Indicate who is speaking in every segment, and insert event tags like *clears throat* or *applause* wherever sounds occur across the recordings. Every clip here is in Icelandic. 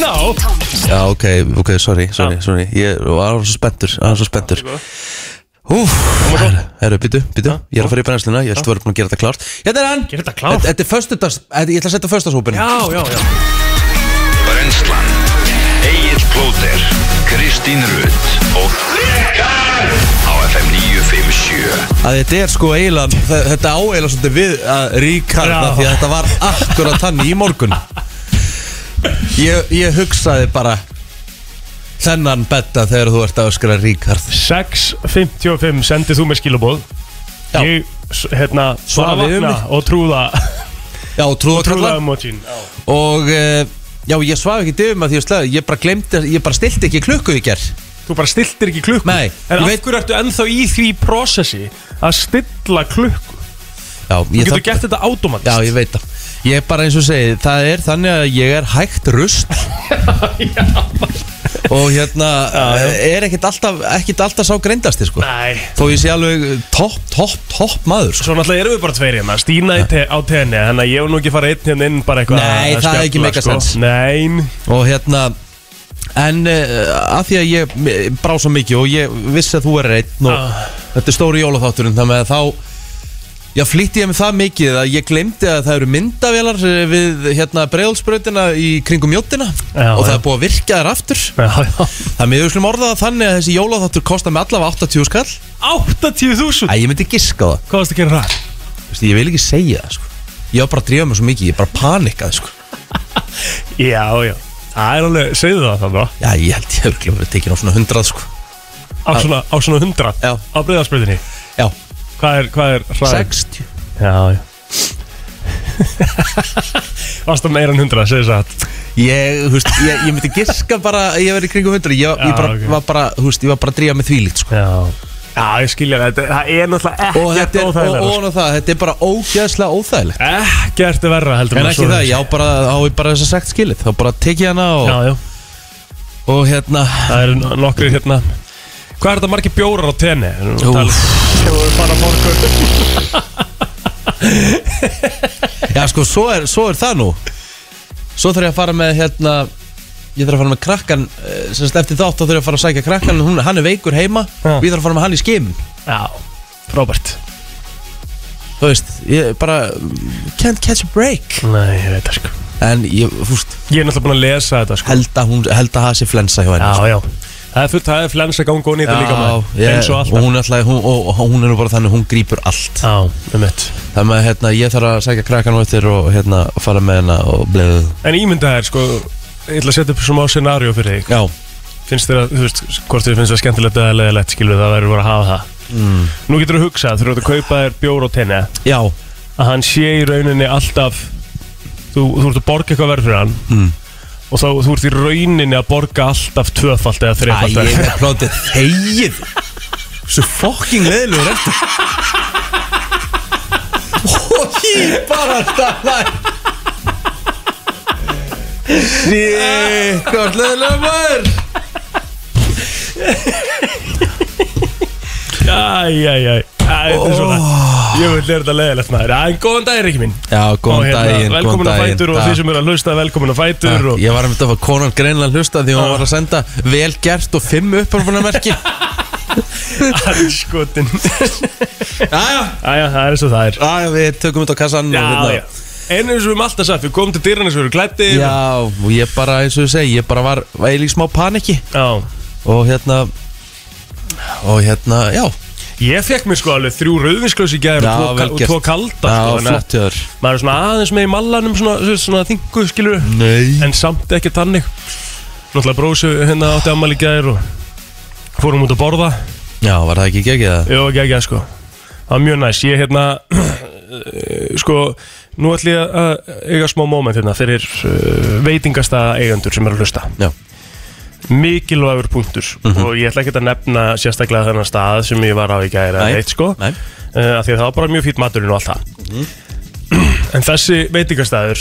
Speaker 1: Já, ok, ok, sorry, sorry,
Speaker 2: Já.
Speaker 1: sorry Ég var svo spenntur, það var svo spenntur Úf, herru, býtu, býtu Ég er að fara í brennsluna, ég ætti að vera búin að gera þetta klárt Hérna er hann
Speaker 2: Gera þetta klárt?
Speaker 1: Þetta- Þetta er föstudags, þetta- ég ætla að setja föstudagshópin
Speaker 2: Já, já, já
Speaker 3: Brenslan Egil Plóter Kristín Rutt og á FM 957
Speaker 1: Að þetta er sko eiginlega, þe- þetta á eiginlega svolítið við að ríkarna
Speaker 2: Já.
Speaker 1: Því að þetta var akkurat hann í morgun Ég, ég hugsaði bara Þennan betta þegar þú ert að öskra ríkard
Speaker 2: 6.55 sendið þú mér skilabóð
Speaker 1: Já.
Speaker 2: Ég, s- hérna, bara
Speaker 1: Svaraði um
Speaker 2: vakna
Speaker 1: mig.
Speaker 2: og trúða
Speaker 1: Já, trúðakalla
Speaker 2: Trúða emojín
Speaker 1: og uh, já, ég svaf ekki dyfum að því að slæði, ég bara glemdi, ég bara stilti ekki klukku í ger
Speaker 2: Þú bara stiltir ekki klukku
Speaker 1: Nei,
Speaker 2: En
Speaker 1: ég
Speaker 2: af
Speaker 1: veit-
Speaker 2: hverju ertu ennþá í því prósessi að stilla klukku?
Speaker 1: Já,
Speaker 2: Þú
Speaker 1: ég
Speaker 2: getur
Speaker 1: þarf,
Speaker 2: gert þetta automatist
Speaker 1: já, ég veit það Ég er bara eins og segi, það er þannig að ég er hægt
Speaker 2: *laughs*
Speaker 1: rust og hérna er ekkert alltaf, ekkert alltaf sá greindasti sko.
Speaker 2: Nei
Speaker 1: þó ég sé alveg topp, topp, topp maður sko.
Speaker 2: Svo náttúrulega erum við bara tveir hérna Stína í te á tenni Þannig að ég vil nú ekki fara einn hérna inn bara eitthvað
Speaker 1: Nei,
Speaker 2: að
Speaker 1: það er ekki
Speaker 2: spjalla, sko.
Speaker 1: make a sense.
Speaker 2: Nein
Speaker 1: *laughs* og hérna en uh, að því að ég m- brá svo mikið og ég vissi að þú er einn og
Speaker 2: Ah.
Speaker 1: þetta er stóri jólaþátturinn þannig að þá Já, flýtti ég mig það mikið að ég glemdi að það eru myndavélar eh, við hérna bregðalsbrautina í kringum mjóttina
Speaker 2: Já,
Speaker 1: og það
Speaker 2: já.
Speaker 1: er búið að virka þær aftur.
Speaker 2: Já, já
Speaker 1: Það með auðvitað orðað það þannig að þessi jólaþáttur kostar með allavega 80 skall.
Speaker 2: 80.000
Speaker 1: Æ, ég myndi giska á það.
Speaker 2: Hvað varst að gera það?
Speaker 1: Vistu, ég vil ekki segja það, sko. Ég var bara að drífa mig svo mikið, ég bara panikkaði, sko.
Speaker 2: Já, já Það er alveg, segðu það það bara
Speaker 1: Já, ég held ég hefur verið tekin á svona 100, sko.
Speaker 2: Á svona, á svona 100
Speaker 1: Já.
Speaker 2: Á breyðarspöðinni
Speaker 1: Já,
Speaker 2: Hvað er, hvað er hraðin?
Speaker 1: 60.
Speaker 2: Já,
Speaker 1: *laughs*
Speaker 2: já Varst það meira en 100, segðu satt
Speaker 1: Ég, þú veist, ég, ég myndi giska bara Ég verið kringum 100 Ég, ég
Speaker 2: Já,
Speaker 1: bara,
Speaker 2: ok.
Speaker 1: var bara, þú veist, ég var bara að dríja með þvílíkt sko.
Speaker 2: Já Já, ég skilja það, þetta- það er sko. náttúrulega
Speaker 1: Og
Speaker 2: ekkert
Speaker 1: þetta er, og,
Speaker 2: óþægilega
Speaker 1: og, og það, þetta er bara ógeðslega óþægilegt
Speaker 2: Ekkert verra heldur
Speaker 1: En
Speaker 2: en að
Speaker 1: ekki
Speaker 2: svo-
Speaker 1: það, ég á bara, á ég bara þess að sagt skilið Þá bara tek ég hana og,
Speaker 2: Já, já
Speaker 1: og hérna
Speaker 2: Það eru no- nokkrir hérna Hvað er þetta margir bjórar á tenni?
Speaker 1: Úff.
Speaker 2: Hefur bara morgun
Speaker 1: *laughs* Já, sko, svo er, svo er það nú Svo þarf ég að fara með, hérna Ég þarf að fara með krakkan eh, sem sagt, Eftir þátt þá þarf ég að fara að sækja krakkan hún, Hann er veikur heima
Speaker 2: Já.
Speaker 1: Við þarf að fara með hann í skim
Speaker 2: Já, frábært
Speaker 1: Þú veist, ég bara Can't catch a break
Speaker 2: Nei, ég veit það sko
Speaker 1: En ég, fúst,
Speaker 2: Ég er náttúrulega búin að lesa þetta sko
Speaker 1: held að hún Held að það sé flensa hjá henni sko.
Speaker 2: Já, já Það er fullt, það er flensa gangi og nýta líka maður
Speaker 1: ég-
Speaker 2: Eins og alltaf
Speaker 1: hún, er alltaf, hún, og, og hún er nú bara þannig, hún grípur allt
Speaker 2: Já, um mitt
Speaker 1: Þannig að hérna, ég þarf að sækja krakkan á eftir og hérna, fara með hérna og bleið
Speaker 2: En ímynda þér sko Ég ætla að setja upp svona á scenario fyrir þig
Speaker 1: Já,
Speaker 2: Finnst þér að, þú veist, hvort þér finnst það skemmtilegt eða leðilegt skilvið Það verður bara að hafa það mm. Nú getur þú hugsað, þú eru að kaupa þér bjór á tenni
Speaker 1: já,
Speaker 2: að hann sé í rauninni alltaf þú, þú ert að borga eitthvað verð fyrir hann mm. og þá þú ert í rauninni að borga alltaf tvöfalt eða
Speaker 1: Æ,
Speaker 2: þrefalt
Speaker 1: ég
Speaker 2: verð
Speaker 1: er plótið þegið Svo fucking leðilegur eftir Og ég bara stanna Shit, hvað er leðilegur maður
Speaker 2: Æ, æ, æ, æ, þetta er svona Ég vil lera þetta leðilegt maður Æ, En góðan dag, Ríkki minn
Speaker 1: Já,
Speaker 2: Og
Speaker 1: góðan
Speaker 2: hérna,
Speaker 1: daginn,
Speaker 2: Velkomin að
Speaker 1: góðan
Speaker 2: fætur og
Speaker 1: daginn
Speaker 2: þið sem eru að hlusta velkomin að fætur og *laughs*
Speaker 1: Ég var að mynda að fá konan greinlega að hlusta því hún var að senda vel gert og fimm
Speaker 2: *laughs*
Speaker 1: upphörfunamerki
Speaker 2: anskotin
Speaker 1: Jæja,
Speaker 2: Æja, það er eins og það er
Speaker 1: jæja, við tökum þetta á kassan
Speaker 2: Já,
Speaker 1: og, hérna-
Speaker 2: já En eins og við erum alltaf sagt, við komum til dyrana sem við erum klættir
Speaker 1: já, og ég bara, eins og ég segi, ég bara var, var eiginlega í smá paniki
Speaker 2: já
Speaker 1: Og hérna, og hérna, já
Speaker 2: Ég fekk mér sko alveg þrjú rauðvinsklaus í gæðir
Speaker 1: Já,
Speaker 2: og
Speaker 1: vel
Speaker 2: tvo,
Speaker 1: gert.
Speaker 2: tvo
Speaker 1: Já,
Speaker 2: kalda sko, þannig að-
Speaker 1: flott hjá þér
Speaker 2: maður er svona aðeins með í mallanum svona, svona, svona þingu skilur
Speaker 1: Nei
Speaker 2: en samt ekki tannig náttúrulega brósu hérna átti ammali gæðir og fórum út að borða
Speaker 1: Já, var það ekki gegið það?
Speaker 2: ég var ekki ekki sko það var mjög næst ég hérna *clears throat* eh, sko nú ætlum ég að eiga smá moment hérna fyrir uh, veitingasta eigandur sem eru að hlusta
Speaker 1: Já,
Speaker 2: mikilvægur punktur
Speaker 1: Mhm.
Speaker 2: og ég ætla ekki að nefna sérstaklega þennan stað sem ég var á í gæðir
Speaker 1: Nei.
Speaker 2: eða eitt sko
Speaker 1: nei Mhm.
Speaker 2: uh, af því að það var bara mjög fýtt maturinn og allt það *clears throat* en þessi veitingastæður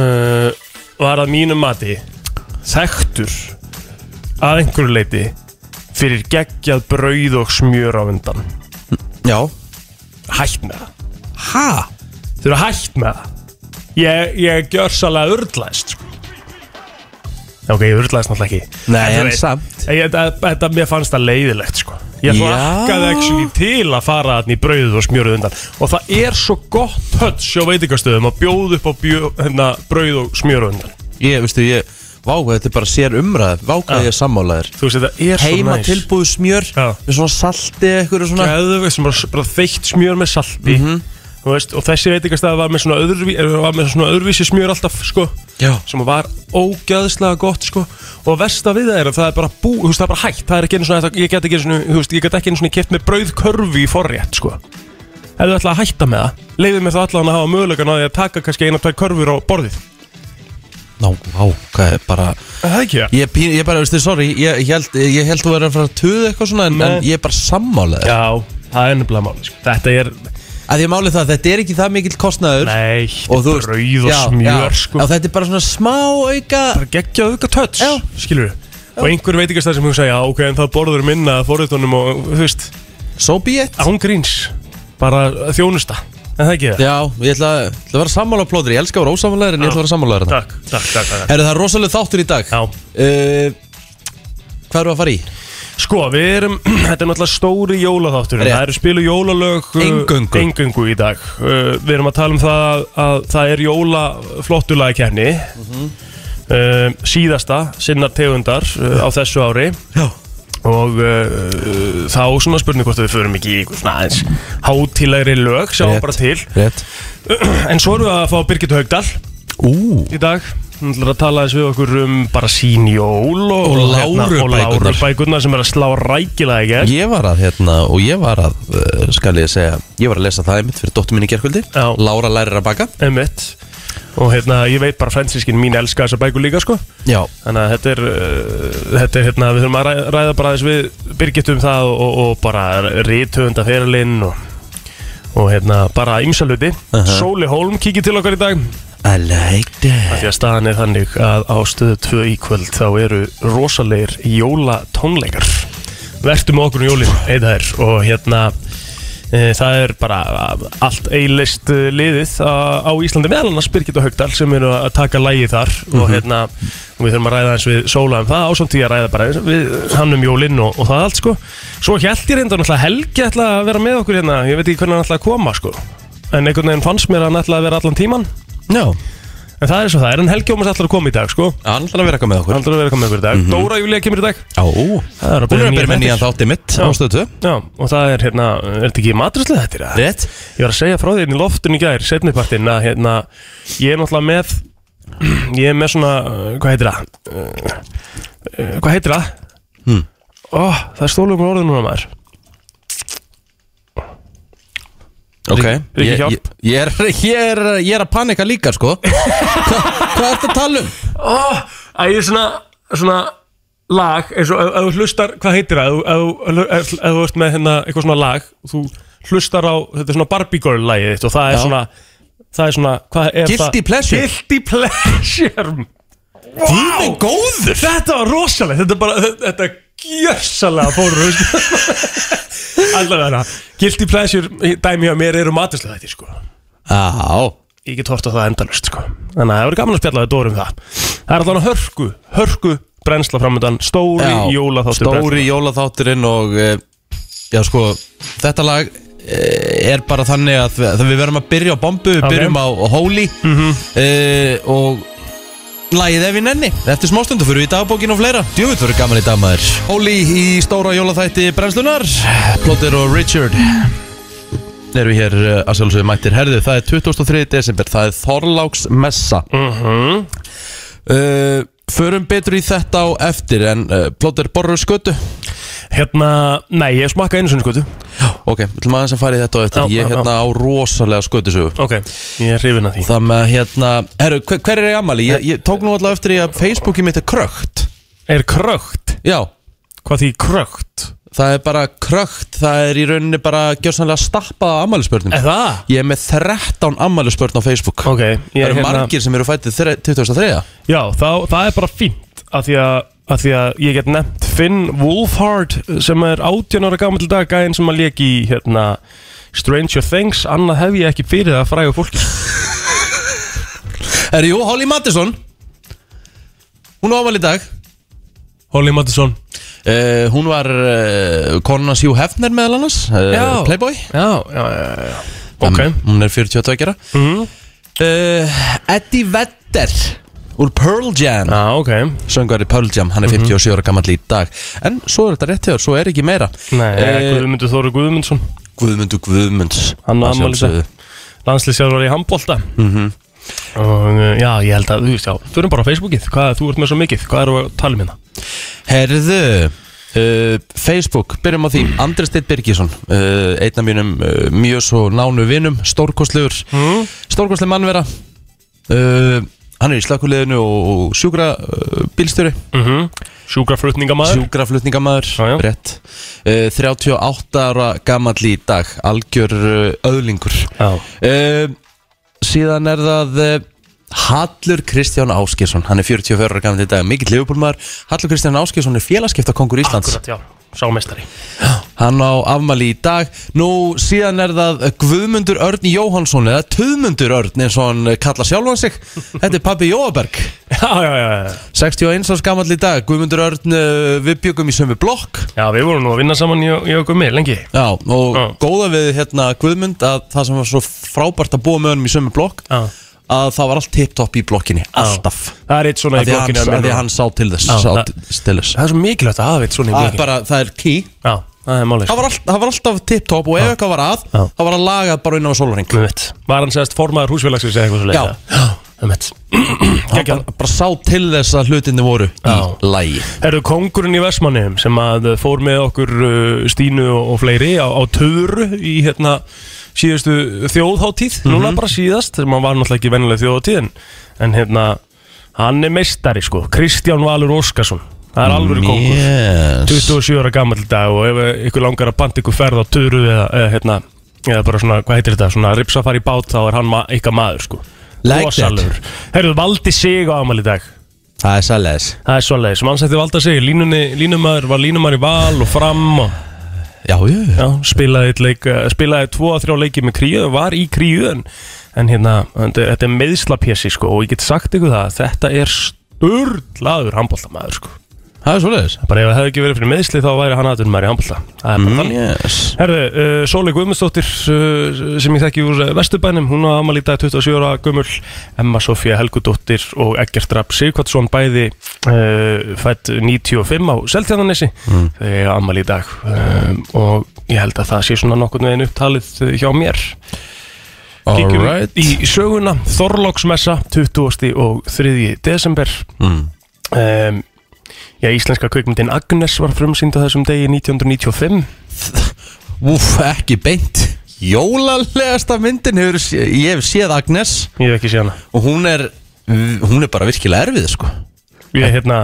Speaker 2: uh, var að mínum mati þekktur að einhverju leiti fyrir geggjað brauð og smjör á undan
Speaker 1: Já
Speaker 2: hætt með það
Speaker 1: Ha?
Speaker 2: þau eru hætt með það ég, ég gjör salega urðlæst sko. Ok, ég urlaðist náttúrulega ekki
Speaker 1: Nei,
Speaker 2: þú
Speaker 1: en
Speaker 2: veist,
Speaker 1: samt.
Speaker 2: ég- Þetta, þetta, mér fannst það leiðilegt, sko Ég
Speaker 1: Já.
Speaker 2: hlakkaði actually til að fara þarna í brauðið og smjörið undan Og það er svo gott höll sjó veitingastöðum að bjóða upp á bjó, hérna, brauð og smjörið undan
Speaker 1: Ég, veistu, ég Vákvað, þetta er bara sér umræð Vákvað
Speaker 2: Já.
Speaker 1: ég er sammálaður
Speaker 2: Þú veist, þetta er svo
Speaker 1: Heima
Speaker 2: næs
Speaker 1: tilbúið smjör
Speaker 2: Já.
Speaker 1: Með svona salti eitthvað svona
Speaker 2: Geðveikt, sem bara, bara þeitt smjör með salti
Speaker 1: Mhm.
Speaker 2: Þú veist, og þessi veitingastæð var með svona, öðruví, eh, var með svona öðruvísi smjör alltaf, sko
Speaker 1: Já.
Speaker 2: sem var ógæðslega gott, sko og versta við það er að það er bara bú, þú veist, það er bara hægt, það er ekki einu svona, ég get ekki einu svona, þú veist, ég get ekki einu svona keft með brauðkörfi í forrétt, sko ef þú ætla að hætta með það, leiðið mér þá allan að hafa mögulegan að því að taka kannski eina, tvær körfur á borðið
Speaker 1: Ná, vákvað, bara
Speaker 2: Er Það ekki,
Speaker 1: Ég, pín- ég bara, veistu, sorry Ég, ég, held, ég held þú verður að fara að tuða eitthvað svona En, en
Speaker 2: Nei.
Speaker 1: ég er bara sammálaður
Speaker 2: Já, það er nefnilega máli, sko Þetta er,
Speaker 1: Að ég máli það, þetta er ekki það mikill kostnaður
Speaker 2: nei,
Speaker 1: Og þú veist
Speaker 2: brauð og
Speaker 1: já,
Speaker 2: smjör,
Speaker 1: já,
Speaker 2: sko
Speaker 1: já, þetta er bara svona smá auka
Speaker 2: bara geggja auka töts
Speaker 1: Já.
Speaker 2: skilur við og einhver veit ekki að það sem hún segja ok, en það borður minna að forritunum og þú veist,
Speaker 1: So be it
Speaker 2: án gríns bara þjónusta, en það ekki það
Speaker 1: Já, ég ætla, ætla að vera sammála plóður Ég elska að vera ósammálaður en ég ætla að vera sammálaður
Speaker 2: takk, takk, takk, takk,
Speaker 1: Herru, það er rosalega þáttur í dag
Speaker 2: Já.
Speaker 1: uh, Hvað eru að fara í?
Speaker 2: sko, við erum, *clears throat* þetta er náttúrulega stóri jólaþátturinn,
Speaker 1: Rétt.
Speaker 2: það eru spilu jólalög uh,
Speaker 1: Eingöngu.
Speaker 2: eingöngu í dag uh, við erum að tala um það að, að það er jólaflottulagakefni mm
Speaker 1: Mhm.
Speaker 2: Uh, síðasta sinna tegundar uh, á þessu ári
Speaker 1: Já
Speaker 2: og uh, þá svona spurning hvort að við förum ekki í einhver svona aðeins hátilegri lög, sjáum
Speaker 1: Rétt.
Speaker 2: bara til *clears throat*
Speaker 1: Rétt
Speaker 2: en svo erum við að fá Birgit Haugdal
Speaker 1: Ú
Speaker 2: í dag hún ætlar að tala aðeins við okkur um bara sín jól og,
Speaker 1: Og
Speaker 2: hérna, og
Speaker 1: Lárubækurnar.
Speaker 2: lárubækurnar sem er að slá rækilega í gerð
Speaker 1: Ég var að hérna og ég var að uh, skal ég segja, ég var að lesa það einmitt fyrir dóttur minni gerkvöldi
Speaker 2: Já.
Speaker 1: Lára lærir að baka
Speaker 2: emitt og hérna ég veit bara fransískin mín elska þessa bækur líka sko
Speaker 1: Já
Speaker 2: þannig að þetta er, uh, þetta er hérna, við þurfum að ræ- ræða bara aðeins við Birgit um það og, og bara rítuðunda fyrirlinn og, og hérna bara ímsaluti uh
Speaker 1: Aha.
Speaker 2: Sóli Hólm kikið til okkar í dag
Speaker 1: I like
Speaker 2: af
Speaker 1: that
Speaker 2: því að staðan er þannig að á stöðu 2 í kvöld þá eru rosalegir jólatónleikar vertu með okkur um jólin, heita þær og hérna e, það er bara allt eilist eh, liðið á á Íslandi meðal annars Birgit og Haugdal sem eru að taka lægi þar og hérna við þurfum að ræða eins við Sóla um það ásamt því að ræða bara við hann um jólinn og, og það allt sko svo held ég reyndan alltaf Helgi ætla að vera með okkur hérna ég veit ekki hvernig hann ætla að koma sko en einhvern veginn fannst mér að hann ætla að vera allan tíman
Speaker 1: Já
Speaker 2: En það er svo það er, en Helgi Ómars ætlar að koma í dag, sko Hann
Speaker 1: Hann ætlar að vera eitthvað með okkur
Speaker 2: ætlar að vera að koma ykkur í dag Dóra Júlia kemur í dag
Speaker 1: Já Hún
Speaker 2: Það er að
Speaker 1: er
Speaker 2: byrja
Speaker 1: að byrja
Speaker 2: nýja
Speaker 1: með nýjan
Speaker 2: þættir
Speaker 1: þátti mitt
Speaker 2: Já.
Speaker 1: ástöðu
Speaker 2: Já, og það er hérna, er þetta ekki matræslega þetta er það?
Speaker 1: Rétt
Speaker 2: Ég var að segja frá því hérna í loftun í gær, setnipartinn að hérna, ég er náttúrulega með *clears throat* Ég er með svona, uh, hvað heitir það? Uh, uh, Hvað heitir það? Ó, það er stólum úr orðinu núna maður
Speaker 1: Ok
Speaker 2: Ríkki
Speaker 1: Ég-
Speaker 2: hjálp.
Speaker 1: ég- Ég er, ég er, ég er að panika líka sko
Speaker 2: *laughs*
Speaker 1: Hva, Hvað ertu að tala um?
Speaker 2: Ó, að ég er svona, svona lag eins og ef ef þú hlustar, hvað heitir það ef þú- ef þú- ef þú ert með hérna eitthvað svona lag og þú hlustar á, þetta er svona Barbie Girl lagið þitt og það er
Speaker 1: Já.
Speaker 2: svona það er svona, hvað er það?
Speaker 1: Guilty pleasure.
Speaker 2: Guilty Pleasure
Speaker 1: Guð minn góður
Speaker 2: Þetta var rosalegt, þetta er bara þetta er gjössalega fórum *laughs* allavega Guilty Pleasure dæmi að mér eru matuslega þetta sko
Speaker 1: Já
Speaker 2: ég get hort á það endalust sko. þannig að það verður gaman að spjalla við Dóri um það það er allavega hörku, hörku brennsla framöndan, stóri
Speaker 1: Já,
Speaker 2: jólaþáttur
Speaker 1: Stóri jólaþátturinn og eh, Já sko, þetta lag eh, er bara þannig að við, að við verum að byrja á bombu, við
Speaker 2: Ok. Mhm.
Speaker 1: byrjum á Holy mm og lagið ef við nenni, eftir smástundu fyrir við í dagbókin og fleira, djúvitt verður gaman í dag maður Holy í stóra jólaþætti brennslunar, Plotter og Richard erum við hér eh, að sjálfsögum mættir herðu, það er 23. desember, það er Þorláksmessa
Speaker 2: Mm. Mhm.
Speaker 1: uh, Förum betur í þetta á eftir en uh, Plotter borður skötu
Speaker 2: brennsla hérna, nei, ég smakka einu sinni sko. skotu
Speaker 1: Ok, við ætlum aðeins að fara í þetta á eftir
Speaker 2: Já,
Speaker 1: Ég
Speaker 2: já,
Speaker 1: hérna á rosalega skötusögu
Speaker 2: ok, ég er hrifin að því
Speaker 1: Það með hérna, herru, hver, hver er ég ammali? Ég, ég tók nú alltaf eftir í að Facebooki mitt er krökt
Speaker 2: er krökt,
Speaker 1: Já,
Speaker 2: hvað því krökt
Speaker 1: það er bara krökt Það er í rauninni bara gjörsanlega stappað af ammælisbörnum
Speaker 2: er það?
Speaker 1: Ég er með 13 ammælisbörn á Facebook
Speaker 2: ok, ég
Speaker 1: Það
Speaker 2: er
Speaker 1: eru
Speaker 2: hérna
Speaker 1: margir sem eru fættið 2003
Speaker 2: já, þá, það er bara fínt af því að að því að ég get nefnt Finn Wolfhard sem er 18 ára gaman til dag gæðin sem að lék í hérna, Stranger Things annað hef ég ekki fyrir það að fræga fólki
Speaker 1: Herru, jú, Holly Madison Hún á ámæli í dag
Speaker 2: Holly Mattisson
Speaker 1: uh, Hún var uh, konan Sjú Hefner meðal annars uh,
Speaker 2: Já.
Speaker 1: Playboy
Speaker 2: Já, já, já, já, já. Ok
Speaker 1: Hún- Hún er 42 gera
Speaker 2: Mhm.
Speaker 1: uh, Eddie Vedder Úr Pearl Jam
Speaker 2: Já, ok
Speaker 1: Söngari Pearl Jam, hann er
Speaker 2: Mhm.
Speaker 1: 57 ára gammal í dag En svo er þetta rétt hjá, svo er ekki meira
Speaker 2: Nei,
Speaker 1: Eh,
Speaker 2: Guðmundur Þóru Guðmundsson
Speaker 1: Guðmundur Guðmunds
Speaker 2: Hann á
Speaker 1: að
Speaker 2: afmæli í dag.
Speaker 1: sjálfsögðu. Mhm.
Speaker 2: landslýsjálfari í handbólta og uh, já, ég held að þú veist, já, þú erum bara á Facebookið, hvað, þú ert með svo mikið hvað eru að tala um hérna?
Speaker 1: Herðu Uh, Facebook, byrjum á því Andri Steit Birgisson uh, einn af mínum uh, mjög svo nánu vinum stórkostlegur
Speaker 2: Mhm.
Speaker 1: mm. stórkostleg mannvera uh, hann er í slökuleginu og, og sjúkra uh, bílstjóri,
Speaker 2: Mm
Speaker 1: Mhm.
Speaker 2: -hmm. Sjúkraflutningamæður
Speaker 1: sjúkraflutningamæður
Speaker 2: Já, já.
Speaker 1: brett uh, 38 ára gamall í dag algjör uh, öðlingur
Speaker 2: Já,
Speaker 1: uh, síðan er það uh, Hallur Kristján Áskjesson hann er 44 ára gamall í dag, mikill lefupólmaður Hallur Kristján Áskjesson er félagskiptakongur Íslands
Speaker 2: akkurat, já, sámeistari
Speaker 1: Hann á afmæli í dag Nú síðan er það eh, Guðmundur Örn Jóhansson eða Tuðmundur Örn eins og hann kalla sjálfan sig Þetta er pabbi Jóaberg
Speaker 2: *laughs* Já, já, já, já,
Speaker 1: 61 árs gamall í dag Guðmundur Örn uh, við byggum í sömu blokk
Speaker 2: já, við vorum nú að vinna saman í, í okkur með lengi
Speaker 1: Já og
Speaker 2: Já.
Speaker 1: góða við hérna Guðmund að það sem var svo frábært að búa með honum í sömu blokk
Speaker 2: Já.
Speaker 1: að það var allt tipptopp í blokkinni Alltaf
Speaker 2: Það er eitt svona
Speaker 1: Af
Speaker 2: í
Speaker 1: því hann,
Speaker 2: blokkinu
Speaker 1: af því hann sá til þess,
Speaker 2: Já,
Speaker 1: sá
Speaker 2: það-
Speaker 1: til þess.
Speaker 2: Það er svo mikilvægt að hafa eitt svona í
Speaker 1: Að
Speaker 2: blokkinu
Speaker 1: bara, Það er key
Speaker 2: Já, það er málið
Speaker 1: Það var, all, það var alltaf tipptopp og ef eitthvað var að
Speaker 2: Já.
Speaker 1: það var að laga bara inn á sólring
Speaker 2: Með mitt Var hann segist formaður húsfélagsins eða eitthvað
Speaker 1: Já.
Speaker 2: svo leiða Já, með mitt
Speaker 1: hann bara, bara sá til þess að hlutinni voru
Speaker 2: Já.
Speaker 1: í lægi
Speaker 2: Erðu kongurinn í Vestmanniðum sem að fór með okkur uh, Stínu og, og fleiri á, á töru í hérna síðustu þjóðháttíð, núna bara síðast sem hann var náttúrulega ekki vennileg þjóðháttíð en, en hérna, hann er meistari sko, Kristján Valur Óskarsson það er alveg kongur,
Speaker 1: yes.
Speaker 2: 27 ára gammal dag og ef eh, ykkur langar að banta ykkur ferð á töru eða, eða hérna eða bara svona, hvað heitir þetta, svona ripsafari bát þá er hann ma ykkar maður sko
Speaker 1: Like that.
Speaker 2: Rosalegur. Herðu, valdi sig á amal í dag
Speaker 1: Það er sæliðis
Speaker 2: Það er svolítið, sem ansætti valda sig línunni, Línumar var línumar í val og fram og,
Speaker 1: Já, jú
Speaker 2: já, spilaði, einn leik, eh, spilaði tvo að þrjá leiki með kríu var í kríu en, en hérna, en þetta þetta er meðslapjessi sko, og ég get sagt ykkur það að þetta er sturlaður handbóltamaður sko.
Speaker 1: Það er svoleiðis
Speaker 2: bara ef það hefði ekki verið fyrir meðsli þá væri hann aðdunum maður í handbólta það er bara
Speaker 1: Mhm.
Speaker 2: þannig
Speaker 1: yes.
Speaker 2: Herðu, uh, Sóli Guðmundsdóttir uh, sem ég þekki úr Vesturbænum hún á amal í dag 27 ára gömul Emma Sofía Helgudóttir og Eggert Rapp Sigvartsson bæði uh, fætt 95 á Seltjarnanesi mm. þegar amal í dag um, og ég held að það sé svona nokkurn veginn upptalið eh, hjá mér Kíkjum
Speaker 1: Alright
Speaker 2: í söguna Þorlóksmessa 20. og 3. desember
Speaker 1: mm.
Speaker 2: um, Já, íslenska kveikmyndin Agnes var frumsýnd á þessum degi 1995
Speaker 1: Úf, ekki beint Jólalegasta myndin hefur sé- Ég hef séð Agnes
Speaker 2: Ég hef ekki séð hana
Speaker 1: Og hún er Hún er bara virkilega erfið, sko
Speaker 2: Ég hérna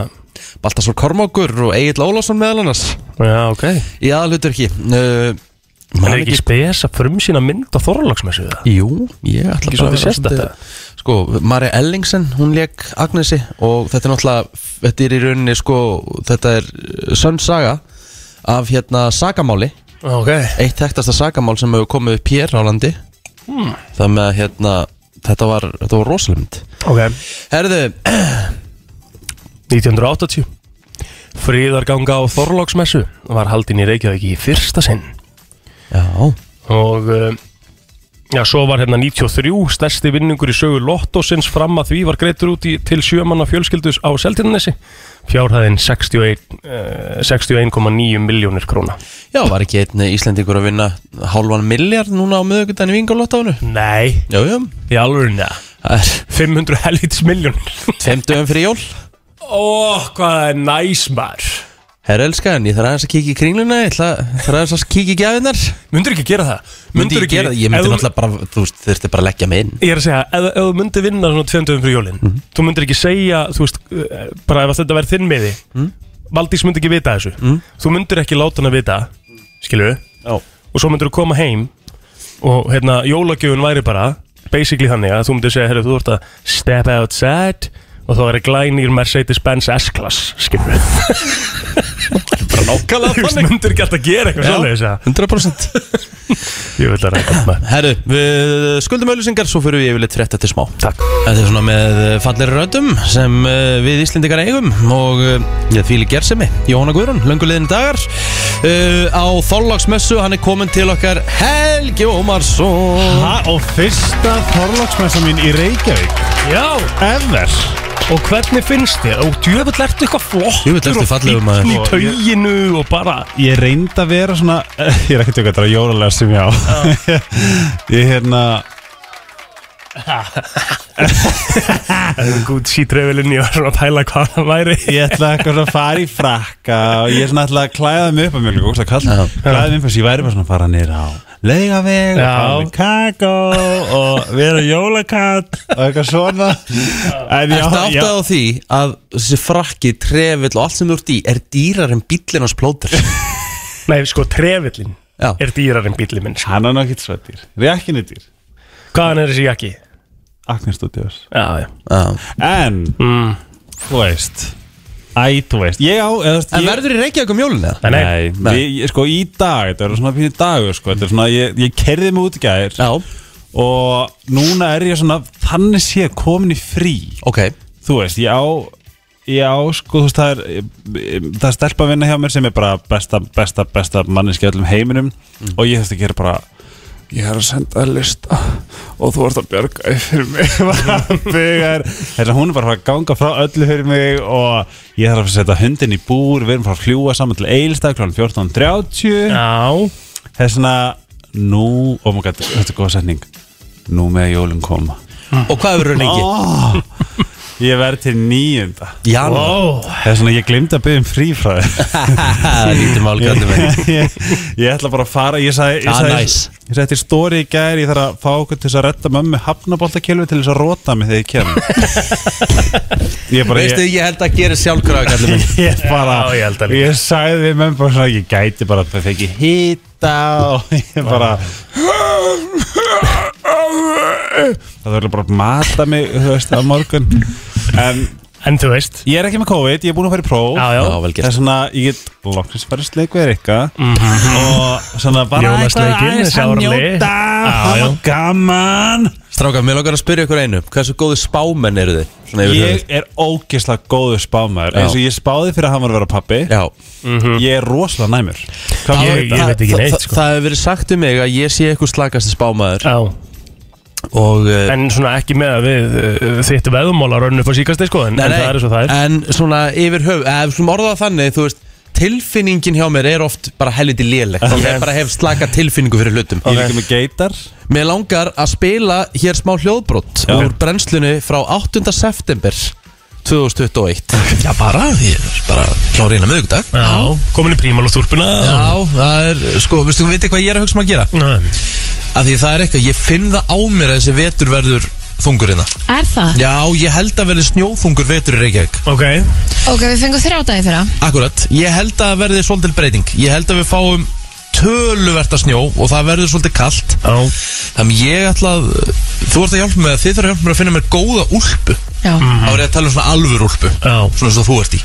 Speaker 1: Baltasar Kormákur og Egil Ólafsson meðal annars
Speaker 2: Já, ok.
Speaker 1: Í aðalhutur ekki uh,
Speaker 2: En er ekki spes að frumsýna mynd á Þorláksmessu það?
Speaker 1: Jú, ég ætla
Speaker 2: Ekki
Speaker 1: bara
Speaker 2: svolítið sérstakt,
Speaker 1: svolítið- Sko, Mari Ellingsen, hún leik Agnesi og þetta er náttúrulega Þetta er í rauninni, sko, þetta er uh, Sönn saga af hérna sagamáli
Speaker 2: Ok.
Speaker 1: Eitt þekktasta sagamál sem hefur komið upp hér á landi Það með að hérna Þetta var, þetta var rosalumd
Speaker 2: Ok.
Speaker 1: Herðu,
Speaker 2: 1980. Fríðarganga á Þorláksmessu var haldin í Reykjavík í fyrsta sinn.
Speaker 1: já
Speaker 2: Og uh, já, svo var hérna 93, stærsti vinningur í sögu Lottósins fram að því var greittur út í, til sjömanna fjölskyldus á Seltjarnesi. Fjárhæðin 61, eh, 61,9 miljónir króna.
Speaker 1: Já, var ekki einn Íslendingur að vinna hálfan milljar núna á miðugundinu í Vingolottánu?
Speaker 2: Nei,
Speaker 1: Jú, jú,
Speaker 2: í alveg neða.
Speaker 1: það er
Speaker 2: 500 helvits miljónir.
Speaker 1: Femtugum fyrir jól
Speaker 2: Ó, hvað það er næs maður.
Speaker 1: Herra elskan, ég þarf aðeins að kíkja í kringluna Ég ætla- þarf aðeins að kíkja í gjafinnar
Speaker 2: Myndur ekki gera það?
Speaker 1: Myndi
Speaker 2: Myndirðu
Speaker 1: ég gera það? Ég myndi
Speaker 2: ef þú-
Speaker 1: náttúrulega bara, þú veist, þurfti bara að leggja mig inn
Speaker 2: Ég er að segja, ef, ef þú myndir vinna svona tvöndum fyrir jólin
Speaker 1: Mhm.
Speaker 2: Þú myndir ekki segja, þú veist, eh, bara ef þetta verði þinn meði
Speaker 1: Mhm.
Speaker 2: Valdís myndi ekki vita þessu Þú myndir ekki láta hana vita, skilur
Speaker 1: Já
Speaker 2: Og svo myndir þú koma heim Og hérna, jólagjöfun væri bara Basically þannig að þú myndir segja, herru, þú ert að Step outside Og þá er glænir Mercedes-Benz S-Class, skilur
Speaker 1: Bara
Speaker 2: Þú
Speaker 1: nákvæmlega
Speaker 2: veist, myndir ekki alltaf gera eitthvað svoleiðis að
Speaker 1: 100%
Speaker 2: Ég vil að ræða þetta maður.
Speaker 1: Herru, við skuldum auðlýsingar Svo fyrir við yfirleitt frétta til smá
Speaker 2: Takk
Speaker 1: Þetta er svona með eh, fallegri röndum sem eh, við Íslendingar eigum og eh, ég fýli gersemi, Jóhanna Guðrún, löngulegin dagar uh, á Þorláksmessu, hann er komin til okkar Helgi Ómarsson
Speaker 4: Ha, og fyrsta Þorlóksmessa mín í Reykjavík
Speaker 2: Já,
Speaker 4: Ever
Speaker 2: og hvernig finnst þér? Og djöfull ertu eitthvað flott
Speaker 1: Djöfull ertu fallegur, maður.
Speaker 2: Í tauginu og bara
Speaker 4: Ég reyndi að vera svona *laughs* Ég er ekki tjóka þetta að jólalega sem ég á *laughs* Ég hérna
Speaker 2: Gútt sítrefilinn, ég var svona að pæla hvað það væri
Speaker 4: Ég ætla eitthvað svona að fara í frakka Og ég svona ætla að klæða mig upp að mjög Góðslega
Speaker 1: Já.
Speaker 4: kall Klæða mig upp að ég væri bara svona að fara nýr á Laugaveg og
Speaker 2: Já.
Speaker 4: fara með kakó Og vera jólakatt Og eitthvað svona
Speaker 1: Þetta
Speaker 4: En já, já,
Speaker 1: áttaði á því að þessi frakki, trefill og allt sem þú ert í er dýrar en bíllinn hans *laughs* plóter
Speaker 2: Nei, sko, trefillin
Speaker 1: Já.
Speaker 2: er dýrar en bíllinn minn sko.
Speaker 4: hann er nokkið svo dýr Rekkin er dýr
Speaker 2: Hvaðan er þessi jakki?
Speaker 4: Agnes Studios
Speaker 2: Já, já
Speaker 1: Já.
Speaker 4: En
Speaker 2: mm.
Speaker 4: Þú veist Æ, þú veist Ég á eða, þú veist,
Speaker 1: En
Speaker 4: ég,
Speaker 1: verður í Reykjavík um jólun eða?
Speaker 2: Nei, nei.
Speaker 4: Nei,
Speaker 1: Nei.
Speaker 4: Ég, ég, sko í dag Þetta er svona pínu dagur sko Þetta er svona Ég, ég kerði mig út í gær
Speaker 1: Já,
Speaker 4: Og núna er ég svona Þannig sé komin í frí
Speaker 1: ok
Speaker 4: Þú veist, ég á Ég á sko, þú veist, það er Það er stelpa vinna hjá mér sem er bara Besta, besta, besta manneski öllum heiminum
Speaker 1: Mm.
Speaker 4: Og ég þess að gera bara Ég er að senda að lista Og þú ert að bjarga því fyrir mig Bara Þegar Þess að hún er bara að fara að ganga frá öllu fyrir mig Og ég þarf að setja hundin í búr Við erum að fara að fljúa saman til Eilstað Kláðan 14.30
Speaker 2: Já
Speaker 4: Þess að nú Oh my god, þetta er góð setning Nú með jólum koma
Speaker 1: Og hvað verður lengi?
Speaker 4: oh, Ég verð til nýjunda
Speaker 1: Janúar
Speaker 2: Ó,
Speaker 4: Það er svona, ég glemdi að byggja um frí frá
Speaker 1: *laughs*
Speaker 4: þér
Speaker 1: Lítið mál kallum við
Speaker 4: ég, ég, *laughs* ég ætla bara að fara Ég sagði, ég
Speaker 1: Ah,
Speaker 4: sagði,
Speaker 1: nice.
Speaker 4: ég sagði til stóri í gær Ég þarf að fá okkur til þess að retta mömmu Hafnaboltakilvi til þess að rota mig þegar
Speaker 1: *laughs*
Speaker 4: ég kem Ég bara
Speaker 1: Veistu,
Speaker 4: ég,
Speaker 1: ég held að gera sjálfkrafa kallum við
Speaker 4: *laughs* ég bara
Speaker 2: Já, ég held að
Speaker 4: ég,
Speaker 2: líka.
Speaker 4: sagði við mömmu bara svona Ég gæti bara að fengi hýta Og *laughs* ég bara Það verður bara að mata mig Þú veist, að morgun En
Speaker 2: en þú veist
Speaker 4: ég er ekki með COVID Ég er búin að fara í próf
Speaker 2: Já, já,
Speaker 1: Já, vel
Speaker 4: Það er
Speaker 1: gert
Speaker 4: svona, ég get loksins bara sleik við Rikka og svona bara
Speaker 2: Jólasleikinn, Mhm. þessi
Speaker 4: að
Speaker 2: árli.
Speaker 4: njóta
Speaker 2: Já,
Speaker 4: það
Speaker 2: já.
Speaker 4: var gaman
Speaker 1: Stráka, mér langar að spyrja ykkur einu Hversu góðu spámenn eru þið? Svona yfir
Speaker 4: Ég
Speaker 1: höfuð.
Speaker 4: er ógeðslega góður spámaður eins og ég spáði fyrir að hann var að vera pappi
Speaker 1: Já
Speaker 4: ég er rosalega næmur Hvað
Speaker 2: Mhm. Ég-
Speaker 4: var
Speaker 2: ég-
Speaker 4: þetta?
Speaker 2: veit ekki
Speaker 1: Þa-
Speaker 2: neitt,
Speaker 1: þa-
Speaker 2: sko.
Speaker 1: Það hefur verið sagt um mig að ég sé eitthvað slakasti spámaður
Speaker 2: Já
Speaker 1: Og uh,
Speaker 2: En svona ekki með að við uh, þitt veðumóla rönnu upp á síkast sko en, en það er svo það er
Speaker 1: En svona yfir höf Ef svona orðað þannig, þú veist Tilfinningin hjá mér er oft bara helviti léleg okay. Ég bara hef slaka tilfinningu fyrir hlutum
Speaker 4: Ég er ekki með geitar
Speaker 1: Mér langar að spila hér smá hljóðbrot
Speaker 4: Já.
Speaker 1: Úr brennslunni frá 8. september 2021
Speaker 2: Já, bara því
Speaker 1: Bara klára eina miðugdag
Speaker 2: Já, komin í prímálastúrpuna
Speaker 1: Já, það er, sko, veistu, veitu hvað ég er að hugsa maður að gera? Af því það er eitthvað, ég finn það á mér að þessi vetur verður þungur hérna
Speaker 5: Er það?
Speaker 1: Já, ég held að verði snjóþungur vetur í Reykjavík
Speaker 2: Ok
Speaker 5: Ok, við fengum þrjá dagi fyrra
Speaker 1: Akkurat, ég held að það verði svolítil breyting Ég held að við fáum töluvert að snjó og það verður svolítið kalt
Speaker 2: Já
Speaker 1: Þannig ég ætla að, þú ert að hjálpa mig að þið þarf að hjálpa mig að finna mér góða úlpu
Speaker 5: Já
Speaker 1: Þá er ég að tala um svona alvur úlpu
Speaker 2: Já,
Speaker 1: Svona eins og þú ert í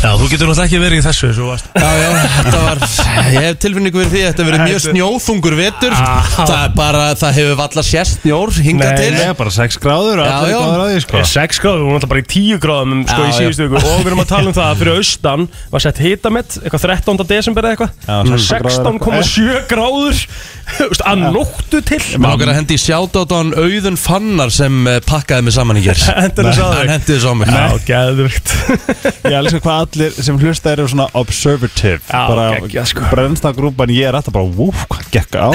Speaker 2: já þú getur náttúrulega ekki verið í þessu svo varst
Speaker 1: Já, já, þetta var, ég hef tilfinningu verið því að þetta verið mjög snjóþungur vetur Það er bara, það hefur valla sérst snjór hingað
Speaker 2: Ah. Nei,
Speaker 1: til
Speaker 4: Ég er bara 6 gráður og
Speaker 1: Já,
Speaker 4: allir
Speaker 1: já.
Speaker 4: gáður á því sko
Speaker 2: Ég er 6 gráðum, við vorum alltaf bara í 10 gráðum
Speaker 1: Já,
Speaker 2: sko í síðustu viku og við erum að tala um það að fyrir austan var sett hitamett, eitthvað 13. desember eða
Speaker 4: Já,
Speaker 2: eitthvað
Speaker 4: 16 gráður.
Speaker 2: 16,7 gráður þú veist, að nóttu til
Speaker 1: Mér ákveður að hendi í sjátáttan Auðun Fannar sem eh, pakkaði mig saman í hér
Speaker 2: *laughs* Hendir þess að
Speaker 1: Hann
Speaker 2: þig
Speaker 1: hendi þessu á mig Eh,
Speaker 2: Já, gæðvikt
Speaker 4: Ég elskar hvað allir sem hlusta eru svona observative
Speaker 2: Já,
Speaker 4: bara
Speaker 2: geggjað, sko.
Speaker 4: brennstagrúpan ég er alltaf bara wúf, hvað gekk á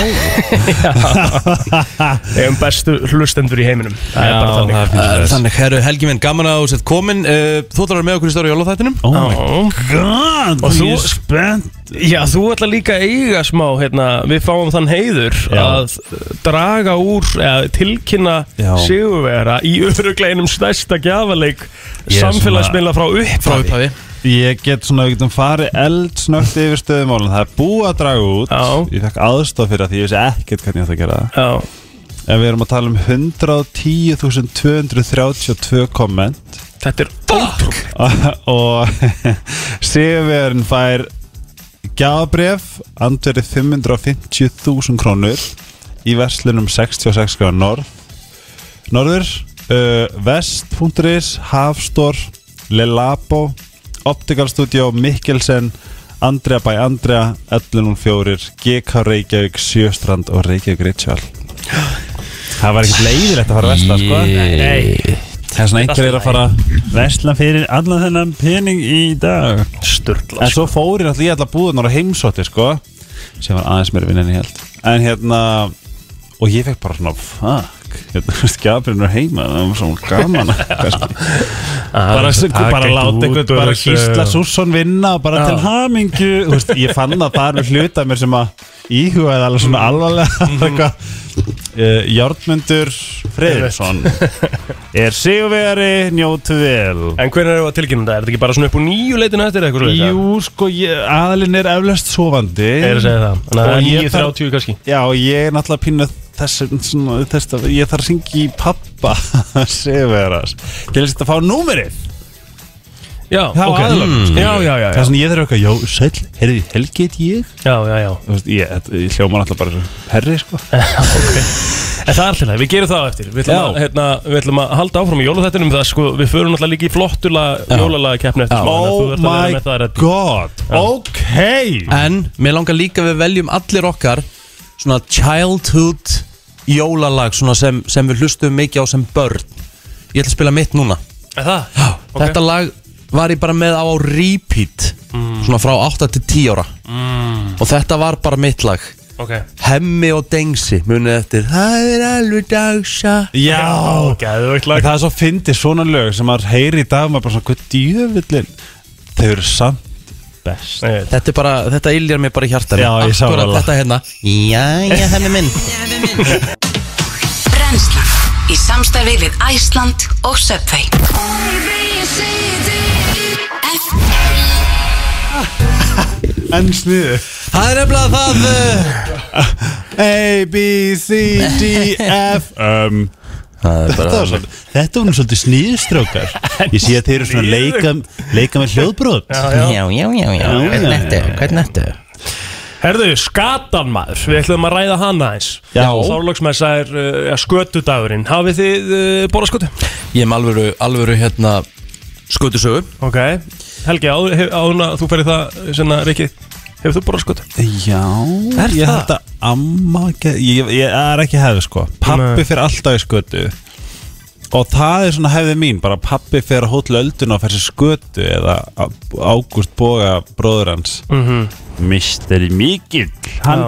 Speaker 2: Við erum bestu hlustendur í heiminum Það er bara þannig
Speaker 1: Eh, Þannig, herru Helgi minn, gaman að þú sett komin Eh, Þú ætlar að vera með okkur í stóru jólóþættinum
Speaker 4: Oh my
Speaker 2: Já.
Speaker 4: god,
Speaker 2: Og þú-
Speaker 4: ég er spennt
Speaker 2: Já, þú ætla líka að eiga smá hérna, Við fáum þann heiður
Speaker 4: Já.
Speaker 2: að draga úr eða, tilkynna
Speaker 4: Já.
Speaker 2: sigurvera í örugleinum stærsta gjafaleik
Speaker 4: Ég er
Speaker 2: samfélagsmiðla frá upp
Speaker 1: Frá upphafi
Speaker 4: Ég get svona, við getum farið eldsnögt yfir stöðumálun Það er búið að draga út
Speaker 2: Já.
Speaker 4: Ég fekk aðstof fyrir að því ég vissi ekkert hvernig ég átt að gera það
Speaker 2: Já,
Speaker 4: En við erum að tala um 110.232 komment *laughs*
Speaker 2: þetta er ótrúlegt
Speaker 4: Og Sigurverðin fær Gjafabref andverið 550.000 krónur í verslunum 66 gráður norð norður uh, vest.is, Hafstor Lelabo Optical Studio, Mikkelsen Andrea by Andrea 1104, GK Reykjavík Sjöstrand og Reykjavík Ritual Það var ekkert leiðilegt að fara að vesla sko
Speaker 2: Nei.
Speaker 4: Það er svona einhver er að fara að vesla fyrir allan þennan pening í dag
Speaker 2: Sturla
Speaker 4: En svo fór ég náttúrulega í alla búðunar á heimsótti sko sem var aðeins meira vinn en ég held En hérna Og ég fekk bara svona Fuck Hérna, þú veist, Gabriel er heima Það var svona gaman Bara, bara, bara láta einhvern Bara Gísla Sússon vinna og Bara til hamingju Þú veist, ég fann að það er nú hluti af mér sem að Íhugaði alveg
Speaker 2: Mm.
Speaker 4: svona alvarlega
Speaker 2: Mhm.
Speaker 4: Eitthvað uh, Járnmundur Freyðursson Er sigurvegari Njótu vel
Speaker 2: En hvernig erum við að tilkynna þetta? Er þetta ekki bara svona upp úr nýju leitin eftir eða eitthvað svoleiðis, eða?
Speaker 4: Jú, sko, ég, aðalinn er eflaust sofandi
Speaker 2: Ég er að segja það Þannig að það
Speaker 4: Og
Speaker 2: er
Speaker 4: ég
Speaker 2: 9.30 kannski
Speaker 4: Já, og ég er náttúrulega pínu þess, svona, þess að ég þarf að syngja í pappa *laughs* Sigurvegaras Til þess að fá númerið
Speaker 2: Já,
Speaker 4: Já,
Speaker 2: ok
Speaker 4: aðallega.
Speaker 2: Mm. Já, já, já,
Speaker 4: Það
Speaker 2: já
Speaker 4: er svona ég þarf eitthvað, já, sæll, heyrði, helgi get ég
Speaker 2: Já, já, já
Speaker 4: Þú veist, ég, þetta- ég hljóma náttúrulega bara svo herri, sko
Speaker 2: En það er alltaf leið, við gerum það á eftir Við ætlum,
Speaker 4: Já.
Speaker 2: að, hérna, við ætlum að halda áfram í jólaþættinum það, sko, Við förum náttúrulega líka í flottulega jólalaga keppni eftir smá, þannig að þú ert
Speaker 4: Oh
Speaker 2: að vera
Speaker 4: my
Speaker 2: með það, Reddi.
Speaker 4: god, ok
Speaker 1: En mér langar líka að við veljum allir okkar Svona childhood jólalag Svona sem, sem við hlustum mikið á sem börn Ég ætla að spila mitt núna
Speaker 2: Er það? Ok.
Speaker 1: Þetta lag var ég bara með á á repeat Svona frá 8 til 10 ára Og þetta var bara mitt lag
Speaker 2: Ok
Speaker 1: Hemmi og Dengsi munið eftir Það er alveg dagsa
Speaker 4: Já,
Speaker 2: Gæðvögt
Speaker 4: En
Speaker 2: lag
Speaker 4: það er svo fyndið svona lög sem maður heyri í dag og maður bara svona, hvað djöfullin þau eru samt best
Speaker 2: Ég veit.
Speaker 1: Þetta er bara, þetta illjar mér bara í hjartan
Speaker 4: Já, ég sá
Speaker 1: Akkurat
Speaker 4: það.
Speaker 1: þetta hérna Jæja, hemmi minn
Speaker 6: Brennslan í samstarfi við Æsland og Subway
Speaker 4: En sniðu
Speaker 1: Það er nefnilega það uh,
Speaker 4: A, B, C, D, F *laughs* um,
Speaker 1: Það er
Speaker 4: Þetta
Speaker 1: bara
Speaker 4: var svolítið Þetta var nú svolítið
Speaker 2: *laughs*
Speaker 4: sniðstrókar Ég sé að þeir eru svona að leika, leika með hljóðbrot
Speaker 1: Já, já, já, já,
Speaker 4: Já,
Speaker 1: hvernig
Speaker 4: já,
Speaker 1: nættu, hvernig nættu
Speaker 2: Herðu, skatan maður Við ætlum að ræða hana eins
Speaker 4: Já.
Speaker 2: Þárlóksmessa er uh, skötudagurinn Hafið þið uh, borðað skötu?
Speaker 1: Ég er með alvöru, alvöru hérna skutusögu
Speaker 2: Ok Helgi, áður hef- áður en að þú ferði það Senna, Rikki Hefur þú borðað skötu?
Speaker 4: Já
Speaker 2: Er
Speaker 4: Ég
Speaker 2: það?
Speaker 4: held að amma ge- Ég, ég er ekki hefði sko Pappi
Speaker 2: Nei.
Speaker 4: fyrir alltaf í skötu Og það er svona hefði mín Bara pappi fyrir að hótla ölduna og fyrir skötu Eða Á- Ágúst Boga bróður hans mm -hmm. Misteri Mikill Hann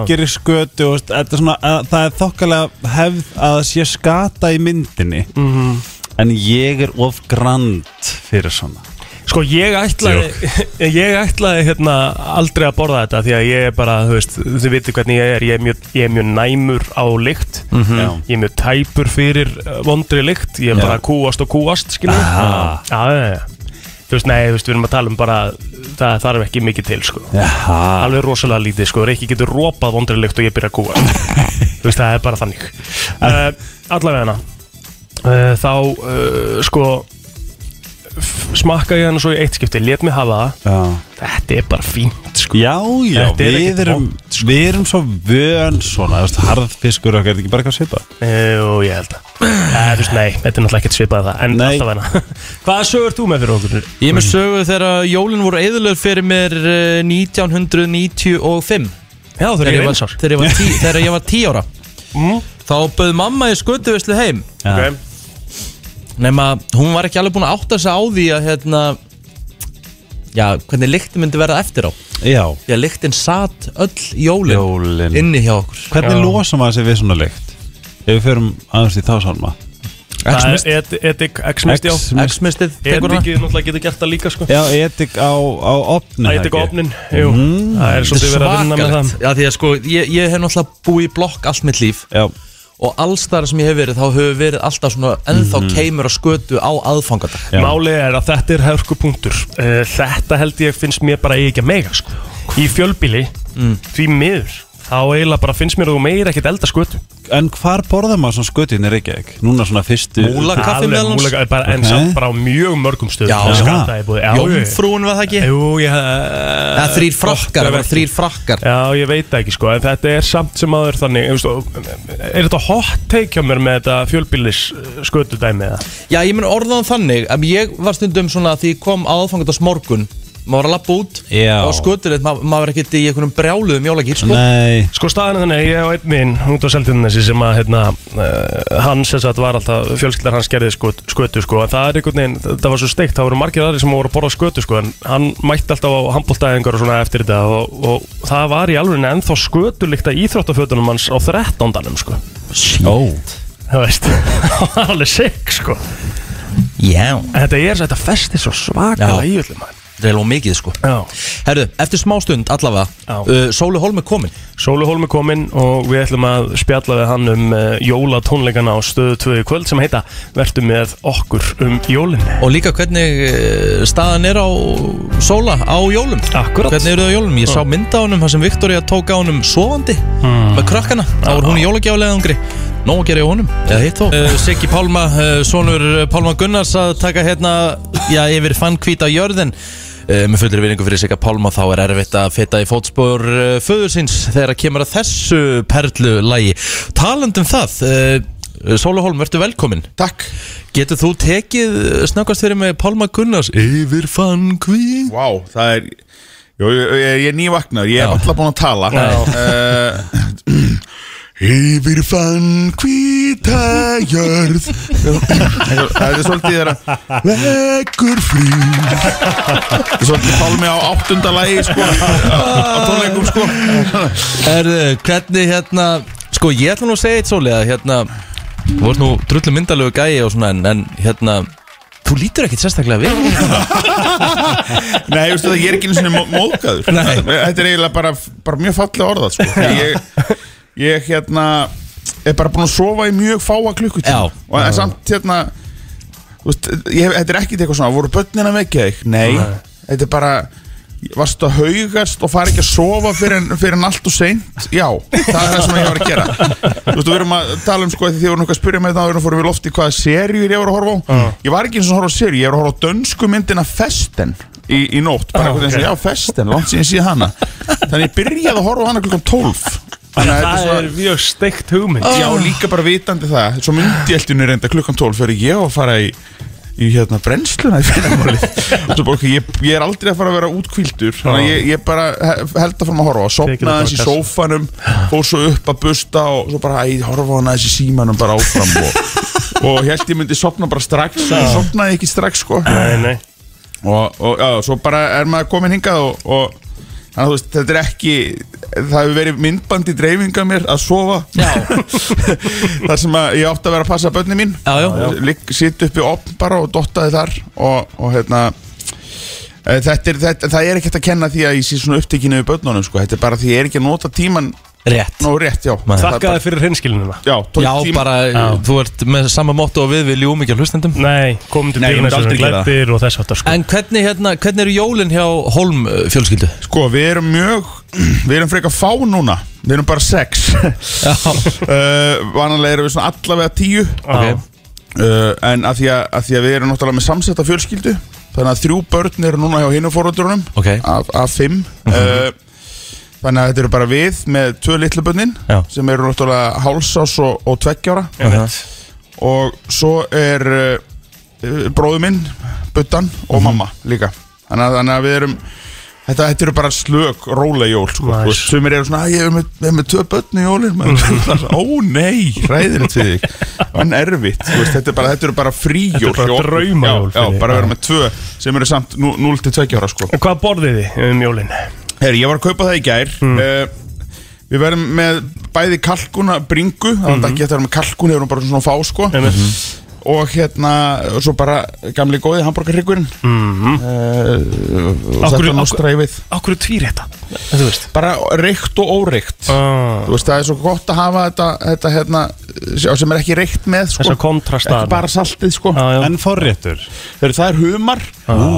Speaker 2: Mhm. Já.
Speaker 4: gerir skötu og, veist, þetta er svona, að, Það er þokkalega hefð að það sé skata í myndinni -hmm.
Speaker 2: Mhm.
Speaker 4: En ég er of grand fyrir svona
Speaker 2: Sko ég ætlaði *laughs* Ég ætlaði hérna aldrei að borða þetta Því að ég er bara, þú veist, þið viti hvernig ég er Ég er mjög, ég er mjög næmur á lykt
Speaker 4: Já.
Speaker 2: Ég er mjög tæpur fyrir uh, vondri lykt Ég er bara kúast og kúast, skiljum
Speaker 4: Aha.
Speaker 2: Já, já, já Þú veist, nei, þú veist, við erum að tala um bara Það þarf ekki mikið til, sko
Speaker 4: Jaha
Speaker 2: Alveg rosalega lítið, sko, Reykjavík getur rópað vondri lykt og ég byrja að kúa Þú veist, það er bara þannig uh, Allavega hana uh, Þá, uh, sko f- Smakkaði ég hana svo í eitt skipti Lét mig hafa það
Speaker 4: Já
Speaker 2: Þetta er bara fínt sko
Speaker 4: Já, já,
Speaker 2: Þetta er
Speaker 4: við
Speaker 2: ekkert sko.
Speaker 4: erum, við erum svo vön svona, þú veist, harðfiskur okkar, er þetta ekki bara eitthvað svipa?
Speaker 2: Jú, ég held að Eh, Þú veist, nei, þetta er náttúrulega ekkert svipað það En
Speaker 4: Nei.
Speaker 2: alltaf hana *laughs* Hvaða sögur þú með fyrir okkur?
Speaker 1: Ég er með sögu þegar jólin voru eðlur fyrir mér eh, 1995
Speaker 2: Já, þú
Speaker 1: Þegar
Speaker 2: eru
Speaker 1: ég
Speaker 2: eins Mm.
Speaker 1: var,
Speaker 2: ár
Speaker 1: þegar ég var, tí, þegar ég var tí ára Þá bauð mamma í skutuvislu heim
Speaker 4: Já.
Speaker 2: Ok.
Speaker 1: Nefna, hún var ekki alveg búin að átta sig á því að hérna Já, hvernig lyktin myndi verða eftir á
Speaker 4: Já,
Speaker 1: Því að lyktin satt öll jólin,
Speaker 4: Jólin.
Speaker 1: Inni hjá okkur
Speaker 4: hvernig losum maður sig við svona lykt? Ef við förum aðeins í þá sálma
Speaker 2: Það er edik- edik, X-mist, já
Speaker 1: X-mistið tekur hana
Speaker 2: Edikið náttúrulega getur gert það líka sko
Speaker 4: Já, etik á, á opni
Speaker 2: Ætik og opnin, jú Það er svolítið verið að vinna með það
Speaker 1: Já, því að sko, ég, ég hef náttúrulega búið í blokk allt mitt líf
Speaker 4: Já,
Speaker 1: Og alls þar sem ég hef verið, þá hefur verið alltaf svona Ennþá
Speaker 2: Mm.
Speaker 1: keimur að skötu á aðfangadag
Speaker 4: Já.
Speaker 2: Málið er að þetta er hörku punktur Þetta held ég finnst mér bara eigi ekki að mega
Speaker 1: Mm.
Speaker 2: sko Í fjölbíli, því miður Þá eiginlega bara finnst mér að þú meir ekkert elda skötu
Speaker 4: ok en hvar borða maður svona skötin í Reykjavík? Núna svona fyrstu
Speaker 1: Múla- Kaffi
Speaker 2: Alveg
Speaker 1: meðal annars?
Speaker 2: múlega, eh, bara, En
Speaker 4: Ok.
Speaker 2: samt bara á mjög mörgum stöðum
Speaker 1: Já,
Speaker 4: já.
Speaker 2: skattaði búið Já, ég-
Speaker 1: Jómfrúin var það ekki
Speaker 2: Jú, ég
Speaker 1: Eða
Speaker 2: Það
Speaker 1: þrýr frakkar, það var þrýr frakkar
Speaker 2: Eh, Já, ég veit það ekki sko, en þetta er samt sem aður þannig, eh, þú veist, og- eh, er þetta hot take hjá mér með þetta fjölbílis skötudæmi eða?
Speaker 1: Já, ég mun orðaðan þannig að ég var stundum svona að því ég kom aðfangandas morgun maður var að lappa út
Speaker 4: Já.
Speaker 1: og skutur eitt, maður, maður var ekkert í einhvernum brjáluðum jólagýr sko.
Speaker 4: Nei
Speaker 2: Sko staðan er þannig, að ég og einn minn út á Seltjarnesi sem að hérna, uh, hann sem sagt var alltaf, fjölskyldar hans gerði sköt, skötu sko, en það er einhvern veginn, það var svo steikt, það voru margir aðri sem voru að borða skötu sko, en hann mætti alltaf á handbóltæðingar og svona eftir þetta og, og það var í alveg ennþá skötulíkta íþróttafötunum hans á 13. sko,
Speaker 4: Ó
Speaker 2: það veist, *laughs* það var alveg sick sko.
Speaker 1: Já,
Speaker 2: En Þetta er þetta festi svo svakalega
Speaker 1: Já.
Speaker 2: í öllum mann.
Speaker 1: það er lóð mikið sko
Speaker 2: Já.
Speaker 1: Herðu, eftir smá stund allavega
Speaker 2: Já.
Speaker 1: uh, Sólu Holm er komin
Speaker 2: Sóluhólm er kominn og við ætlum að spjalla við hann um uh, jólatónleikana á stöðu 2 í kvöld sem heita Vertu með okkur um jólinni.
Speaker 1: og líka hvernig uh, staðan er á Sóla á jólum
Speaker 2: Akkurat.
Speaker 1: Hvernig eru þau á jólum? Ég sá mynda á honum þar sem Viktoria tók á honum sofandi með krakkana, þá var hún í jólagjáleðangri Nó að gera hjá honum, eða hitt þó uh, Siggi Pálma, uh, sonur uh, Pálma Gunnars að taka hérna, já, yfir fannkvíta jörðin Uh, með fullri vinningu fyrir Sigga Pálma þá er erfitt að feta í fótspor uh, föður síns þegar að kemur að þessu perlu lagi. Taland um það, uh, Sóluhólm, verður velkomin.
Speaker 7: Takk
Speaker 1: Getur þú tekið eh, snöggvast fyrir mig Pálma Gunnars Yfir fann hví
Speaker 7: Vá, það er Jó, ég, ég, ég er nývagnar, ég er
Speaker 1: Já.
Speaker 7: alltaf búin að tala uh, Yfir fann hvíta jörð *laughs* Það er svolítið þeirra Leggur frí Það er svolítið pálmi á áttunda lagi sko, á, á tónleikum sko
Speaker 1: Erðu, hvernig hérna Sko, ég ætla nú að segja eitt svolítið að hérna Þú vorst nú drullu myndalögu gæi og svona En, en hérna Þú lítur ekkert sérstaklega við
Speaker 7: Nei, veistu það, ég er ekki einu sinni mó- móðgaður
Speaker 1: Nei.
Speaker 7: Þetta er eiginlega bara, bara mjög fallega orðað sko. ég, ég hérna er bara búin að sofa í mjög fáa klukkutíma
Speaker 1: Já.
Speaker 7: og en samt hérna þú veist, ég, þetta er ekkit eitthvað svona, voru börnin að vekja þig? Nei, þetta er bara varstu að haugast og fara ekki að sofa fyrir en, fyrir en allt og seint já, það er það sem ég var að gera þú veist, við erum að tala um sko því þið voru nokkuð að spyrja mig það og fórum við lofti hvaða seríur ég voru að horfa á ég var ekki eins og að horfa á seríu, ég voru að horfa á dönsku myndina Festen í, í nótt bara eitthvað eins og já, Festen, langt síðan síðan hana þannig ég byrjaði að horfa á hana klukkan 12 þannig að þetta
Speaker 2: Það
Speaker 7: er
Speaker 2: er
Speaker 7: svona
Speaker 2: mjög steikt hugmynd.
Speaker 7: Já, líka bara vitandi það Svo myndi ég eldinu reynda klukkan 12 Fyrir ég á að fara í, í hérna brennsluna í fyrramálið Og svo bara, ok, ég, ég er aldrei að fara að vera útkvíldur Þannig að ég, ég bara he- held að fara að horfa og
Speaker 2: Ah. Tekið
Speaker 7: Sopna
Speaker 2: þetta bara
Speaker 7: aðeins í
Speaker 2: kassa.
Speaker 7: sófanum Fór svo upp að busta Og svo bara, æ, horfa á hana aðeins í símanum bara áfram Og, og ég held ég myndi sopna bara strax En sopnaði ekki strax, sko
Speaker 2: Ah. Nei, nei.
Speaker 7: og, og já, svo bara er maður komin hingað og, og þannig að þú veist, þetta er ekki það hefur verið myndbandi dreifinga mér að sofa *laughs* þar sem að ég átti að vera að passa bönni mín
Speaker 1: Já, já.
Speaker 7: Ligg- sit upp í opn bara og dottaði þar og, og hérna e, þetta er, þetta, það er ekkert að kenna því að ég sé svona upptekinu við börnunum sko. þetta er bara því ég er ekki að nota tíman
Speaker 1: Rétt
Speaker 7: nóg rétt, já
Speaker 1: Nei.
Speaker 7: Það er bara-
Speaker 2: Þakkaði fyrir hinskilinina.
Speaker 7: Já, tók
Speaker 1: Já,
Speaker 7: tíma-
Speaker 1: bara, þú ert með sama móttu og við við ljúum ekki að hlustendum
Speaker 2: Nei, komum til
Speaker 7: Nei, ég myndi
Speaker 2: dyrun þessum
Speaker 7: aldrei gera það.
Speaker 2: glættir og þess aftar sko.
Speaker 1: En hvernig, hérna, hvernig eru jólin hjá Holm eh, fjölskyldu?
Speaker 7: Sko, við erum mjög, *clears throat* við erum frekar fá núna Við erum bara
Speaker 1: *laughs*
Speaker 7: sex
Speaker 1: Já.
Speaker 7: uh, Vanalega erum við svona allavega tíu
Speaker 2: Já.
Speaker 1: ok.
Speaker 7: uh, En að því að, að því að við erum náttúrulega með samsetta fjölskyldu Þannig að þrjú börn eru núna hjá hinu fóröldurunum
Speaker 1: Ok. Mhm.
Speaker 7: Af, af fimm uh, Þannig að þetta eru bara við með tvö litlu börnin
Speaker 1: Já.
Speaker 7: Sem eru náttúrulega hálsás og, og tveggjára
Speaker 2: Ég veit.
Speaker 7: Og svo er uh, bróðu minn, Buttan
Speaker 2: Mhm.
Speaker 7: og mamma líka Þannig að, þannig að við erum Þetta, þetta eru bara slök, róleg jól sko.
Speaker 2: Nice.
Speaker 7: nice. Sumir eru svona, "Æ, ég er með, ég er með tvö börn í jólin maður."
Speaker 2: *laughs*
Speaker 7: Ó nei, ræðilegt fyrir þig En erfitt, þú veist, þetta, er bara, þetta eru bara
Speaker 2: Þetta
Speaker 7: fríjól
Speaker 2: eru bara
Speaker 7: hjá okkur.
Speaker 2: draumajól
Speaker 7: Já,
Speaker 2: fyrir
Speaker 7: já
Speaker 2: þig.
Speaker 7: bara
Speaker 2: Já.
Speaker 7: vera með tvö sem eru samt 0-2 ára sko.
Speaker 2: En hvað borðið þið um jólinn?
Speaker 7: Herri, ég var að kaupa það í gær
Speaker 2: Mm.
Speaker 7: uh, Við verðum með bæði kalkuna bringu Það er ekki hægt að vera með kalkun Hefur hún bara svona fá sko
Speaker 2: Mhm. Einmitt.
Speaker 7: og hérna svo bara gamli góði hambúrgarryggurinn mm -hmm. uh,
Speaker 2: Mhm. Af hverju-
Speaker 7: þetta
Speaker 2: af-
Speaker 7: nástræfið
Speaker 2: Akkur er tvýr þetta Þú veist
Speaker 7: bara reykt og óreikt
Speaker 2: ah,
Speaker 7: þú veist það er svo gott að hafa þetta, þetta hérna, sjá, sem er ekki reykt með sko.
Speaker 2: Þessa kontrasta
Speaker 7: ekki bara saltið sko.
Speaker 2: ah, já.
Speaker 4: En forréttur
Speaker 7: Þeir, það er humar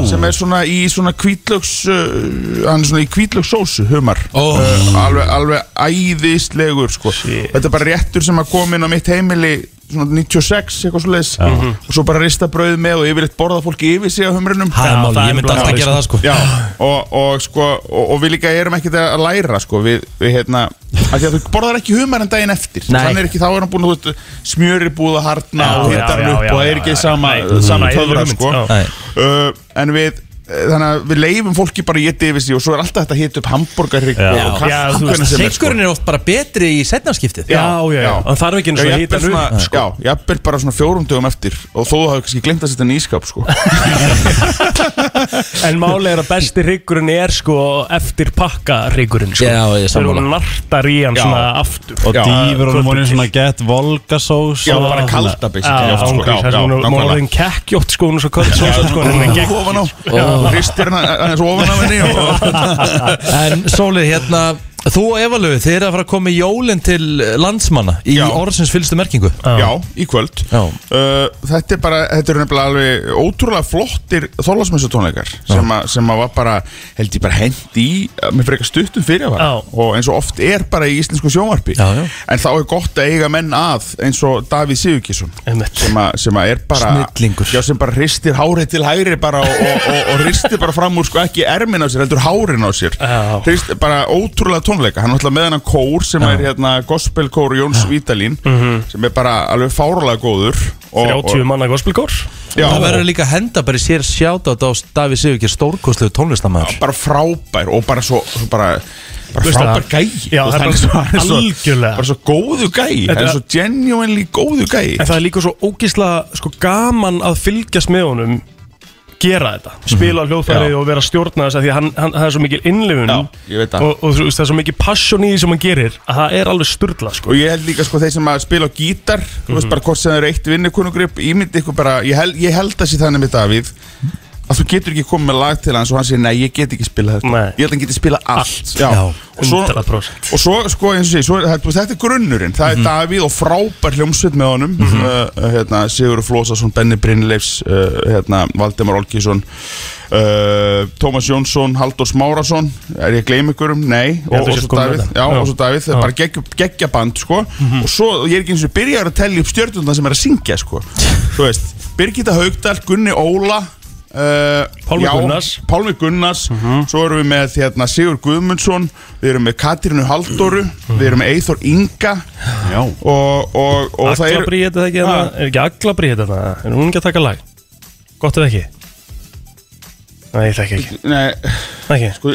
Speaker 7: sem er svona í svona kvítlöks uh, hann er svona í kvítlöks sósu humar
Speaker 1: Ó.
Speaker 7: uh, alveg, alveg æðislegur sko.
Speaker 2: Shit.
Speaker 7: þetta er bara réttur sem að koma inn á mitt heimili svona 96 eitthvað svo leiðis og svo bara rista brauð með og yfirleitt borða fólki yfir sig á humrinum
Speaker 1: Það er
Speaker 2: Já,
Speaker 1: máli,
Speaker 2: það
Speaker 1: ég
Speaker 2: er
Speaker 1: myndi alltaf
Speaker 2: málið,
Speaker 1: að gera það sko
Speaker 7: Já, og, og sko og, og við líka erum ekkert að læra sko við, við hérna, af því að þú borðar ekki humar en daginn eftir,
Speaker 1: Nei.
Speaker 7: þannig er ekki þá er hann búin að þú veist, smjöri búið að harna
Speaker 2: Já,
Speaker 7: og hittar
Speaker 2: já,
Speaker 7: hann
Speaker 2: já,
Speaker 7: upp
Speaker 2: já,
Speaker 7: og það er
Speaker 2: já,
Speaker 7: ekki
Speaker 2: já,
Speaker 7: sama,
Speaker 2: nei, það er
Speaker 7: sama
Speaker 2: bara
Speaker 7: töfra
Speaker 2: yfirmynd,
Speaker 7: sko
Speaker 2: já.
Speaker 1: Nei.
Speaker 7: uh, en við eh, þannig að við leifum fólki bara að geta yfir sig og svo er alltaf þetta að hita upp hamburgarrygg
Speaker 4: Já.
Speaker 7: og
Speaker 2: Já,
Speaker 7: kaffi
Speaker 2: þú
Speaker 7: hvernig
Speaker 2: veist,
Speaker 7: sem er, sko.
Speaker 1: Siggurinn er oft bara betri í setnarskiptið
Speaker 2: Já, já, já. Hann þarf ekki einu
Speaker 7: Já,
Speaker 2: sinni að
Speaker 7: jafnvel
Speaker 2: hita hann upp.
Speaker 7: svona- Já, jafnvel bara svona fjórum dögum eftir og þó það hafi kannski glemt að setja hann í ískap sko.
Speaker 2: En máli er að besti ryggurinn er sko eftir pakka ryggurinn sko.
Speaker 1: Já, ég er
Speaker 2: Þeir eru
Speaker 1: sammála.
Speaker 2: nartar í hann
Speaker 7: Já.
Speaker 2: svona aftur
Speaker 4: Og
Speaker 7: Já.
Speaker 4: dýfur honum honum
Speaker 2: Kvöldið
Speaker 4: svona get volgasós
Speaker 7: Já,
Speaker 4: og-
Speaker 7: bara kalda
Speaker 2: Já,
Speaker 7: basically oft, sko.
Speaker 2: ángríns, það
Speaker 7: Já,
Speaker 2: er
Speaker 7: já,
Speaker 2: svona
Speaker 7: nákvæmlega.
Speaker 2: Máliðin kekkjótt sko, hún er svo kvöld Svo sko, hún er gegn
Speaker 7: ofan á og hristir hann aðeins ofan af henni og
Speaker 1: En Sólið, hérna Þú og Evalöf, þið eru að fara að koma í jólinn til landsmanna Í
Speaker 7: Já.
Speaker 1: orðsins fylgstu merkingu
Speaker 7: já, í kvöld
Speaker 1: Já.
Speaker 7: uh, þetta er bara, þetta eru nefnilega alveg ótrúlega flottir þólasmessutónleikar sem, að- sem að var bara, held ég bara hend í uh, með frekar stuttum fyrir
Speaker 2: Já.
Speaker 7: og eins og oft er bara í íslensku sjónvarpi
Speaker 1: Já, já.
Speaker 7: en þá er gott að eiga menn að eins og Davíð Sigurkísson
Speaker 2: Einmitt.
Speaker 7: sem, að- sem að er bara
Speaker 1: Snillingur.
Speaker 7: já, sem bara hristir hárið til hægri bara og, og, og, og hristir bara fram úr sko ekki ermin á sér, heldur hárin á sér
Speaker 2: Já.
Speaker 7: Hrist, bara ótrúlega tónleika hann er alltaf með hennan kór sem er hérna gospelkór Jóns Vítalín
Speaker 2: Mhm.
Speaker 7: sem er bara alveg fárulega góður og,
Speaker 2: 30 manna gospelkór
Speaker 7: já,
Speaker 1: Það verður líka að henda bara í sér sjátátt á Davíð Sigurkir stórkostlegu tónlistamæður
Speaker 7: bara frábær og bara svo, svo bara, bara
Speaker 2: Veist
Speaker 7: frábær
Speaker 2: það?
Speaker 7: gæi
Speaker 2: Já, það er
Speaker 7: Þú veist, hann
Speaker 2: bara-
Speaker 7: hann svo-
Speaker 2: algjörlega.
Speaker 7: bara svo góðu gæi
Speaker 2: Þetta
Speaker 7: hann er
Speaker 2: er-
Speaker 7: svo genuinely góðu gæi
Speaker 2: En það er líka svo ógísla sko, gaman að fylgjast með honum gera þetta, spila á hljóðfæri
Speaker 7: Mhm. Já.
Speaker 2: og vera að stjórna þess að því að hann, hann, það er svo mikil innlifun
Speaker 7: Já,
Speaker 2: og,
Speaker 7: ég veit það.
Speaker 2: og, og þú veist, það er svo mikil passion í því sem hann gerir að það er alveg sturla sko.
Speaker 7: og ég held líka sko þeir sem að spila á gítar þú
Speaker 2: Mhm.
Speaker 7: veist bara hvort sem þeir eru eitt vinnukunugripp ímyndi ykkur bara, ég held, ég held að sé þannig með Davíð að þú getur ekki komið með lag til hans og hann segir nei, ég get ekki spilað þetta
Speaker 2: Nei.
Speaker 7: ég held að hann geti spilað allt,
Speaker 2: Allt.
Speaker 7: Já.
Speaker 1: Já.
Speaker 7: og svo,
Speaker 2: 100%
Speaker 7: og svo sko eins og sé, svo, er- þetta, þetta er grunnurinn það er
Speaker 2: Mhm.
Speaker 7: Davíð og frábær hljómsveit með honum mm hérna, Sigur Flósason, Benni Brynleifs uh, hérna, Valdemar Olkísson uh, Tómas Jónsson Haldur Smárasson, er ég að gleyma ykkurum? Nei,
Speaker 2: held
Speaker 7: og,
Speaker 2: þú
Speaker 7: og
Speaker 2: sért
Speaker 7: svo
Speaker 2: komin með
Speaker 7: Davíð
Speaker 2: þetta. Já.
Speaker 7: já, og svo Davíð,
Speaker 2: Já.
Speaker 7: það
Speaker 2: Mhm.
Speaker 7: er bara geggju, geggja band sko. og svo, ég er ekki eins og byrjar að tellja upp stjörnuna sem er að
Speaker 2: *laughs*
Speaker 7: syngja sko. þú veist, Birgitta Haugdal, Gunni Óla Uh,
Speaker 2: Pálmi Gunnars. Mhm.
Speaker 7: Pálmi Gunnars Svo erum við með hérna, Sigur Guðmundsson Við erum með Katrínu Halldóru Við erum með Eithor Inga
Speaker 4: Já.
Speaker 7: Og, og, og það Ah. er
Speaker 2: Aglabrí þetta ekki þarna? er ekki aglabrí þetta þarna? er hún ekki að taka lag? Gott ef ekki? Nei, ég þekki ekki,
Speaker 7: Nei,
Speaker 2: ekki.
Speaker 7: sko,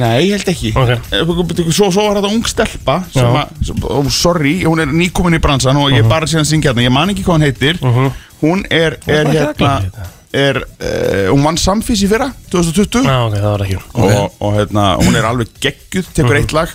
Speaker 7: nei, ég held ekki
Speaker 2: Ok.
Speaker 7: Eh, Svo, svo var þetta ung stelpa sem
Speaker 2: Já. Mhm.
Speaker 7: að, sem- ó, Sorry, hún er nýkomin í bransan Og ég er bara síðan að syngja hérna Ég man ekki hvað hún heitir Hún er, er
Speaker 2: ekki
Speaker 7: hérna
Speaker 2: aglabrí þetta?
Speaker 7: er, uh, Hún vann samfís í fyrra 2020
Speaker 2: Ná, Ah, ok, það var ekki hún.
Speaker 7: og, og hérna, hún er alveg gegguð tekur eitt lag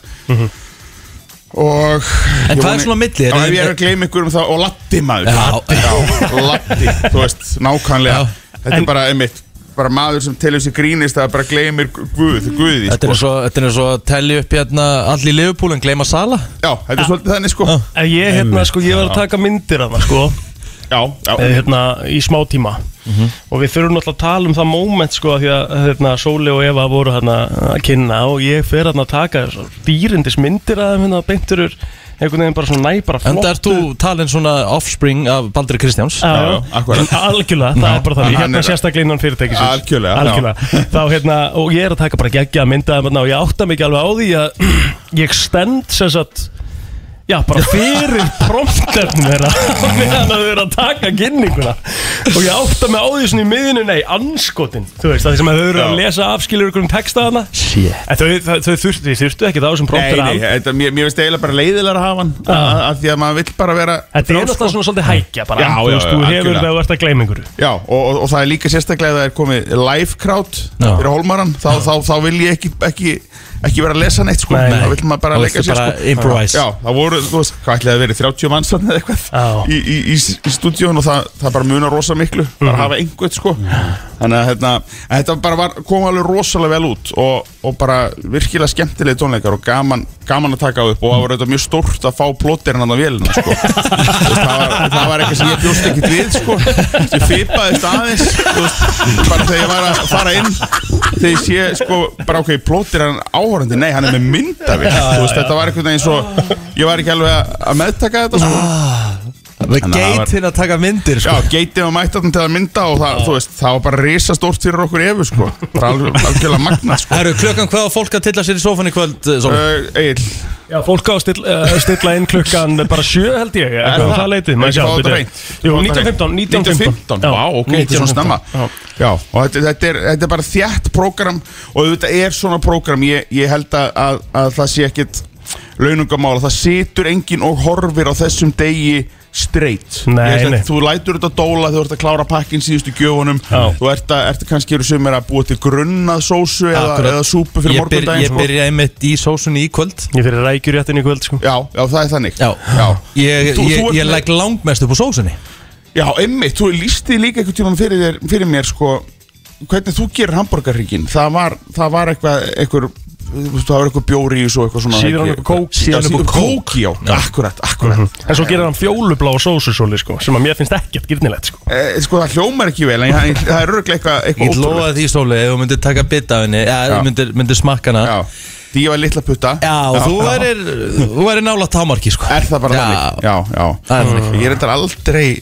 Speaker 7: og
Speaker 1: En
Speaker 7: ég
Speaker 1: hvað er
Speaker 7: voni-
Speaker 1: svona á milli? Er-
Speaker 7: Já, ef ég er að gleyma ykkur um það og Latti maður
Speaker 1: Já.
Speaker 7: Latti, já, Latti, þú veist, nákvæmlega
Speaker 1: Já.
Speaker 7: þetta
Speaker 2: En-
Speaker 7: er bara einmitt bara maður sem telur sér grínist að bara gleymir Guð, Guði
Speaker 1: Þetta er
Speaker 7: sko.
Speaker 1: eins og- þetta er eins og að telja upp hérna allir í Liverpool en gleyma Sala
Speaker 7: já, þetta er svolítið þannig sko
Speaker 2: En ég, hérna, sko, ég var að taka myndir af það, sko
Speaker 7: já, já,
Speaker 2: eh, hérna, í smá tíma og við þurfum náttúrulega að tala um það moment sko af því að hérna, Sóli og Eva voru hérna að kynna og ég fer hérna að taka þessar dýrindis myndir að þeim hérna beinturur einhvern veginn bara svona næ bara
Speaker 1: En
Speaker 2: flott
Speaker 1: það er þú talin svona offspring af Baldri Kristjáns
Speaker 2: Já,
Speaker 7: Já,
Speaker 2: já,
Speaker 7: akkurat.
Speaker 2: algjörlega, það er bara þannig
Speaker 7: hann
Speaker 2: hérna
Speaker 7: er-
Speaker 2: sérstaklega innan fyrirtækisins
Speaker 7: Algjörlega, já.
Speaker 2: algjörlega. Þá, hérna, og ég er að taka bara geggja myndaði hérna og ég átta mikið alveg á því að *clears throat* ég stend sem sagt Já, bara fyrir
Speaker 7: *laughs*
Speaker 2: promptefnum þeirra *laughs* á meðan að þau eru að taka kynninguna og ég átta mig á því svona í miðinu nei, anskotin, þú veist, að því sem að þau eru að
Speaker 7: Já.
Speaker 2: lesa afskilur ykkur um texta þarna
Speaker 1: Shit.
Speaker 2: en þau, þau, þau þurftu, þau þurftu ekki þá sem
Speaker 7: Nei,
Speaker 2: promptir
Speaker 7: nei,
Speaker 2: að
Speaker 7: þetta, mér, mér veist eiginlega bara leiðilega að hafa hann
Speaker 2: Já.
Speaker 7: að að því að maður vill bara vera
Speaker 2: Þetta er
Speaker 7: frjáls,
Speaker 2: náttúrulega svona svolítið hækja bara,
Speaker 7: sko- Já,
Speaker 2: þú
Speaker 7: já,
Speaker 2: veist,
Speaker 7: já,
Speaker 2: þú hefur
Speaker 7: algjörlega.
Speaker 2: þegar þú ert að gleyma ykkur
Speaker 7: Já, og, og, og það er líka sérstaklega að það er komið live crowd
Speaker 1: Já.
Speaker 7: fyrir Holmaran þá, þá, þá vil ég ekki, ekki ekki vera að lesa neitt sko
Speaker 2: Nei.
Speaker 7: þá vil maður bara
Speaker 1: Þá
Speaker 7: leika
Speaker 1: viltu
Speaker 7: sér
Speaker 1: bara
Speaker 7: sko
Speaker 1: improvise.
Speaker 7: já, það voru, þú veist, hvað ætlaði að vera 30 manns þarna eða
Speaker 2: Já.
Speaker 7: eitthvað í, í, í, í stúdíun og það, það bara munar rosa miklu bara hafa einhvern sko þannig að hérna, að þetta bara var, kom alveg rosalega vel út og, og bara virkilega skemmtilegi tónleikar og gaman, gaman að taka upp og það var auðvitað mjög stórt að fá plóterinn hann á vélina sko Þú veist, það, var, það var eitthvað sem ég bjóst ekkert við sko. ég fipaðist aðeins þú veist, bara þegar ég var að fara inn þegar ég sé sko, bara ok, plótir hann áhorandi, nei hann er með myndavill þú veist, þetta var eitthvað eins og ég var ekki alveg að- að meðtaka þetta sko.
Speaker 1: Með
Speaker 7: Þannig að það var-
Speaker 1: geit hinn að taka myndir
Speaker 7: já,
Speaker 1: sko.
Speaker 7: geitið var mætt þarna til að mynda og það, þú veist, það var bara risastórt fyrir okkur efu sko. bara alveg, algjörlega magna sko.
Speaker 1: Herru, klukkan hvað á fólk að tilla sér í sófan í kvöld uh,
Speaker 7: uh, Egil,
Speaker 2: Já, fólk á að stilla, uh, stilla inn klukkan bara sjö held ég, eitthvað á það leitið
Speaker 7: Ekki fá þetta hreint.
Speaker 2: Jú,
Speaker 7: Fá þetta
Speaker 2: 1915 1915
Speaker 7: hreint. 1915, vá, ok, þetta er svona snemma Já, og þetta, þetta, er, þetta er bara þjætt prógram og þetta er svona prógram ég, ég held að, að, að það sé ekkit launungamála, það situr engin og horfir á þessum degi straight
Speaker 2: Nei,
Speaker 7: Ég held að
Speaker 2: nei.
Speaker 7: þú lætur þetta dóla, þú ert að klára pakkin síðustu gjöfunum,
Speaker 2: Já.
Speaker 7: þú ert að, ert að kannski eru sumir að búa til grunnað sósu eða,
Speaker 1: Akkurat.
Speaker 7: eða súpu
Speaker 1: Ég,
Speaker 7: fyrir
Speaker 1: byr,
Speaker 7: morgundaginn
Speaker 1: ég
Speaker 7: sko.
Speaker 1: byrja einmitt í sósunni í kvöld
Speaker 2: Ég fyrir rækjur réttin í kvöld sko
Speaker 7: Já, já, það er þannig
Speaker 1: Já, Ég,
Speaker 7: Þú- þú
Speaker 1: ég,
Speaker 7: ert
Speaker 1: ég
Speaker 7: með-
Speaker 1: legg langmest upp á sósunni
Speaker 7: Já, einmitt, þú lísti líka einhvern tímann fyrir, þér- fyrir mér sko, hvernig þú gerir hambúrgarrygginn það, var- það var eitthvað einhver, þú veist, það var eitthvað bjóri í þessu og eitthvað svona
Speaker 2: Síðan
Speaker 7: ekki-
Speaker 2: eitthvað kók.
Speaker 7: Síðan
Speaker 2: Síðan
Speaker 7: eitthvað
Speaker 2: eitthvað kók. Mhm.
Speaker 7: kók, já, akkurat, akkurat
Speaker 2: En svo gerir hann fjólublá sósusóli sko sem að mér finnst ekkert gyrnilegt sko
Speaker 7: eh, Sko, það hljómar ekki vel, en ég- en það er röglega eitthvað,
Speaker 1: Ég
Speaker 7: eitthvað
Speaker 1: get
Speaker 7: ótrúlegt.
Speaker 1: lofaði því stóli ef þú myndir taka bit af henni eða
Speaker 7: Já.
Speaker 1: myndir, myndir smakka hana
Speaker 7: Já, því ég var litla putta
Speaker 1: Já, og þú værir, þú værir nála támarki sko.
Speaker 7: Er það bara
Speaker 1: Já.
Speaker 7: þannig? Já, já Mm.
Speaker 1: Það er þannig.
Speaker 7: Ég er þetta aldrei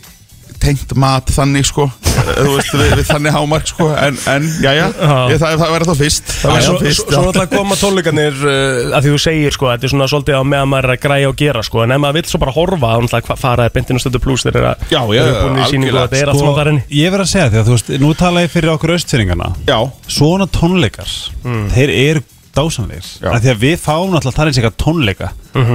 Speaker 7: tengt mat þannig sko Þú veist, við, við þannig hámark sko En, en já, já,
Speaker 2: Já.
Speaker 7: ég, það, það verður þá fyrst Það
Speaker 2: En
Speaker 7: verður
Speaker 2: Svo
Speaker 7: þá fyrst
Speaker 2: svo- svo náttúrulega koma tónleikarnir uh, að því þú segir sko þetta er svona svolítið á meðan maður er að græja og gera sko en ef maður vill svo bara horfa þá náttúrulega hva- fara er bindin og stöndu pluss þeir eru að
Speaker 7: Já, já,
Speaker 2: þeir eru búin í
Speaker 7: algjörlega,
Speaker 2: síningu og þetta er allt
Speaker 4: Sko,
Speaker 2: saman þar inni
Speaker 4: ég verð að segja því að þú veist, nú tala ég fyrir okkur austfyrringana
Speaker 7: Já,
Speaker 4: Svona tónleikar, þeir eru dásamlegir
Speaker 7: Mm. Já. Mhm.
Speaker 4: Af Því að við fáum náttúrulega þannig sér tónleika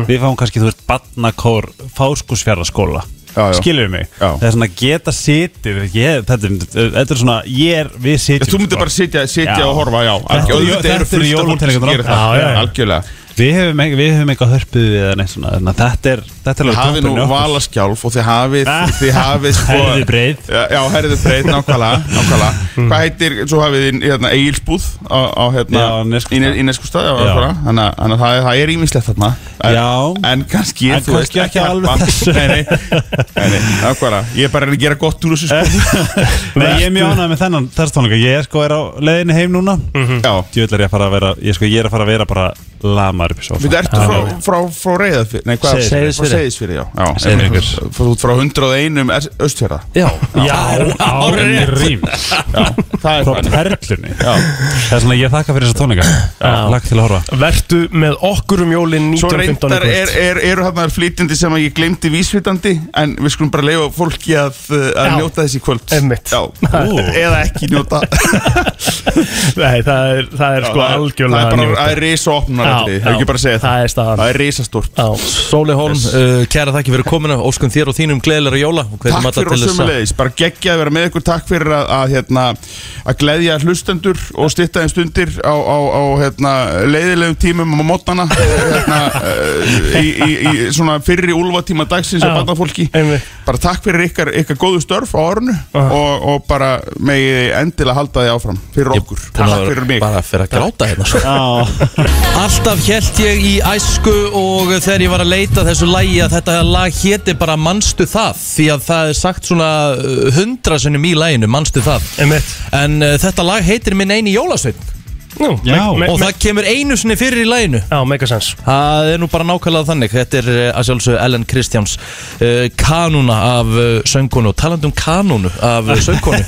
Speaker 4: Við fáum kannski, þú veist, badnakór, fáskusfjara skóla
Speaker 7: Já, já.
Speaker 4: Skilur mig
Speaker 7: Já.
Speaker 4: Það er svona geta sitið ég, þetta, er- þetta er svona, ég er, við
Speaker 7: Já,
Speaker 4: sitjum
Speaker 7: þú myndir bara sitja, sitja
Speaker 4: Já.
Speaker 7: og horfa, já
Speaker 4: Þetta- þetta eru jólatónleikarnar okkar.
Speaker 2: Já,
Speaker 7: Já,
Speaker 2: já, já.
Speaker 7: algjörlega
Speaker 4: Við hefum, ekki- við hefum eitthvað hörpuð eða neitt svona þannig að Þetta er, þetta er
Speaker 7: Þið
Speaker 4: alveg
Speaker 7: hafið nú
Speaker 4: toppurinn í okkur.
Speaker 7: valaskjálf og þið hafið
Speaker 4: Ah.
Speaker 7: Þið hafið sko
Speaker 4: Herðið breið. Hmm.
Speaker 7: Já, já, herðið breið, nákvæmlega, nákvæmlega. Hvað heitir, svo hafið þið hérna, Egilsbúð á, á hérna
Speaker 4: Já, Neskaupstað.
Speaker 7: í Neskustad
Speaker 4: Já.
Speaker 7: Þannig að- þannig að það, er- það er ímislegt þarna En-
Speaker 4: Já.
Speaker 7: En kannski,
Speaker 4: En
Speaker 7: þú veist,
Speaker 4: kannski ekki alveg
Speaker 7: harpa.
Speaker 4: þessu.
Speaker 7: Nei, nei, nei, nei, nákvæmlega Ég er bara að reyna að gera gott úr
Speaker 4: *laughs*
Speaker 7: þessu sko
Speaker 4: Nei, ég er mjög ánægð með þennan þess tónleika Ég er sko er á leiðinni heim núna
Speaker 7: Já
Speaker 4: Djöfull er ég að fara að vera Ég, sko, ég er að fara að vera bara lamar upp í sofa
Speaker 7: Við ertu frá, frá, frá reyðafyrir Nei, hvað?
Speaker 1: Seyðisfirði.
Speaker 7: Frá Seyðisfyrir, já, já.
Speaker 1: Seyðisfirði.
Speaker 7: Frá- Frá, frá 101 austfjörða
Speaker 1: Já,
Speaker 2: Já, árinni rým
Speaker 7: Já, það er
Speaker 4: Frá
Speaker 7: það
Speaker 4: perlunni Það er svona ég þakka fyrir þessa tónleika Lagt til að horfa
Speaker 2: Vertu með okkur um jólin
Speaker 7: Svo
Speaker 2: 1915
Speaker 7: reyndar
Speaker 2: í
Speaker 7: er,
Speaker 2: kvöld
Speaker 7: er, eru hann flytjandi sem að ég glemdi vísvitandi En við skulum bara leifa fólki að, uh, að
Speaker 2: Já.
Speaker 7: njóta þessi kvöld
Speaker 2: Einmitt.
Speaker 7: Já, eða ekki njóta
Speaker 2: Nei, það er, það er *laughs* sko
Speaker 7: Já, það er-
Speaker 2: algjörlega
Speaker 7: Það er bara,
Speaker 2: nýtt.
Speaker 7: það er risa opnar
Speaker 2: Já, já.
Speaker 7: Það er ekki bara að segja það
Speaker 2: Það er staðan
Speaker 7: Það er risastort
Speaker 2: Já.
Speaker 1: Sóli Hólm, uh, kæra þakki fyrir komina Óskum þér og þínum gleðilega jóla og hvetjum alla
Speaker 7: Takk fyrir og
Speaker 1: til þess að-
Speaker 7: sömulegis, bara geggja að vera með ykkur Takk fyrir að, að, hérna, að gleðja hlustendur og stytta þeim stundir á, á, á hérna, leiðilegum tímum á mótana *laughs* hérna, eh, í, í, í svona fyrri úlfatíma dagsins
Speaker 2: Já,
Speaker 7: á barnafólki
Speaker 2: einmitt.
Speaker 7: Bara takk fyrir ykkar, ykkar góðu störf á ornu og, og bara megið þið endilega halda því áfram fyrir okkur
Speaker 1: Búin að
Speaker 7: Takk fyrir mig
Speaker 1: Bara fyrir að gráta hérna sko. Alltaf held ég í æsku og þegar ég var að leita þessu lægi að þetta lag héti bara Manstu það því að það er sagt svona uh, hundra sinnum í læginu Manstu það
Speaker 2: Einmitt.
Speaker 1: En uh, þetta lag heitir minn eini jólasveinn
Speaker 2: Nú,
Speaker 4: Já.
Speaker 2: me- me-
Speaker 1: og
Speaker 2: me-
Speaker 1: það kemur einu sinni fyrir í læginu
Speaker 2: Já, megasens
Speaker 1: Það er nú bara nákvæmlega þannig Þetta er eh, að sjálfsög Ellen Kristjáns uh, Kanúna af uh, söngkonu og talandum kanúnu af uh, söngkonu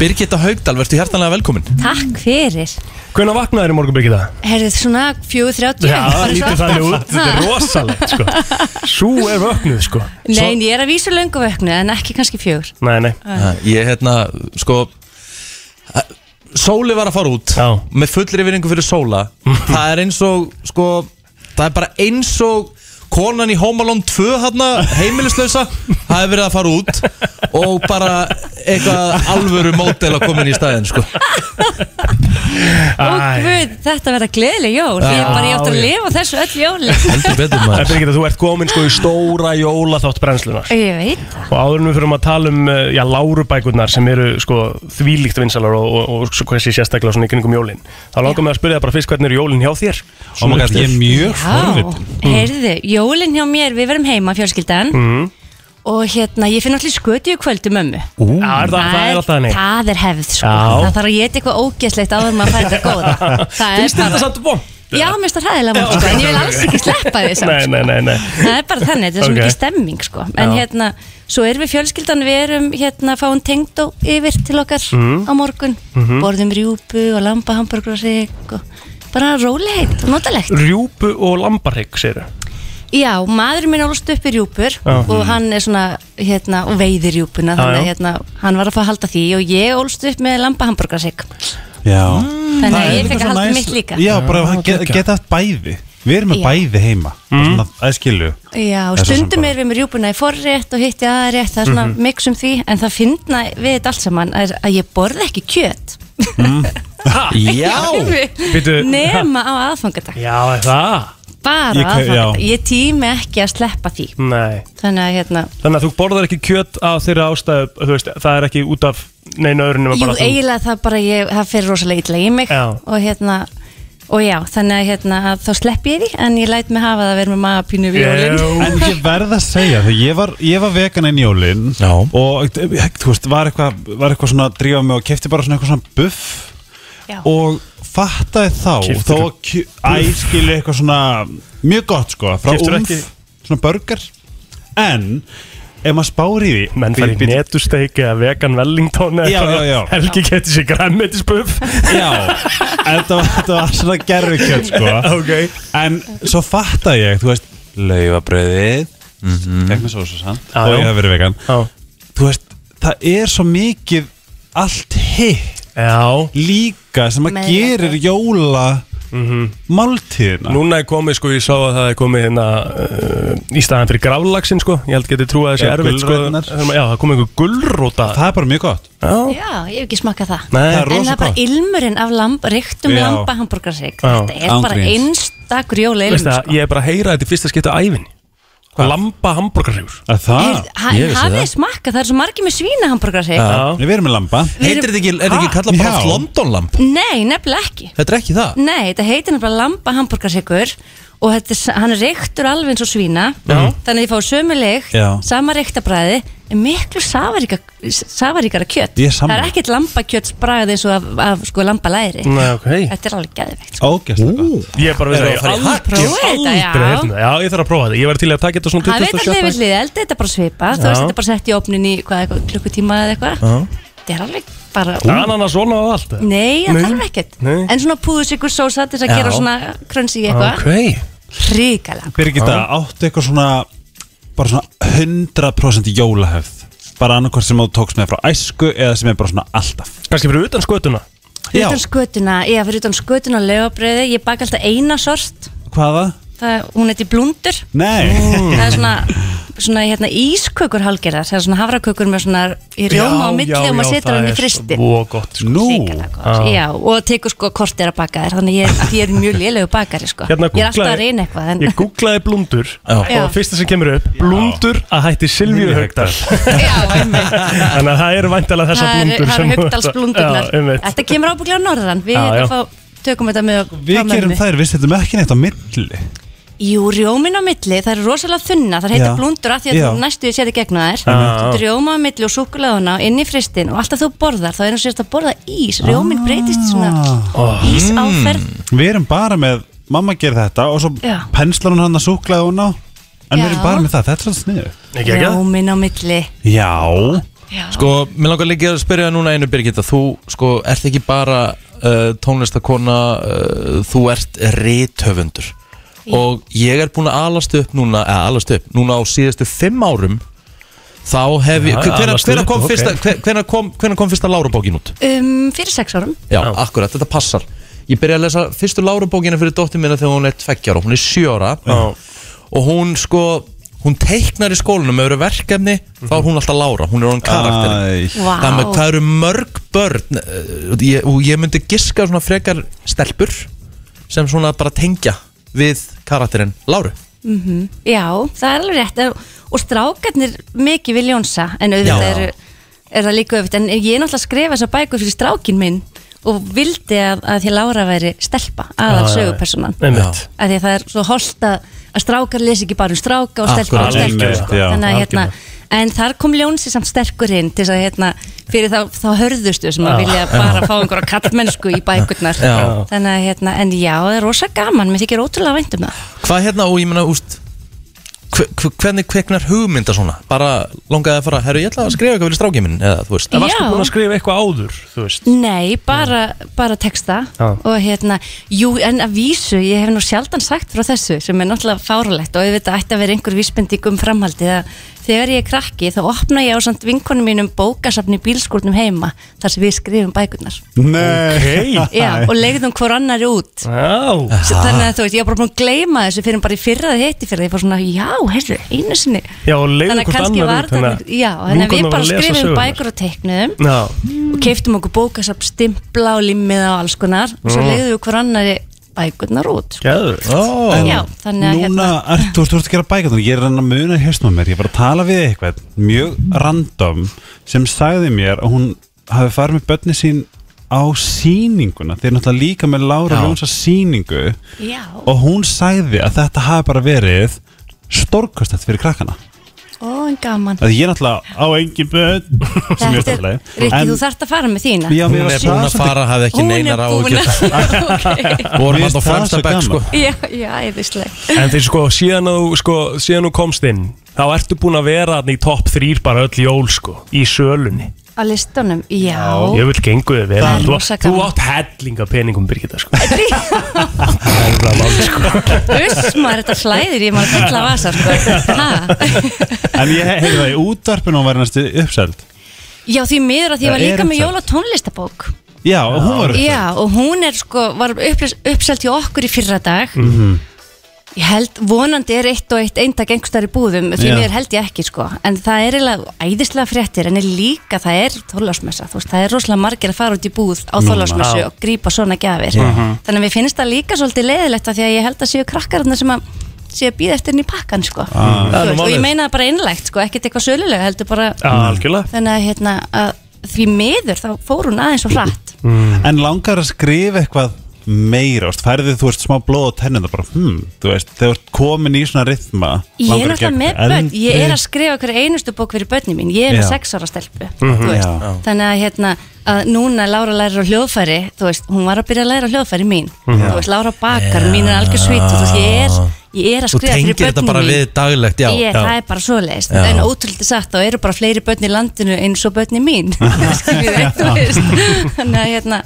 Speaker 1: Birgitta Haugdal, verður hjertanlega velkomin
Speaker 8: Takk fyrir
Speaker 2: Hvernig vaknaður í morgun byggir það?
Speaker 8: Herðið svona 4.30
Speaker 2: Já, það lítur þannig út, þetta er
Speaker 8: Ha.
Speaker 2: rosalegt sko Sú er vöknuð sko
Speaker 8: Nei, en ég er að vísa löngu vöknu en ekki kannski fjögur
Speaker 2: Nei, nei,
Speaker 1: Ha, Ég hérna, sko eh, Sóli var að fara út
Speaker 2: Já.
Speaker 1: Með fullri vinningu fyrir *laughs* Sóla Það er eins og, sko Það er bara eins og Konan í Home Alone 2 hérna, heimilislausa Það er verið að fara út Og bara eitthvað alvöru mótel að koma inn í staðin, sko
Speaker 5: Ó
Speaker 2: Æ.
Speaker 5: guð, þetta verða gleðileg jól Ég er bara, ég átt að
Speaker 2: Já, já.
Speaker 5: lifa þessu öll
Speaker 2: *laughs*
Speaker 5: jóli
Speaker 1: Heldur betur
Speaker 2: Það
Speaker 1: maður
Speaker 2: fyrir ekki að þú ert komin sko í stóra jólaþátt brennslunar
Speaker 5: Ég veit
Speaker 2: og áður en við fyrir að tala um eh, já, lárubækurnar sem eru sko þvílíkt vinsalar og, og, og svo hversi sérstaklega svona í kringum jólin þá langar mig að spyrja það bara fyrst hvernig eru jólin hjá þér
Speaker 4: Oh my god, ég er mjög
Speaker 5: Já,
Speaker 4: forvitin
Speaker 2: Mm.
Speaker 5: heyrðu, jólin hjá mér, við verum heima fjölskyldan
Speaker 2: Mhm.
Speaker 5: Og hérna, ég finn allir skötu í kvöldu mömmu
Speaker 2: Já, er það, það er alltaf henni
Speaker 5: Það er hefð, sko
Speaker 2: Já.
Speaker 5: Það þarf að geta eitthvað ógeðslegt áður en maður fær þetta
Speaker 2: *laughs*
Speaker 5: góða Það er
Speaker 2: Finnst þetta
Speaker 5: bara
Speaker 2: samt vond?
Speaker 5: Já, mér finnst
Speaker 2: *laughs*
Speaker 5: það hræðilega mál, sko, en ég vil alls ekki sleppa því samt,
Speaker 2: Nei,
Speaker 5: sko.
Speaker 2: nei, nei, nei
Speaker 5: Það er bara þannig, þetta er svo
Speaker 2: Ok.
Speaker 5: mikið stemming, sko. En
Speaker 2: Já.
Speaker 5: hérna, svo erum við fjölskyldan, við erum hérna, fáum tengdó yfir til okkar
Speaker 2: Mhm.
Speaker 5: á morgun, borðum rjúpu og lambahamburgur og sig og bara rólegheit og notalegt.
Speaker 2: Rjúpu og lambarhygg, segir
Speaker 5: Já, maðurinn minn ólst upp í rjúpur og hann er svona, hérna, og veiðir rjúpuna,
Speaker 2: Mhm. Já,
Speaker 5: þannig að
Speaker 2: já.
Speaker 5: hérna, hann var að fá að halda því og ég ólst upp með lambahamburgur og sig.
Speaker 4: Já Ah. Það
Speaker 5: Þannig að
Speaker 4: er
Speaker 5: ég
Speaker 4: líka
Speaker 5: fekk að
Speaker 4: svo
Speaker 5: halda
Speaker 4: næs-
Speaker 5: mitt líka.
Speaker 4: Já, bara að get- geta haft bæði Við erum með
Speaker 5: Já.
Speaker 4: bæði heima Bara svona, Það er skilu
Speaker 5: Já,
Speaker 4: Það
Speaker 5: og
Speaker 4: er svo sem
Speaker 5: stundum
Speaker 4: bara-
Speaker 5: erum við með rjúpuna í forrétt og hitti aðrétt, það er svona mix um því en það finna við þetta allt saman er að ég borða ekki kjöt
Speaker 2: þau
Speaker 5: *laughs*
Speaker 1: Já
Speaker 2: Bíddu,
Speaker 5: nema á aðfangadag,
Speaker 2: Já, er það?
Speaker 5: bara
Speaker 4: Ég
Speaker 5: á
Speaker 4: kau- já.
Speaker 5: aðfangadag ég tími ekki að sleppa því
Speaker 2: Nei
Speaker 5: þannig að hérna,
Speaker 2: Þannig að þú borðar ekki kjöt af þeirra ástæðu, þú veist, það er ekki út af neina öðru nema
Speaker 5: jú
Speaker 2: bara þú
Speaker 5: eiginlega það bara ég, það fyrir rosalega illa í mig
Speaker 2: Já.
Speaker 5: og hérna og já, þannig að hérna að þá slepp ég því en ég læt mig hafa það að vera með magapínu við jólinn
Speaker 2: Jú.
Speaker 4: En ég verð að segja þegar ég var, ég var vegan enn jólin
Speaker 1: Já.
Speaker 4: og þú veist, var eitthvað var eitthvað svona að drífa mig og kefti bara svona eitthvað svona buff
Speaker 5: Já.
Speaker 4: og fattaði þá
Speaker 2: Keyptir
Speaker 4: þá að kj- æ, skilu eitthvað svona mjög gott sko, frá
Speaker 2: Keyptir
Speaker 4: umf
Speaker 2: ekki-
Speaker 4: svona burger en ef maður spáir í því
Speaker 2: Menn fær í
Speaker 4: Bíl- bíl-
Speaker 2: netusteik eða vegan wellington eða
Speaker 4: Já,
Speaker 2: eitthvað.
Speaker 4: já, já.
Speaker 2: Helgi getur sér græmmetisbuff
Speaker 4: Já, þetta var, þetta var svona gerfikjöld sko
Speaker 2: *laughs* Ok.
Speaker 4: En svo fattaði ég, þú veist Laufabröðið mm -hmm. Ekki með sósusann
Speaker 2: Já,
Speaker 4: Og
Speaker 2: já.
Speaker 4: ég hef verið vegan
Speaker 2: Já,
Speaker 4: þú veist, það er svo mikið allt hitt
Speaker 2: já.
Speaker 4: líka sem að
Speaker 5: Með
Speaker 4: gerir jóla
Speaker 2: Mhm.
Speaker 4: máltíðina
Speaker 2: Núna er komið sko, ég sá að það er komið hérna uh, í staðan fyrir grálagsinn sko Ég held getið trú að þessi
Speaker 4: Já,
Speaker 2: erfitt sko
Speaker 4: gulræturnar.
Speaker 2: Þurfum- Já, það er komið einhver gullróta
Speaker 4: það er bara mjög gott
Speaker 2: Já,
Speaker 5: já, ég hef ekki smakað það
Speaker 2: Nei. Það er
Speaker 5: en
Speaker 4: rosa
Speaker 5: það er bara
Speaker 4: gott.
Speaker 5: ilmurinn af lamb, reyktum
Speaker 4: Já.
Speaker 5: lambahamburgarsig
Speaker 2: Já.
Speaker 5: þetta er
Speaker 4: Án
Speaker 5: bara
Speaker 4: gríns.
Speaker 5: einstakur jóla
Speaker 2: veist það, ég er sko. bara að heyra þetta í fyrsta skipta ævin Lamba hambúrgarhjúr
Speaker 4: að Ah, það,
Speaker 1: ég
Speaker 5: Hafið
Speaker 1: vissi
Speaker 5: þið
Speaker 1: það.
Speaker 5: smakað, það er svo margir með svínahamburgar sig
Speaker 2: Já.
Speaker 4: við erum Ah. með lamba
Speaker 1: Heitir þetta ekki, er þetta ekki
Speaker 4: Ha?
Speaker 1: kallað bara
Speaker 4: Já.
Speaker 1: London lamp?
Speaker 5: Nei, nefnilega ekki
Speaker 1: Þetta er ekki það?
Speaker 5: Nei, þetta heitir nefnilega lambahamburgarsikur og þetta, er s- hann er reyktur alveg eins og svína Já. þannig að ég fá sömu leikt,
Speaker 4: Já.
Speaker 5: sama reyktarbræði en miklu safaríka, safaríkara kjöt
Speaker 4: Ég er
Speaker 5: Það
Speaker 4: sammála.
Speaker 5: er ekkert lambakjötsbræði eins og af, af sko, lambalæri
Speaker 2: Nei, ok
Speaker 5: Þetta er alveg geðveikt sko.
Speaker 4: ógæslega gott
Speaker 2: Ég er bara
Speaker 1: Er
Speaker 2: veist
Speaker 1: það
Speaker 2: það,
Speaker 1: að fara í
Speaker 2: ég
Speaker 1: hack?
Speaker 2: aldrei,
Speaker 5: Prófa þetta,
Speaker 2: aldrei
Speaker 5: já.
Speaker 2: heyrt um það. Já, ég þarf að prófa þetta, ég var til í að taka þetta svona
Speaker 5: Það veit allir við
Speaker 2: 27.
Speaker 5: liðið eldi, þetta er bara svipa Þú
Speaker 2: Já.
Speaker 5: veist, þetta er bara sett í opnin í hvað, eitthvað, klukkutíma eða eitthvað Þetta er alveg bara
Speaker 2: Ananas svona og allt eða?
Speaker 5: Nei, það
Speaker 2: Nei.
Speaker 5: þarf ekkert
Speaker 2: Nei.
Speaker 5: En svona púðsikur sósa til þess að
Speaker 1: Já.
Speaker 5: gera svona krönsi í eitthvað
Speaker 2: Ok
Speaker 5: Ríkala
Speaker 4: Birgitta, áttu eitthvað svona bara svona 100% jólahefð bara annarkvært sem þú tókst með frá æsku eða sem er bara svona alltaf
Speaker 2: Kanski fyrir utan skötuna
Speaker 4: Já.
Speaker 5: Utan skötuna, ég fyrir utan skötuna lögabröði Ég baka alltaf eina sort
Speaker 4: hvaða?
Speaker 5: það, Hún heiti blundur
Speaker 4: nei,
Speaker 5: Það er svona, svona hérna, ískökur hálgerðar Það er svona hafrakökur með svona í rjóma á milli og maður setur hann í fristin
Speaker 2: Vó gott sko.
Speaker 4: nú
Speaker 5: Já. Já, og tekur sko kortir að baka þér þannig ég, að ég er mjög lélegu bakari sko. ég er alltaf að reyna eitthvað en,
Speaker 2: Hérna Ég googlaði blundur
Speaker 5: Já.
Speaker 2: Og fyrsta sem kemur upp Blundur að hætti Silvíu Haugdal
Speaker 5: já, einmitt.
Speaker 2: Þannig að það eru væntalega þessa
Speaker 5: það er,
Speaker 2: blundur
Speaker 5: það
Speaker 2: sem
Speaker 5: er
Speaker 2: þú-
Speaker 5: högtalsblundurnar
Speaker 2: Já, einmitt.
Speaker 5: þetta kemur ábygglega norðan við
Speaker 2: Já, já.
Speaker 5: hérna fá, tökum þetta með frá
Speaker 4: við
Speaker 5: mömmu.
Speaker 4: gerum þær, við setjum ekki neitt á milli
Speaker 5: Jú, rjómin á milli, það eru rosalega þunna það heita
Speaker 4: Já.
Speaker 5: blundur af því að
Speaker 4: Já.
Speaker 5: þú næstu því sér í gegna þær
Speaker 2: Já.
Speaker 5: Þú setur rjóma á milli og súkuleguna inn í fristin og alltaf þú borðar, þá er það sérst að borða ís rjómin breytist í svona
Speaker 4: Ah.
Speaker 5: ísáferð
Speaker 2: Mm.
Speaker 4: Við erum bara með, mamma gerir þetta og svo
Speaker 5: Já.
Speaker 4: penslar hún hann að súklaði hún á En við erum
Speaker 5: Já.
Speaker 4: bara með það, þetta er svolítið sniðu
Speaker 2: Ekki ekki það?
Speaker 5: rjómin á milli
Speaker 4: Já,
Speaker 1: Sko, mér langar líka að spyrja núna einu Birgitta Þú, sko, ert ekki bara uh, tónlistakona uh, Þú ert rithöfundur Og ég er búin að alast upp núna eða alast upp, núna á síðustu fimm árum Þá hef ég
Speaker 2: Já,
Speaker 1: Hvenær
Speaker 2: alast
Speaker 1: hvenær
Speaker 2: upp,
Speaker 1: kom,
Speaker 2: ok.
Speaker 1: fyrsta- hve- hvenær kom, hvenær kom fyrsta lárabókin út?
Speaker 5: um, fyrir sex árum
Speaker 1: Já, akkurat, þetta passar Ég byrja að lesa fyrstu lárabókina fyrir dóttir minna þegar hún er tveggjára, hún er sjöra
Speaker 2: Já.
Speaker 1: og hún sko hún teiknar í skólanum ef eru verkefni, þá er hún alltaf Lára hún er hún karakterin
Speaker 4: Æ,
Speaker 5: Vá.
Speaker 1: það, með, það eru mörg börn eh, ég, og ég myndi giska svona frekar stelpur sem svona bara tengja við karakterinn Láru
Speaker 5: Já, það er alveg rétt En- og strákarnir mikið vil Jónsa en auðvitað
Speaker 1: Já.
Speaker 5: er, er það líka auðvitað en ég er náttúrulega að skrifa þessar bækur fyrir strákin minn og vildi að, að því að Lára væri stelpa aðal sögupersonan
Speaker 2: Einmitt.
Speaker 5: að því að það er svo holst að, að strákar lesi ekki bara um stráka og stelpur
Speaker 1: Akkurat,
Speaker 5: og stelpur
Speaker 4: einmitt,
Speaker 5: sko.
Speaker 4: já,
Speaker 5: þannig að hérna
Speaker 2: algjörlega.
Speaker 5: en þar kom Ljónsi samt sterkur inn til þess að hérna fyrir þá, þá hörðustu sem að vilja bara fá einhverja kallmennsku í bækurnar
Speaker 1: Já.
Speaker 5: þannig að hérna, en já, það er rosa gaman mér þykir ótrúlega vænt um það
Speaker 1: hvað hérna og ég meina úst hve- hve- hvernig kveknar hugmynda svona bara langaði að fara, herru ég ætla að skrifa eitthvað fyrir strákið minn eða þú veist,
Speaker 5: Já.
Speaker 2: Varstu búin að skrifa eitthvað áður, þú veist
Speaker 5: Nei, bara, bara texta
Speaker 2: Já.
Speaker 5: og hérna, jú, en að vísu ég hef nú sjaldan sagt frá þessu sem er náttúrulega fáralegt og auðvitað ætti að vera einhver vísbending um framhaldið að þegar ég er krakki þá opna ég á samt vinkonum mínum bókasafni í bílskúrnum heima þar sem við skrifum bækurnar
Speaker 4: Nei
Speaker 5: Já, og legðum hvor annari út
Speaker 2: Já,
Speaker 5: Svo þannig að þú veist, ég var bara búin að gleyma þessu fyrir en bara í fyrra að hitti fyrir að ég fór svona, já, heyrðu, einu sinni
Speaker 2: já og leiðu
Speaker 5: Þannig að
Speaker 2: hvort
Speaker 5: kannski
Speaker 2: annar
Speaker 5: var
Speaker 2: út,
Speaker 5: það, já, þannig
Speaker 2: vinkonurnar
Speaker 5: að við
Speaker 2: voru
Speaker 5: bara
Speaker 2: að lesa
Speaker 5: skrifum
Speaker 2: sögurnar.
Speaker 5: bækur og teiknum
Speaker 2: Já,
Speaker 5: og keiftum okkur bókasafn stimpla og limmiða og alls konar og svo leiðum við hver annari bækurnar út
Speaker 2: geður
Speaker 1: ó,
Speaker 5: Já, þannig að
Speaker 4: Núna,
Speaker 5: hérna
Speaker 4: ert, þú ert, þú ert að gera bækarnar, ég er hann að muna í hausnum á mér, ég var að tala við eitthvað mjög random sem sagði mér að hún hafi farið með börni sín á sýninguna, þeir náttúrulega líka með
Speaker 1: Já.
Speaker 4: Lára Ljónsa sýningu
Speaker 5: Já,
Speaker 4: og hún sagði að þetta hafi bara verið stórkostett fyrir krakkana
Speaker 5: ó, en gaman
Speaker 4: að ég náttúrulega á engin börn *laughs* sem ég
Speaker 5: Þetta
Speaker 4: stálega
Speaker 5: er, Rikki, þú þarft að fara með þína
Speaker 4: já, mér
Speaker 1: hún er
Speaker 4: var
Speaker 1: búin
Speaker 4: það
Speaker 1: að
Speaker 4: svolítið-
Speaker 1: fara hafði ekki
Speaker 5: Hún er
Speaker 1: neinar á
Speaker 5: búin að- *laughs*
Speaker 1: vorum hann
Speaker 4: Mér
Speaker 1: á
Speaker 4: finnst það
Speaker 1: fremsta
Speaker 4: svo
Speaker 1: bekk sko
Speaker 4: gaman.
Speaker 5: Já, já, eðisleg
Speaker 2: En þeir sko, síðan þú, sko, síðan þú komst inn þá ertu búin að vera þarna í topp þrýr bara öll jól, sko, í sölunni
Speaker 5: Á listunum, já
Speaker 2: Ég vil gengu þið vel
Speaker 5: Það er
Speaker 2: Þú,
Speaker 5: rosa
Speaker 2: þú
Speaker 5: gaman.
Speaker 2: átt hellinga peningum, Birgitta, sko Það er bara mál, sko
Speaker 5: Uss, maður þetta slæðir, ég maður fulla vasa sko. Ha?
Speaker 4: en ég heyrði það í útvarpinu og var næstu uppseld
Speaker 5: Já, því miður að því ég var
Speaker 4: Það er
Speaker 5: líka með
Speaker 4: umsagt.
Speaker 5: jólatónlistabók
Speaker 4: já, og hún var uppseld
Speaker 5: Já, og hún er sko, var upples- uppselt hjá okkur í fyrra dag
Speaker 2: Mhm.
Speaker 5: Ég held, vonandi er eitt og eitt eindag einhverstaðar í búðum, því
Speaker 4: Já.
Speaker 5: mér held ég ekki sko En það er eiginlega æðislega fréttir, en er líka það er þólasmessa Þú veist, það er rosalega margir að fara út í búð á þólasmessu
Speaker 2: Já.
Speaker 5: og grípa svona gjafir Þannig að mér finnst það líka svolítið leðilegt af því að ég held að séu krakkarna sem að séu að býða eftir henni í pakkan sko Þú
Speaker 2: Ah, Það er nú
Speaker 5: veist, Og
Speaker 2: málið.
Speaker 5: ég meina það bara innlegt sko, ekkert eitthvað sölulega, heldur bara
Speaker 2: Já, Mm. algjörlega
Speaker 5: Þannig að, hérna, að því miður þá fór hún aðeins og hratt
Speaker 4: Mm. en langar að skrifa eitthvað meira, veist, færði þú veist smá blóð á tennum það bara, hmm, þú veist, þegar þú ert komin í svona rithma
Speaker 5: Ég er alltaf með börn, ég er að
Speaker 4: skrifa
Speaker 5: skrifa hverja einustu bók fyrir börni mín, ég er
Speaker 4: Já.
Speaker 5: með sex ára stelpu
Speaker 1: Mhm.
Speaker 5: þú veist.
Speaker 4: já. Já.
Speaker 5: þannig að, hérna, að núna Lára lærir á hljóðfæri þú veist, hún var að byrja að læra á hljóðfæri mín
Speaker 1: Mhm.
Speaker 5: þú veist, Lára bakar, mín er algjör svít þú veist, ég er, ég er að
Speaker 1: þú
Speaker 5: skrifa fyrir
Speaker 1: tengir þetta
Speaker 5: börni
Speaker 1: bara
Speaker 5: mín
Speaker 1: við daglegt já,
Speaker 5: ég, það er bara svoleiðist,
Speaker 1: Já.
Speaker 5: en ótrúlega satt þá eru bara fleiri börn í landinu eins og
Speaker 1: *laughs*
Speaker 5: börni mín Skiljiði, þú veist. þannig að hérna,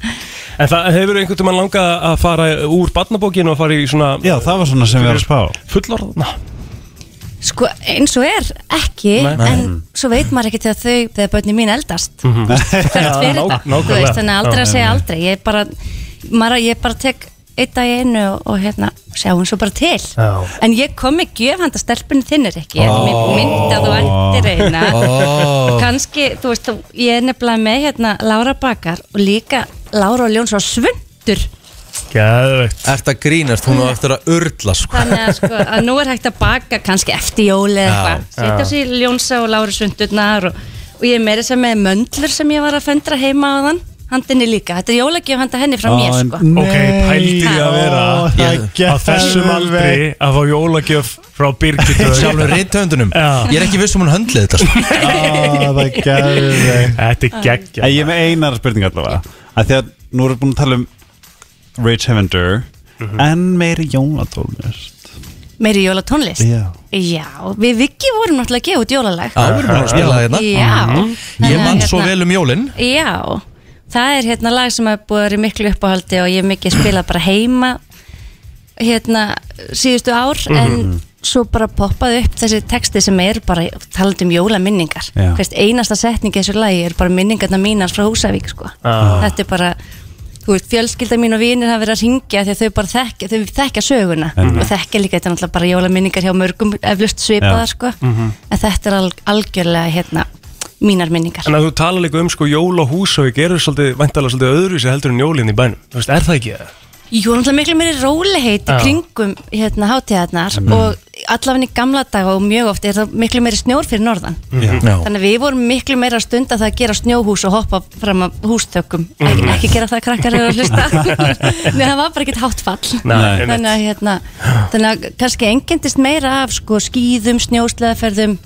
Speaker 2: En það hefur einhvern tímann langað að fara úr barnabókinu og fara í svona
Speaker 4: já, það var svona sem ég var að spá
Speaker 2: fullorðna
Speaker 5: sko, eins og er ekki, en svo veit maður ekki þegar þau, þegar börni mín eldast
Speaker 2: Mhm.
Speaker 5: hvert fyrir
Speaker 2: Já,
Speaker 5: þetta
Speaker 2: nák-
Speaker 5: þú veist,
Speaker 2: nákvæmlega.
Speaker 5: þannig að aldrei að segja aldrei ég bara, maður, ég bara tek einn dag í einu og, og hérna sjáum svo bara til
Speaker 2: Já.
Speaker 5: en ég kom með gjöf handa stelpunni þinnir ekki ég oh. myndi að þú ættir eina
Speaker 1: Ó.
Speaker 5: kannski, þú veist, þú- ég er nefnilega með hérna Lára Bakar og líka Lára og Ljón svo svundur
Speaker 2: Geðvegt
Speaker 1: Ert að grínast, hún á eftir að urla sko.
Speaker 5: þannig að, sko, að nú er hægt að baka kannski eftir jóli eða eitthvað setja sér í ljónsa og lári sundurnar og, og ég er meira sem með möndlur sem ég var að föndra heima á þann handinni líka, þetta er jólagjöf handa henni frá
Speaker 4: Ah,
Speaker 5: mér sko.
Speaker 2: Ok, pældi því að vera á þessum aldri að fá jólagjöf frá Birgitta
Speaker 1: sjálfur rithöndunum
Speaker 2: Já.
Speaker 1: ég er ekki viss um hún höndlið þetta sko.
Speaker 4: Ah,
Speaker 2: *laughs*
Speaker 4: það er gæðið
Speaker 2: Þetta er geggja
Speaker 4: ég er með einar spurning allavega að því að nú erum við búin að tala um Rage Heavender
Speaker 2: Mhm.
Speaker 4: en meiri jónatónlist
Speaker 5: meiri jólatónlist
Speaker 4: Já.
Speaker 5: Já, við Viki vorum náttúrulega að gefa út jólalag
Speaker 1: Já, við erum búin að spila það hérna
Speaker 5: Já hérna-
Speaker 1: ég man svo vel um jólin
Speaker 5: Já, það er hérna lag sem er búið að vera í miklu uppáhaldi og ég hef mikið spilað bara heima hérna síðustu ár
Speaker 4: Mhm.
Speaker 5: en svo bara poppaði upp þessi texti sem er bara talandi um jólaminningar
Speaker 4: Já. Ah.
Speaker 5: Hvers, einasta setning í þessu lagi er bara minningarna mínar frá Húsavík sko. þetta er bara þú veist, fjölskylda mín og vinir hafa verið að ringja því að þau bara þekkja, þau þekkja söguna
Speaker 4: Einmitt.
Speaker 5: og þekkja líka, þetta er náttúrulega bara jólaminningar hjá mörgum eflust svipaða,
Speaker 4: Já. Mhm.
Speaker 5: sko en þetta er alg algjörlega, hérna, mínar minningar
Speaker 2: En að þú tala líka um sko jól á Húsavík eru svolítið, væntalega svolítið öðruvísi heldur en jólinn í bænum Þú veist, er það ekki það?
Speaker 5: Jú, náttúrulega miklu meiri róleheit í
Speaker 2: Já.
Speaker 5: kringum hérna hátíðarnar og allafinn í gamla daga og mjög oft er það miklu meiri snjór fyrir norðan
Speaker 1: Mhm. Já.
Speaker 5: þannig að við vorum miklu meira að stunda það að gera snjóhús og hoppa fram af hústökum ekki, ekki gera það að krakkar eru að hlusta Nei, það var bara ekkert hátt fall
Speaker 2: Nei, einmitt.
Speaker 5: þannig að, hérna, þannig að kannski engendist meira af sko, skýðum, snjósleðaferðum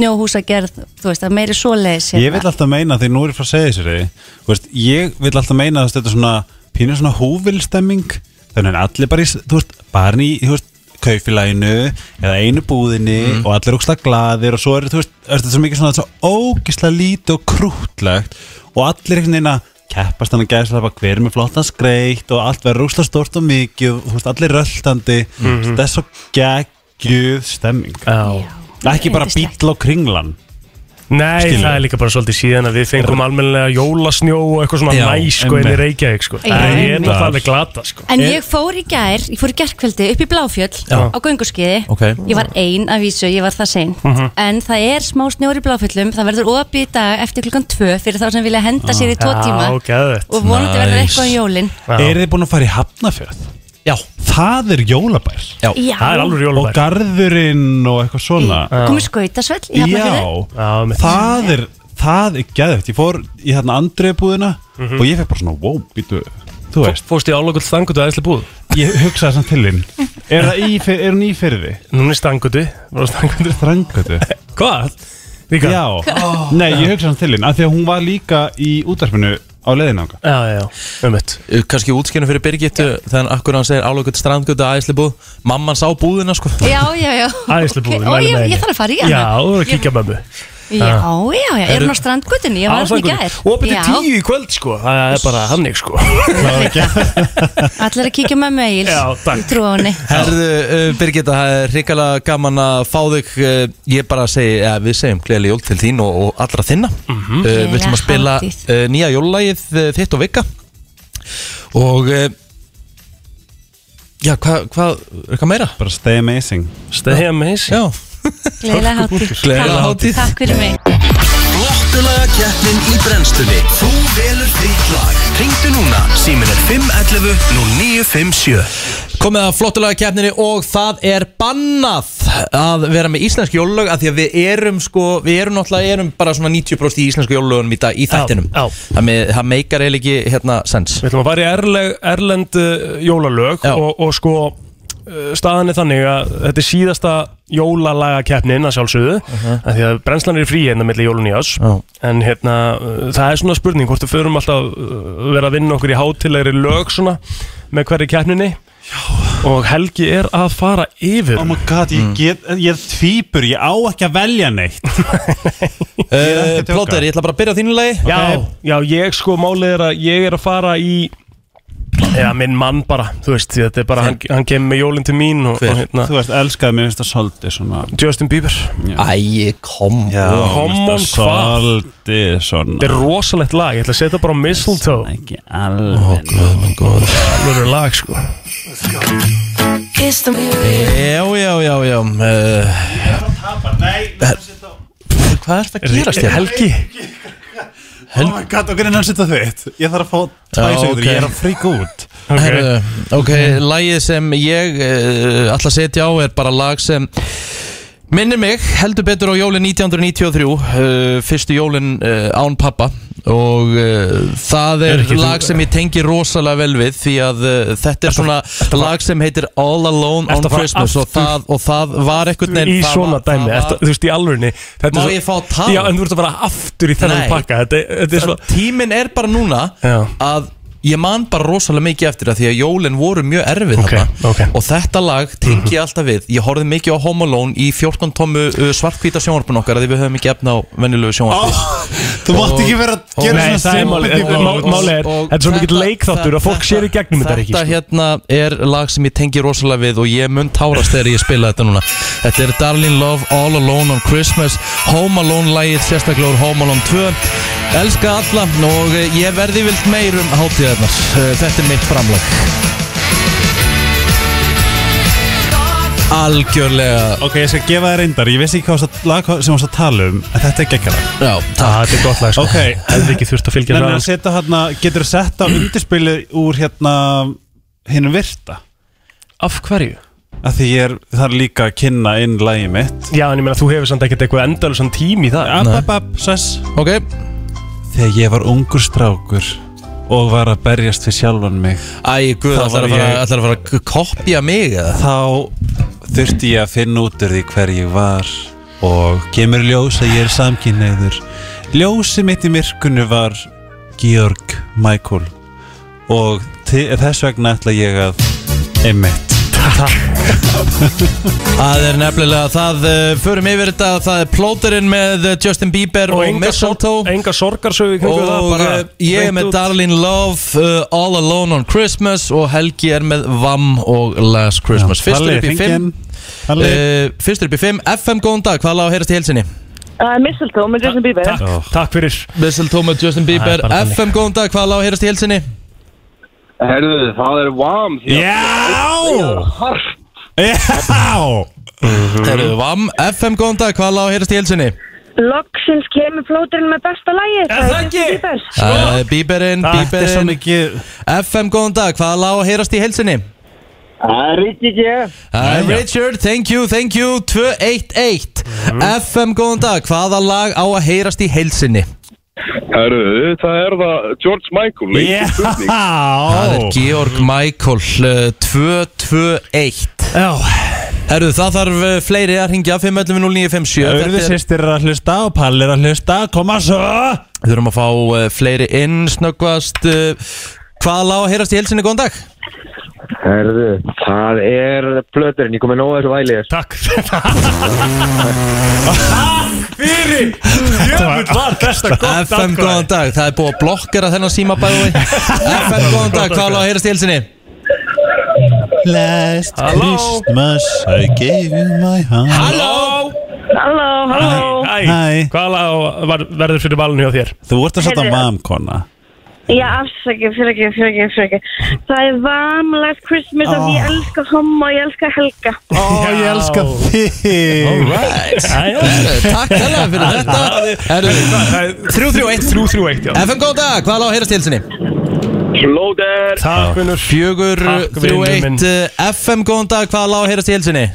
Speaker 5: snjóhúsagerð, þú veist, að meiri svoleiðis hérna.
Speaker 4: Ég vil alltaf meina, því nú er ég frá að segja þessari þú veist, Ég vil alltaf meina að þetta er svona pínur svona hóvilstemming þannig að allir bara í, s- þú veist, barn í þú veist, kaufélaginu eða einu búðinni og allir er ógislega glaðir og svo er, þú veist, er þetta svo mikið svona svo ógislega lítið og krútlegt og allir einhvern veginn að keppast hann að gæða sér hver er með flottan skreitt og allt verður ógislega stort og mikið og þú veist, allir röltandi þetta er svo geggjuð stemming
Speaker 2: Já.
Speaker 4: ekki bara
Speaker 5: Yndislegt.
Speaker 4: bíll á kringlan
Speaker 2: Nei,
Speaker 4: Skilur.
Speaker 2: það er líka bara svolítið síðan að við fengum almennilega jólasnjó og eitthvað svona
Speaker 4: Já,
Speaker 2: næ sko inn í
Speaker 4: einmitt.
Speaker 2: Reykjavík sko.
Speaker 5: Já,
Speaker 2: Það er
Speaker 5: einmitt.
Speaker 2: náttúrulega alveg glata sko.
Speaker 5: En
Speaker 4: Er-
Speaker 5: ég fór í gær, ég fór í gærkveldi upp í Bláfjöll á gönguskiði
Speaker 1: Ok.
Speaker 5: Ég var ein að vísu, ég var það sein
Speaker 2: Mhm.
Speaker 5: En það er smá snjór í Bláfjöllum Það verður opið í dag eftir klukkan tvö Fyrir þá sem vilja henda sér í tvo tíma
Speaker 2: Ah, Já, geðvett
Speaker 5: Og vonandi verður
Speaker 1: Nice.
Speaker 5: eitthvað um jólin
Speaker 4: Er þið búin að fara í Hafnafjörð?
Speaker 1: Já,
Speaker 4: Það er jólabær
Speaker 1: já,
Speaker 5: Já,
Speaker 2: Það er alveg
Speaker 4: Og
Speaker 2: jólabær
Speaker 4: garðurinn og eitthvað svona
Speaker 5: komið skautasvell í Hafnarfirði.
Speaker 4: Já,
Speaker 2: Já, mitt.
Speaker 4: það er Það er geðvægt, ég fór í þarna andriðbúðina Og ég fekk bara svona, wow, býtu
Speaker 2: Sko.
Speaker 4: Þú veist,
Speaker 2: Fórst í álokull stangutu aðeinslega búð
Speaker 4: ég hugsaði samt til hinn Er, það í, fyr- er hún í fyrði?
Speaker 2: Núna er stangutu
Speaker 4: Þrangötu
Speaker 2: *laughs* Hvað? Líka?
Speaker 4: Já, nei, ég hugsaði samt til hinn Af því að hún var líka í útarpinu á leiðin ánga
Speaker 2: Já, já, ummitt
Speaker 1: Uh, kannski útskynum fyrir Birgittu þannig akkur hann segir álögut strandgötu æðisli búð mamman sá búðina sko
Speaker 5: Já, já, já
Speaker 2: Æðislega búð,
Speaker 5: Ok,
Speaker 2: ég
Speaker 5: Ó,
Speaker 2: mæli með
Speaker 5: ég, ég
Speaker 2: henni.
Speaker 5: þarf að fara í
Speaker 2: Já,
Speaker 5: hana
Speaker 2: þú verður að kíkja með mig
Speaker 5: Já, já, já, er hún á strandgutinni, ég var hann í gær
Speaker 2: Opið til
Speaker 5: Já,
Speaker 2: tíu í kvöld sko Það er bara hannig sko *laughs*
Speaker 5: *laughs* Allir að kíkja með mig, Egil
Speaker 2: Já, takk.
Speaker 5: Ég trú á henni
Speaker 1: Herðu uh, Birgitta, það er hrikalega gaman að fá þig uh, ég bara segi, ja, við segjum gleðileg jól til þín og, og allra þinna
Speaker 2: Mhm.
Speaker 1: uh, við ætlum að spila
Speaker 5: Gleðilega
Speaker 1: uh, nýja jólulagið uh, þitt og vika og uh, já, hvað hva, hvað meira?
Speaker 4: Bara stay amazing
Speaker 2: Stay amazing
Speaker 1: Já,
Speaker 5: Gleðilega hátíð
Speaker 1: Gleðilega
Speaker 5: Takk.
Speaker 1: hátíð.
Speaker 5: Takk fyrir mig
Speaker 9: Flottulaga keppnin í brennstunni Þú velur þitt lag Ringdu núna, símin er 511 0957
Speaker 1: Komið að flottulega keppninni og það er bannað að vera með íslensk jólulög af því að við erum sko, við erum náttúrulega erum bara svona 90% í íslensku jólulögunum í dag í þættinum
Speaker 2: já.
Speaker 1: Það, með, það meikar eiginlega ekki hérna sens
Speaker 2: Við ætlum að fara í erleg, erlend uh, jólalög
Speaker 1: Já.
Speaker 2: og, og sko uh, staðan er þannig að þetta er síðasta jólalagakeppnin að sjálfsögðu uh því að brennslan er í frí hérna milli jólun í ás
Speaker 1: Já.
Speaker 2: en hérna uh, það er svona spurning hvort við förum alltaf uh, vera að vinna okkur í hátilegri lög svona með hverri keppninni Já. og Helgi er að fara yfir
Speaker 4: Oh my god, ég, get, ég er tvípur, ég á ekki að velja neitt er ekki að tjóka.
Speaker 1: Plóter, Eh, ég ætla bara að byrja á þínu lagi
Speaker 2: Já,
Speaker 4: Ok.
Speaker 2: já, ég sko málið er að ég er að fara í Já, minn mann bara, þú veist, því þetta er bara, hann, hann kemur með jólinn til mín og,
Speaker 1: Hver?
Speaker 2: og hérna,
Speaker 4: Þú veist, elskaði mér finnst það svolítið svona
Speaker 2: Justin Bieber
Speaker 1: Æ, kom
Speaker 2: Common Fab.
Speaker 4: Common Svolítið svona
Speaker 2: Þetta er rosalegt lag, ég ætla að setja bara á mistletoe
Speaker 4: Ekki alveg
Speaker 2: Það er lag sko
Speaker 1: Já, já, já, já uh, Hvað er þetta að gerast hérna? þér?
Speaker 2: Helgi
Speaker 4: Oh my god, okkur er hann að setja þitt Ég þarf að fá
Speaker 1: Já,
Speaker 4: tvæ sekundur,
Speaker 1: ok.
Speaker 4: ég er að fríka út
Speaker 2: okay.
Speaker 1: Herru, ok,
Speaker 2: Mhm.
Speaker 1: lagið sem ég uh, ætla að setja á er bara lag sem minnir mig heldur betur á jólin 1993 uh, fyrstu jólin uh, án pappa og uh, það er,
Speaker 2: Er ekki þú-
Speaker 1: lag sem ég tengi rosalega vel við því að uh, þetta er svona lag sem heitir All Alone
Speaker 2: Ertu
Speaker 1: on
Speaker 2: að fara
Speaker 1: Christmas og
Speaker 2: aftur-
Speaker 1: það, og það var eitthvað
Speaker 2: Í svona dæmi, ertu- þú veist, í alvörni
Speaker 1: Má ég fá að tala?
Speaker 2: Já, en þú ert að fara aftur í
Speaker 1: Nei.
Speaker 2: þennan pakka Þetta, þetta er svo
Speaker 1: tíminn er bara núna
Speaker 2: Já.
Speaker 1: að ég man bara rosalega mikið eftir að því að jólin voru mjög erfið
Speaker 2: Ok,
Speaker 1: þarna
Speaker 2: ok. Mhm.
Speaker 1: og þetta lag tengi ég alltaf við ég horfði mikið á Home Alone í 14 tómu uh, svartkvíta sjónvarpun okkar að því við höfum ekki efna á venjulegu sjónvarpun
Speaker 4: Þú mátt ekki vera að gera
Speaker 2: Nei, það er málið
Speaker 1: eh,
Speaker 4: sympathy
Speaker 2: þetta er má-
Speaker 4: votes.
Speaker 2: Málið er,
Speaker 1: og
Speaker 2: þetta er svo mikill
Speaker 1: þetta-
Speaker 2: leikþáttur að fólk sér í gegnum þetta ekki
Speaker 1: Þetta
Speaker 2: sko.
Speaker 1: hérna er lag sem ég tengi rosalega við og ég mun tárast þegar ég spila þetta núna Þetta er Darling Love, All Alone on Christmas Home Alone lagið, sérstaklega úr Home Alone 2 Elska alla og eh, ég verði vilt meirum hátíðar gleðarnar Eh, Þetta er mitt framlag Algjörlega
Speaker 4: Ok, ég skal gefa þér reyndar, ég veist ekki hvað það lag sem varst að tala um En þetta er geggjara
Speaker 1: Já,
Speaker 2: Ah,
Speaker 1: takk
Speaker 2: Þetta er gott lag sko.
Speaker 4: Ok.
Speaker 2: Hefði ekki þurft að fylgja sko.
Speaker 4: Nenni
Speaker 2: hraðan,
Speaker 4: að setja hérna, getur þú sett á undirspilið úr hérna Hinnum virta
Speaker 2: sko. Af hverju?
Speaker 4: Af því ég er, það er líka að kynna inn lagið mitt
Speaker 2: Já, en ég meina þú hefur samt ekkert eitthvað endalusan tími í það
Speaker 4: App, app, app, sess
Speaker 1: Ok,
Speaker 4: Þegar ég var ungur strákur og var að berjast við sjálfan mig
Speaker 1: æ, guð,
Speaker 4: Það
Speaker 1: ætlar
Speaker 4: var
Speaker 1: að fara,
Speaker 4: ég.
Speaker 1: ætlar að fara að kopja mig eða?
Speaker 4: þá þurfti ég að finna út úr því hver ég var og kemur í ljós að ég er samkynneður ljósið mitt í myrkunni var Georg Michael og te- þess vegna ætla ég að einmitt
Speaker 1: Það er nefnilega það, uh, förum yfir þetta, það er plóterinn með eh, Justin Bieber og,
Speaker 2: Og
Speaker 1: og
Speaker 2: enga,
Speaker 1: Mistletoe
Speaker 2: sor enga sorgarsögu í kringu það
Speaker 1: Og
Speaker 2: bara
Speaker 1: eh, ég er
Speaker 2: hreint
Speaker 1: með
Speaker 2: út.
Speaker 1: Darlene Love, uh, All Alone on Christmas og Helgi er með Vam og Last Christmas Fyrstur upp í fimm
Speaker 4: Halli
Speaker 1: uh, Fyrstur upp í fimm, FM góðan dag, hvað lág að heyrast í helsinni?
Speaker 10: Uh, Mistletoe með Justin Bieber
Speaker 2: Takk, takk fyrir
Speaker 1: Mistletoe með Justin Bieber,
Speaker 2: Það er bara þannig.
Speaker 1: FM góðan dag, hvað lág að heyrast í helsinni?
Speaker 10: Herðu, það er Wham
Speaker 4: Eh, Já Já
Speaker 1: Herru, Vam, FM góðan dag, hvað lág að heyrast í helsinni?
Speaker 10: Loksins kemur flóturinn með besta lægi
Speaker 2: Er það ekki?
Speaker 1: Uh, Bieberinn,
Speaker 4: Þetta er svo
Speaker 1: Bieberinn,
Speaker 4: mikið
Speaker 1: FM góðan dag, hvað lág að heyrast í helsinni?
Speaker 10: Það er Rikki G
Speaker 1: Hi
Speaker 4: Jæja.
Speaker 1: Richard, thank you, thank you 211 FM, góðan dag, hvaða lag á að heyrast í heilsinni?
Speaker 10: Herðu, það er það George Michael
Speaker 4: Já
Speaker 1: Það er Georg Michael uh, 221
Speaker 2: Já,
Speaker 1: Herru, það þarf uh, fleiri að ringja 511-0957
Speaker 4: Örðu
Speaker 1: Þetta er-
Speaker 4: sýstir er að hlusta og Palli er að hlusta Koma svo
Speaker 1: Við þurfum að fá uh, fleiri inn snöggvast uh, Hvaða lag á að heyrast í heilsinni, góðan dag?
Speaker 10: Herðu, það er flöturinn, ég kom með nóg þessu væli
Speaker 4: *laughs*
Speaker 2: takk Fyrir Jöfnvöld var besta gott
Speaker 1: FM, góðan dag, sko. það er búið að blokkera þennan síma bæði *laughs* FM, góðan dag, hvaða lag á að heyrast í heilsinni?
Speaker 4: Last
Speaker 2: Halló.
Speaker 4: Christmas I gave you my heart
Speaker 2: Halló
Speaker 10: Halló, halló
Speaker 2: Æ,
Speaker 4: Hæ.
Speaker 2: hvað lag var, verður fyrir valinu hjá þér?
Speaker 4: Þú ert að setja
Speaker 10: Heyrðu.
Speaker 4: mam, kona
Speaker 10: Já, afsakið, fyrir ekki, fyrir ekki, fyrir ekki Það er Wham Last Christmas af
Speaker 2: Ah.
Speaker 10: ég elska homma og ég elska helga
Speaker 4: Ó, ég elska þig
Speaker 2: Alright
Speaker 1: Herru, Eh, Takk hella fyrir þetta Herru,
Speaker 2: 331 331, já
Speaker 1: FM góðan dag, hvað lág að heyrast í heilsinni?
Speaker 10: Flóter
Speaker 2: Takk, vinnur
Speaker 1: Fjögur,
Speaker 2: Takk,
Speaker 1: þrjú,
Speaker 2: vinur minn.
Speaker 1: eitt eh, FM góðan dag, hvað lág að heyrast í heilsinni?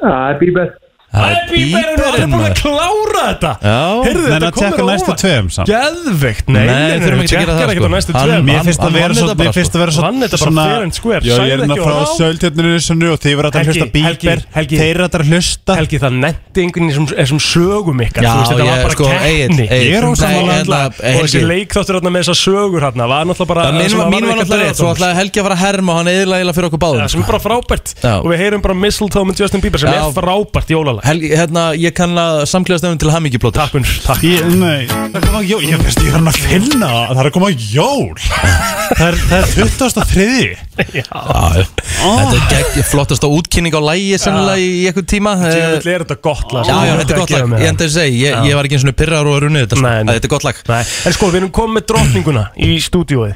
Speaker 10: Það er Bieber
Speaker 1: Það er
Speaker 2: Bíberinn var
Speaker 1: bíberinn
Speaker 2: búin að
Speaker 1: maður.
Speaker 2: klára þetta
Speaker 1: Já,
Speaker 2: Heyrðu,
Speaker 4: Menn
Speaker 2: þetta
Speaker 4: að
Speaker 2: kom
Speaker 4: tjekka
Speaker 2: mér á
Speaker 4: næstu
Speaker 2: óvart.
Speaker 4: tveim samt
Speaker 2: Geðveikt, nei,
Speaker 1: Nei, þurfum ekki að gera það,
Speaker 2: Tjekkar ekkert á
Speaker 1: sko.
Speaker 2: næstu
Speaker 1: Hann-
Speaker 2: tveim
Speaker 4: Mér finnst
Speaker 1: hann
Speaker 4: að vera
Speaker 1: vann
Speaker 4: svo
Speaker 1: þetta bara,
Speaker 4: Mér finnst að vera
Speaker 2: sko.
Speaker 4: svo
Speaker 2: Vann þetta bara fair and square,
Speaker 4: Já,
Speaker 2: sagði
Speaker 4: ég er
Speaker 2: ekki
Speaker 4: hérna frá
Speaker 2: orð á.
Speaker 4: söldjarninu sinu og þið verða að
Speaker 2: Helgi,
Speaker 4: hlusta bíber
Speaker 2: Helgi, Helgi.
Speaker 4: Þeir eru að hlusta
Speaker 2: Helgi, það nefndi einhvern í þessum- þessum sögum ykkar
Speaker 1: Já,
Speaker 2: Þú veist, þetta
Speaker 1: ég-
Speaker 2: var bara
Speaker 1: sko, Egill,
Speaker 2: keppni
Speaker 1: Egill.
Speaker 4: Ég er
Speaker 1: Nei,
Speaker 4: ósammála
Speaker 1: hérna,
Speaker 4: alla.
Speaker 2: Og þessi
Speaker 1: Egill.
Speaker 2: leikþáttur þarna með þessar sögur hérna var náttúrulega bara
Speaker 1: Það mín,
Speaker 2: sem
Speaker 1: var- mín
Speaker 2: ekki
Speaker 1: var náttúrulega rétt, svo
Speaker 2: sko.
Speaker 1: ætlaði Helgi að fara að herma og hann eðla eila fyrir okkur
Speaker 2: Já,
Speaker 1: báðum sko.
Speaker 2: sem er bara frábært
Speaker 1: Já.
Speaker 2: Og við heyrum bara Mistletoe með Justin Bieber sem
Speaker 1: Já.
Speaker 2: er frábært jólalag
Speaker 1: Helgi, hérna, ég kann að samklæða stöðum til hamingjublótur
Speaker 2: Takk, vinnur, takk
Speaker 4: Ég, nei, það er að koma jól Ég veist, ég er hann að finna það Það er að koma jól Það er, það er 23
Speaker 1: Þetta er gegn, flottasta útkynning á lægi sennilega í einhvern tíma Eh,
Speaker 2: Djöfull er þetta gott lag
Speaker 1: Já, já, þetta er gott lag, ég enda að segja, ég, ég var ekki eins og pyrrar og runnið þetta sko.
Speaker 2: Nei, nei.
Speaker 1: Að Þetta er gott lag
Speaker 2: Nei, en sko, við erum komið með drottninguna í stúdíói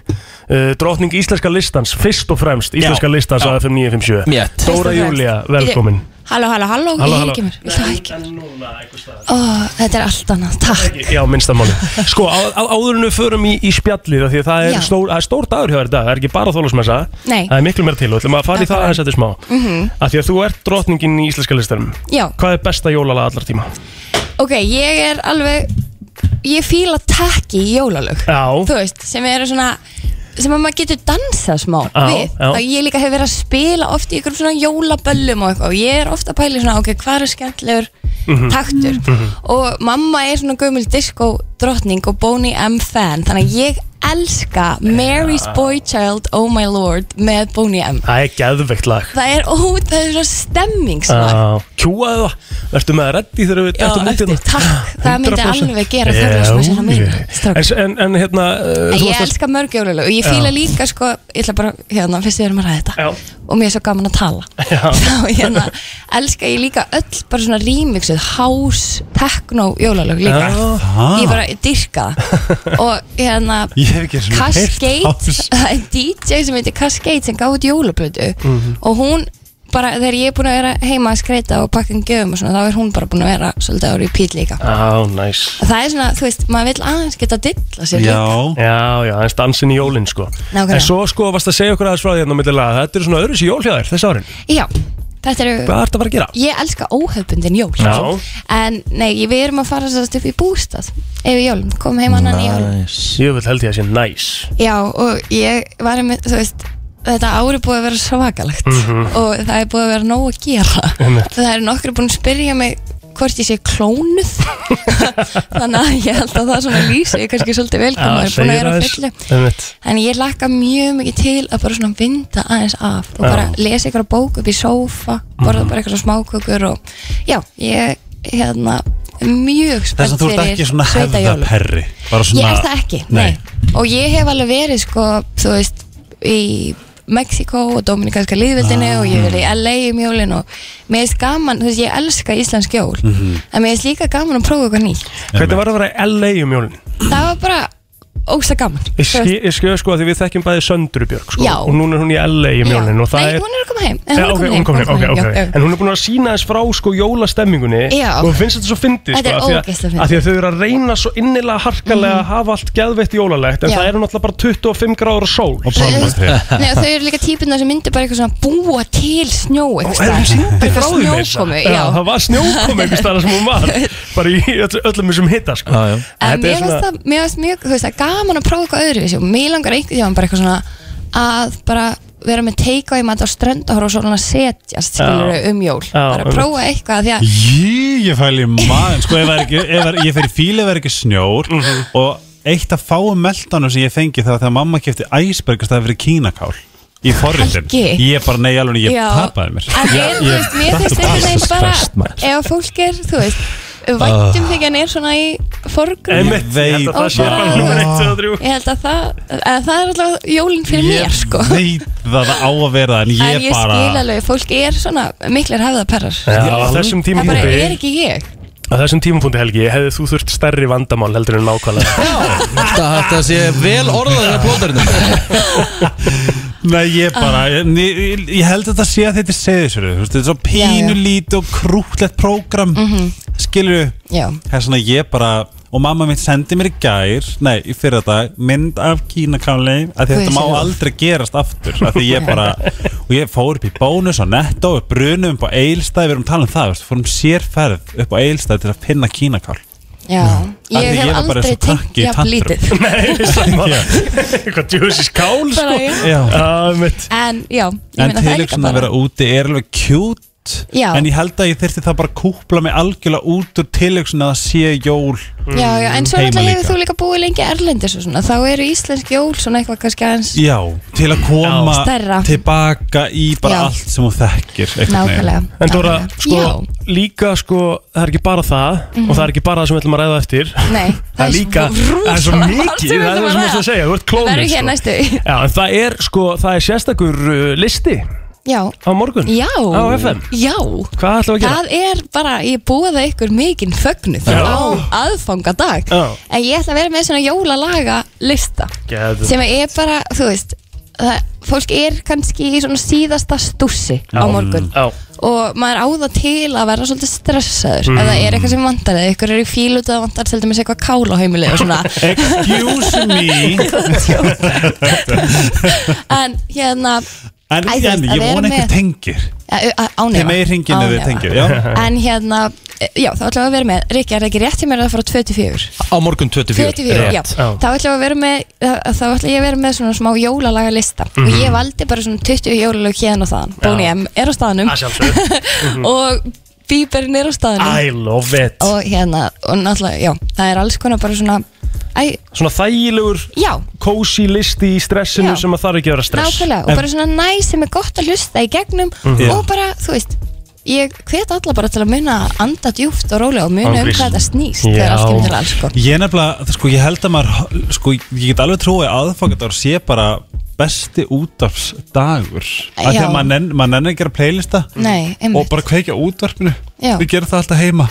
Speaker 2: uh, Drottning Íslenska listans, fyrst og fremst Íslenska listans á FM 957
Speaker 1: Mjett
Speaker 2: Dóra Júlia, velkomin
Speaker 5: Halló, halló, halló,
Speaker 2: Halló,
Speaker 5: ég
Speaker 2: halló.
Speaker 5: ekki mér Viltu það ekki?
Speaker 2: núna eitthvað stað
Speaker 5: Ó, þetta er allt annað, takk
Speaker 2: Já, minnstamáli Sko, á, á, áður en við förum í, í spjallið af Því að það er,
Speaker 5: Já.
Speaker 2: stór, það er stór dagur hjá þér í dag Það er ekki bara þólusmessa
Speaker 5: Nei. Mhm.
Speaker 2: Það er miklu meira til og ætlum að fara í það aðeins eftir smá mm Af því að þú ert drottningin í íslenska listanum
Speaker 5: Já,
Speaker 2: Hvað er besta jólalag allar tíma?
Speaker 5: ok, ég er alveg Ég fíla takki í jólalög
Speaker 2: Já,
Speaker 5: Þú veist, sem eru svona sem að maður getur dansað smá
Speaker 2: Já,
Speaker 5: við
Speaker 2: já.
Speaker 5: þá ég líka hef verið að spila oft í ykkur svona jólaböllum og eitthvað og ég er ofta að pæla í svona, ok, hvað er skemmtilegur
Speaker 2: Mhm.
Speaker 5: taktur og mamma er svona gömul disco drottning og Boney M fan, þannig að ég elska Mary's Boy Child Oh My Lord með Boney M
Speaker 2: það er geðveikt lag
Speaker 5: það er út, það er svona stemmingslag
Speaker 2: Já, Kjúaðu það, verður með að reddi þegar við
Speaker 5: Já,
Speaker 2: dettum út í
Speaker 5: eftir,
Speaker 2: það?
Speaker 5: takk, það myndi
Speaker 2: 100%.
Speaker 5: alveg gera
Speaker 2: Já,
Speaker 5: Þorláksmessuna mína,
Speaker 2: já.
Speaker 5: strákar.
Speaker 2: En- En, en hérna, uh,
Speaker 5: Ég
Speaker 2: þú varst að
Speaker 5: elska mörg jólulega og ég fíla líka sko, ég ætla bara hérna, fyrst við erum að ræða þetta
Speaker 2: Já.
Speaker 5: og mér er svo gaman að tala *laughs* þá hérna, elska ég líka öll bara svona remixuð, house, techno jólalög líka,
Speaker 2: Já.
Speaker 5: ég bara dyrka það og hérna,
Speaker 4: Ég hef ekki einu sinni heyrt á
Speaker 5: Cascade,
Speaker 4: þessu.
Speaker 5: *laughs* það er DJ sem heitir Cascade sem gaf út jólablötu Mhm. og hún bara, þegar ég er búin að vera heima að skreita og pakka um gjöfum og svona, þá er hún bara búin að vera svolítið árið pít líka
Speaker 2: Á, næs
Speaker 5: Það er svona, þú veist, maður vill aðeins geta dilla sér líka
Speaker 2: Já, já, aðeins dansin í jólinn sko
Speaker 5: Nákvæmlega.
Speaker 2: En svo sko varst að segja okkur aðeins frá því hérna á milli laga Þetta eru svona öðru sér jólhjáðir þess árin
Speaker 5: Já, þetta eru
Speaker 2: Hvað ertu að fara að gera?
Speaker 5: Ég elska óhefbundin jól
Speaker 2: Já.
Speaker 5: En nei, ég- við erum að fara sérst upp í bústað Yfir jólum, kom heim annan í jólum
Speaker 2: Ég vil held ég að sé næs
Speaker 5: Já, og ég var með, þú veist Þetta ári búið að vera svakalegt
Speaker 2: Mhm.
Speaker 5: Og það er búið að vera nóg að gera
Speaker 2: Einmitt.
Speaker 5: Það eru nokkru búin að spyrja mig hvort ég sé klónuð
Speaker 2: *laughs*
Speaker 5: Þannig að ég held að það svona lýsi ég kannski svolítið vel hvað
Speaker 2: Já,
Speaker 5: maður er
Speaker 2: segir
Speaker 5: búin að vera á
Speaker 2: aðeins.
Speaker 5: fullu
Speaker 2: Einmitt.
Speaker 5: Þannig ég lakka mjög mikið til að bara svona vinda aðeins af og
Speaker 2: Já.
Speaker 5: bara lesa ykkur bók upp í sófa borða
Speaker 4: Mhm.
Speaker 5: bara ykkur smákökur og já, ég hérna mjög
Speaker 4: Þess
Speaker 5: spennt
Speaker 4: að þú ert ekki
Speaker 5: fyrir
Speaker 4: svona
Speaker 5: sveitajólum.
Speaker 4: hefðaperri Bara
Speaker 5: Ég
Speaker 4: svona
Speaker 5: er það ekki, nei. Og ég hef alveg verið, sko, þú veist, í Mexiko og Dominikanska líðveldinu og ég hef
Speaker 4: Ah.
Speaker 5: verið í LA um jólin og mér finnst gaman, þú veist, ég elska íslensk jól
Speaker 2: Mhm.
Speaker 5: en mér finnst líka gaman að prófa eitthvað nýtt.
Speaker 2: Hvernig var að vera í LA um jólinn?
Speaker 5: Það var bara ógsta gaman.
Speaker 2: Ég
Speaker 5: Þú veist,
Speaker 2: skil- ég skil sko að því við þekkjum bæði Söndru Björg sko
Speaker 5: Já.
Speaker 2: Og núna er hún í LA um jólinn og það
Speaker 5: Nei,
Speaker 2: er
Speaker 5: hún er að koma heim. En
Speaker 2: Já, ok, hún kom heim, ok, ok
Speaker 5: já, já.
Speaker 2: En hún er búin að sína þess frá sko jólastemmingunni
Speaker 5: Já.
Speaker 2: Og finnst þetta svo fyndið sko
Speaker 5: Þetta er
Speaker 2: af því að-
Speaker 5: ógeðslega fyndið. Mhm.
Speaker 2: af Því að þau eru að reyna svo innilega harkalega að hafa allt geðveitt jólalegt En
Speaker 5: Já.
Speaker 2: það eru náttúrulega bara 25 gráður og sól Og
Speaker 5: Nei, og þau eru líka típina sem myndir bara eitthvað svona búa til snjó eitthvað.
Speaker 2: er hún sýndi
Speaker 5: Bara
Speaker 2: frá því meira?
Speaker 5: snjókomu, já.
Speaker 2: Það var snjókomu einhvers staðar sem hún
Speaker 5: *laughs*
Speaker 2: var Bara í öll- öllum þessum hita sko já, já.
Speaker 5: En mér finnst það, mér finnst mjög, þú veist, það er gaman að prófa eitthvað öðru og mér langar einhvern tíma bara eitthvað svona að bara vera með teika í mat á strönd og horfa á sólina að setjast skilur um jól, bara að prófa eitthvað því að
Speaker 4: Jí, ég fæli maður Sko, ef það er ekki, ef það er, ég fer í fíli ef það er ekki snjór Og eitt af fáum meldanum sem ég fengi Það var þegar mamma kefti æsbergast að það fyrir kínakál Í forritin
Speaker 5: Helgi.
Speaker 4: Ég bara, nei, alveg, ég
Speaker 5: Já.
Speaker 4: tapaði mér
Speaker 5: en
Speaker 4: Ég-
Speaker 5: er, þú
Speaker 4: ég
Speaker 5: veist, mér
Speaker 4: datt
Speaker 5: finnst
Speaker 4: út af
Speaker 5: einhvern veginn
Speaker 4: þessu
Speaker 5: bara
Speaker 4: fest, maður.
Speaker 5: ef fólk er, þú veist,
Speaker 2: Ah.
Speaker 5: væntum þig en er svona í forgrunn
Speaker 4: Ég veit
Speaker 5: Og bara- Ég held að það, að það er alltaf jólinn fyrir mér sko
Speaker 4: Veit það það á að vera En
Speaker 5: En
Speaker 4: ég
Speaker 5: ég
Speaker 4: bara
Speaker 5: skil alveg, fólk er svona miklir hefðaperrar
Speaker 2: Já, á þessum
Speaker 5: Það bara
Speaker 2: tímapunkti-
Speaker 5: er ekki ég
Speaker 2: Á þessum tímapunkti Helgi, hefði þú þurft stærri vandamál heldur en *laughs* nákvæmlega
Speaker 1: Þetta þetta sé vel orðað að plóðurinn
Speaker 4: Nei, ég bara,
Speaker 5: Ah.
Speaker 4: ég, ég, ég held að þetta sé að þetta segði sér Þetta er svo pínulítið og krútlegt prógram mm
Speaker 5: Mhm.
Speaker 4: -hmm. Skilur
Speaker 5: Já.
Speaker 4: Það er svona ég bara Og mamma mitt sendi mér í gær Nei, í fyrir þetta Mynd af kínakáli af því
Speaker 11: Guð
Speaker 4: Þetta
Speaker 11: sé
Speaker 4: má
Speaker 11: lof.
Speaker 4: aldrei gerast aftur af Því ég bara Og ég fór upp í bónus á netto Við brunum upp á eilstæð Við erum talað um það veist, Fórum sérferð upp á eilstæð Til að finna kínakál
Speaker 5: Já,
Speaker 4: Af því
Speaker 5: ég
Speaker 4: ég
Speaker 5: hef
Speaker 4: var bara eins
Speaker 5: aldrei
Speaker 4: og
Speaker 5: tengt
Speaker 4: krakki í
Speaker 5: jafn
Speaker 2: *laughs*
Speaker 4: tantrum.
Speaker 5: lítið
Speaker 2: Nei, sama Eitthvað djúsis kál sko
Speaker 5: Bara, já.
Speaker 4: Já.
Speaker 2: mitt
Speaker 5: En já, ég
Speaker 4: En
Speaker 5: meina það er líka
Speaker 4: tilhugsun að
Speaker 5: bara
Speaker 4: vera úti er alveg kjút
Speaker 5: Já.
Speaker 4: En ég held að ég þyrfti það bara að kúpla mig algjörlega út úr tilhugsun að það sé jól
Speaker 5: Já, já, en svo
Speaker 4: heima
Speaker 5: náttúrulega
Speaker 4: líka.
Speaker 5: hefur þú líka búið lengi erlendis og svona Þá eru íslensk jól svona eitthvað kannski aðeins
Speaker 4: Já, til að koma
Speaker 5: Já. Stærra.
Speaker 4: tilbaka í bara
Speaker 5: Já.
Speaker 4: allt sem þú þekkir einhvern veginn.
Speaker 5: Nákvæmlega
Speaker 2: En Dóra, sko,
Speaker 5: Já.
Speaker 2: líka sko, það er ekki bara það og það er ekki bara það sem við ætlum að ræða eftir
Speaker 5: Nei,
Speaker 2: það er líka,
Speaker 5: svo
Speaker 2: það er svo
Speaker 5: rosalega margt
Speaker 2: mikið
Speaker 5: sem við
Speaker 2: það er
Speaker 5: ætlum
Speaker 2: það sem ég ætlum
Speaker 5: að ræða.
Speaker 2: að segja, þú ert
Speaker 5: Það
Speaker 2: klónur
Speaker 5: eru hér
Speaker 2: sko.
Speaker 5: næstu *laughs*
Speaker 2: Já, en það er sko, það er sérstakur uh, listi
Speaker 5: Já,
Speaker 2: á morgun
Speaker 5: já
Speaker 2: á FM
Speaker 5: Já
Speaker 2: Hvað ætlum við að
Speaker 5: Það
Speaker 2: gera?
Speaker 5: er bara, ég búið ykkur mikinn fögnuð
Speaker 2: Já.
Speaker 5: á aðfangadag
Speaker 2: Já.
Speaker 5: En ég ætla að vera með svona jólalaga lista
Speaker 2: Geðum.
Speaker 5: sem er bara, þú veist það, fólk er kannski í svona síðasta stússi á morgun
Speaker 2: Já,
Speaker 5: og maður á það til að vera svolítið stressaður
Speaker 2: Mm.
Speaker 5: ef það er eitthvað sem vantar eða ykkur er í fíl út að það vantar til dæmis eitthvað kál á heimilið
Speaker 4: *laughs*
Speaker 5: og svona
Speaker 4: Excuse me
Speaker 5: en hérna
Speaker 4: En,
Speaker 5: Æ, þú
Speaker 4: en
Speaker 5: veist, að
Speaker 4: ég
Speaker 5: vera
Speaker 4: vona
Speaker 5: með-
Speaker 4: einhver tengir
Speaker 5: ja, á- á
Speaker 4: Þið
Speaker 5: nefa
Speaker 4: megið hringja inn
Speaker 5: Á
Speaker 4: ef þið
Speaker 5: nefa.
Speaker 4: tengið, já.
Speaker 5: *laughs* en hérna, já þá ætlum við að vera með Rikki, er það ekki rétt hjá mér að það fara á 24?
Speaker 1: Á morgun 24
Speaker 5: 24, já. Þá ætlum við að vera með uh, þá ætlum ég að vera með svona smá jólalaga lista og
Speaker 1: Mhm.
Speaker 5: ég valdi bara svona 20 jólalög hérna og þaðan. Bóni M er á staðnum
Speaker 2: Að sjálfsögðu. Mhm.
Speaker 5: og Bíberinn er á staðnum
Speaker 2: I love it
Speaker 5: og hérna, og náttúrulega, já, það er alls konar bara svona, æ,
Speaker 2: Svona þægilegur,
Speaker 5: já,
Speaker 2: cozy listi í stressinu
Speaker 5: Já.
Speaker 2: sem að þarf ekki að vera stress
Speaker 5: nákvæmlega og bara svona næ sem er gott að hlusta í gegnum
Speaker 2: Mhm.
Speaker 5: og bara, þú veist ég hvet alla bara til að muna að anda djúft og rólega og muna um
Speaker 4: Ángríns.
Speaker 5: hvað þetta snýst þegar allt kemur til alls sko.
Speaker 4: Ég nefnilega, það- sko, ég held að maður sko, ég get alveg trúið að aðfangadár sé bara besti útvarps dagur að því
Speaker 5: Já.
Speaker 4: að maður nenn, mað nenni að gera playlista
Speaker 5: Nei, einmitt.
Speaker 4: og bara kveikja á útvarpinu
Speaker 5: Já.
Speaker 4: við gerum það alltaf heima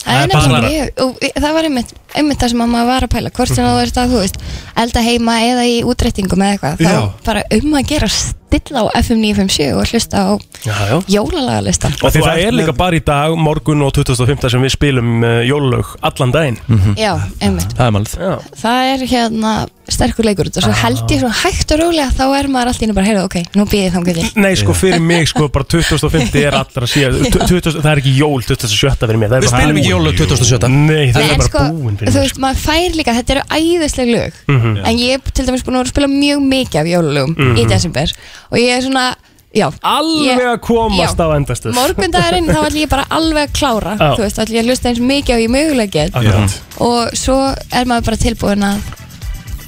Speaker 5: Það
Speaker 2: Nei,
Speaker 5: er nefnilega
Speaker 2: bara- Mhm.
Speaker 5: ég, og ég- það var einmitt, einmitt það sem mamma var að pæla hvort sem þú ert að, þú veist, elda heima eða í útrettingum eða eitthvað þá
Speaker 2: Já.
Speaker 5: bara um að gera stilla á FM 957 og hlusta á
Speaker 2: Já, já.
Speaker 5: jólalagalista
Speaker 2: Og þú er líka bara í dag, morgun og 2015 sem við spilum uh, jólög allan daginn
Speaker 5: Já, einmitt
Speaker 1: Það er málið
Speaker 2: Já,
Speaker 5: Það er hérna sterkur leikur og
Speaker 2: Ah.
Speaker 5: svo held ég svo hægt og rólega þá er maður alltaf inn og bara, heyrðu, ok, nú býðið þá getur
Speaker 2: Nei, sko, fyrir mig, sko, bara 2050 er allra *laughs* síðan, tu- 20 það er ekki jól 2017 fyrir mér, það er
Speaker 1: Við
Speaker 2: bara
Speaker 1: spilum ekki
Speaker 2: búin.
Speaker 1: jólu 2017
Speaker 2: Nei, það
Speaker 5: Nei,
Speaker 2: er
Speaker 5: en
Speaker 2: bara
Speaker 5: sko,
Speaker 2: búin fyrir
Speaker 5: þú
Speaker 2: mér
Speaker 5: veist, maður fær líka, þetta eru æðisleg lög
Speaker 2: Mhm.
Speaker 5: En ég er til dæmis búin að vera að spila mjög mikið af jólalögum í desember Og ég er svona, já
Speaker 2: Alveg
Speaker 5: ég-
Speaker 2: að komast
Speaker 5: Já.
Speaker 2: á endastuð
Speaker 5: morgundagurinn þá ætlum ég bara alveg að klára
Speaker 2: Já.
Speaker 5: þú veist, ætlum ég að hlusta eins mikið á ég mögulega get
Speaker 2: Akkurat.
Speaker 5: og svo er maður bara tilbúin að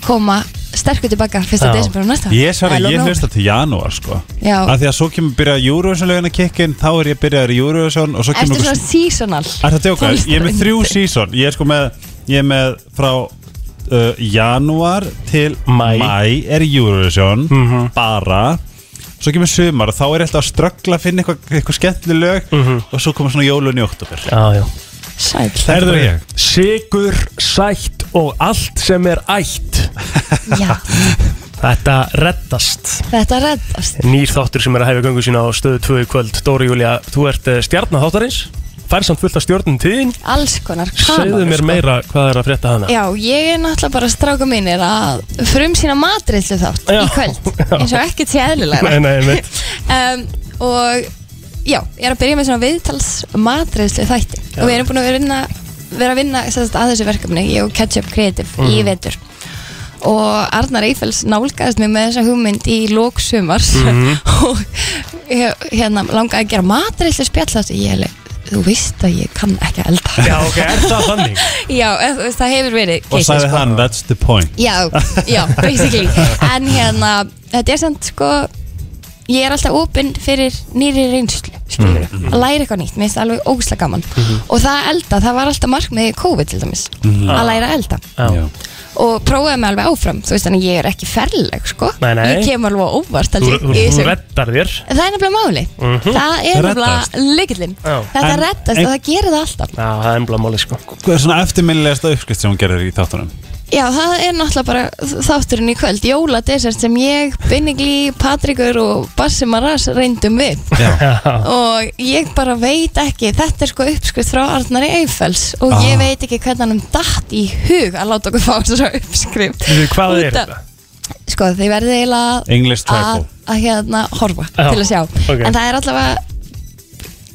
Speaker 5: koma sterkur tilbaka fyrsta
Speaker 4: Já.
Speaker 5: desember og næsta
Speaker 4: Ég sver
Speaker 5: I
Speaker 4: að
Speaker 5: don't
Speaker 4: ég
Speaker 5: know.
Speaker 4: hlusta til janúar sko
Speaker 5: Já.
Speaker 4: Af því að svo kemur byrja Eurovision lögin að kikka inn Þá er ég byrjaður í Eurovision og svo
Speaker 5: Ertu
Speaker 4: kemur
Speaker 5: svona seasonal?
Speaker 4: Er það tjóka? Ég er með
Speaker 5: tónlistarvindi?
Speaker 4: þrjú season Ég er sko með, ég er með frá uh, janúar til mæ. er Eurovision bara Svo kemur sumar og þá er ég alltaf að ströggla að finna eitthvað eitthva skemmtileg lög og svo kemur svona jólun í oktober
Speaker 2: Já, já
Speaker 5: Sæl
Speaker 4: *laughs* Þetta er bara ég
Speaker 2: Sigur, sætt og allt sem er ætt
Speaker 5: Já.
Speaker 2: Þetta reddast
Speaker 5: Þetta reddast
Speaker 2: Nýr þáttur sem er að hefja göngu sína á stöðu 2 í kvöld Dóri Júlia, þú ert stjarnar þáttarins Fær samt fullt af stjórnum tíðin
Speaker 5: alls konar
Speaker 2: Segðu
Speaker 5: kanónur,
Speaker 2: mér
Speaker 5: sko.
Speaker 2: meira hvað er að frétta hana
Speaker 5: Já, ég er náttúrulega bara stráka mínir að frum sína matreyslu þátt í kvöld eins og ekkert sé
Speaker 2: *laughs*
Speaker 5: eðlilega
Speaker 2: Nei, nei, einmitt.
Speaker 5: um, og já, ég er að byrja með svona viðtals matreyslu þætti og við erum búin að vera að vinna, vera að, vinna sem sagt, að þessu verkefni, ég og Ketchup Creative í
Speaker 12: Mhm.
Speaker 5: vetur og Arnar Eiffels nálgæðist mig með þessa hugmynd í lóksumars
Speaker 12: Mhm.
Speaker 5: *laughs* og ég- hérna langaði að gera matreyslu spjall þátt ég er alveg, þú veist að ég kann ekki að elda
Speaker 2: Já, ok, er það þannig?
Speaker 5: *laughs* Já, eh, þú veist, það hefur verið
Speaker 4: Og
Speaker 5: keisið,
Speaker 4: sagði
Speaker 5: sko.
Speaker 4: hann, that's the point
Speaker 5: Já, já,
Speaker 2: *laughs*
Speaker 5: basically En hérna, þetta er samt sko Ég er alltaf opinn fyrir nýri reynslu Skilur
Speaker 2: Mhm.
Speaker 5: Að læra eitthvað nýtt, mér finnst það alveg ógslag gaman
Speaker 12: Mhm.
Speaker 5: Og það að elda, það var alltaf markmiði COVID til dæmis
Speaker 12: Mhm.
Speaker 5: Að læra að elda
Speaker 2: Já.
Speaker 5: Og prófaði mig alveg áfram, þú veist þannig ég er ekki ferleg sko
Speaker 2: Nei, nei.
Speaker 5: Ég kem alveg á óvart held
Speaker 2: Þú,
Speaker 5: ég,
Speaker 2: þú,
Speaker 5: í
Speaker 2: þú
Speaker 5: þessum-
Speaker 2: reddar þér
Speaker 5: Það er nefnilega máli
Speaker 2: Mhm.
Speaker 5: Það er
Speaker 4: Það reddast.
Speaker 5: nefnilega lykillinn
Speaker 4: Já.
Speaker 5: Þetta
Speaker 4: En-
Speaker 5: reddast
Speaker 4: en-
Speaker 5: og það gerir það alltaf
Speaker 2: Já, það er ennbla máli sko
Speaker 4: Hvað er svona eftirminnilegasta uppskrift sem hún gerir í þáttunum?
Speaker 5: Já, það er náttúrulega bara þátturinn í kvöld, jóladessert sem ég, Binnigli, Patrikur og Bassi Maras reyndum við og ég bara veit ekki, þetta er sko uppskrift frá Arnari Eiffels og
Speaker 2: Ah.
Speaker 5: ég veit ekki hvernig hann datt í hug að láta okkur fá þessar uppskrift
Speaker 2: Þú, Hvað
Speaker 5: Út
Speaker 2: er
Speaker 5: af-
Speaker 2: þetta?
Speaker 5: Sko, þið verðið eiginlega
Speaker 2: English
Speaker 5: að,
Speaker 2: typo.
Speaker 5: að hérna horfa
Speaker 2: Já,
Speaker 5: til að sjá
Speaker 2: ok.
Speaker 5: en það er allavega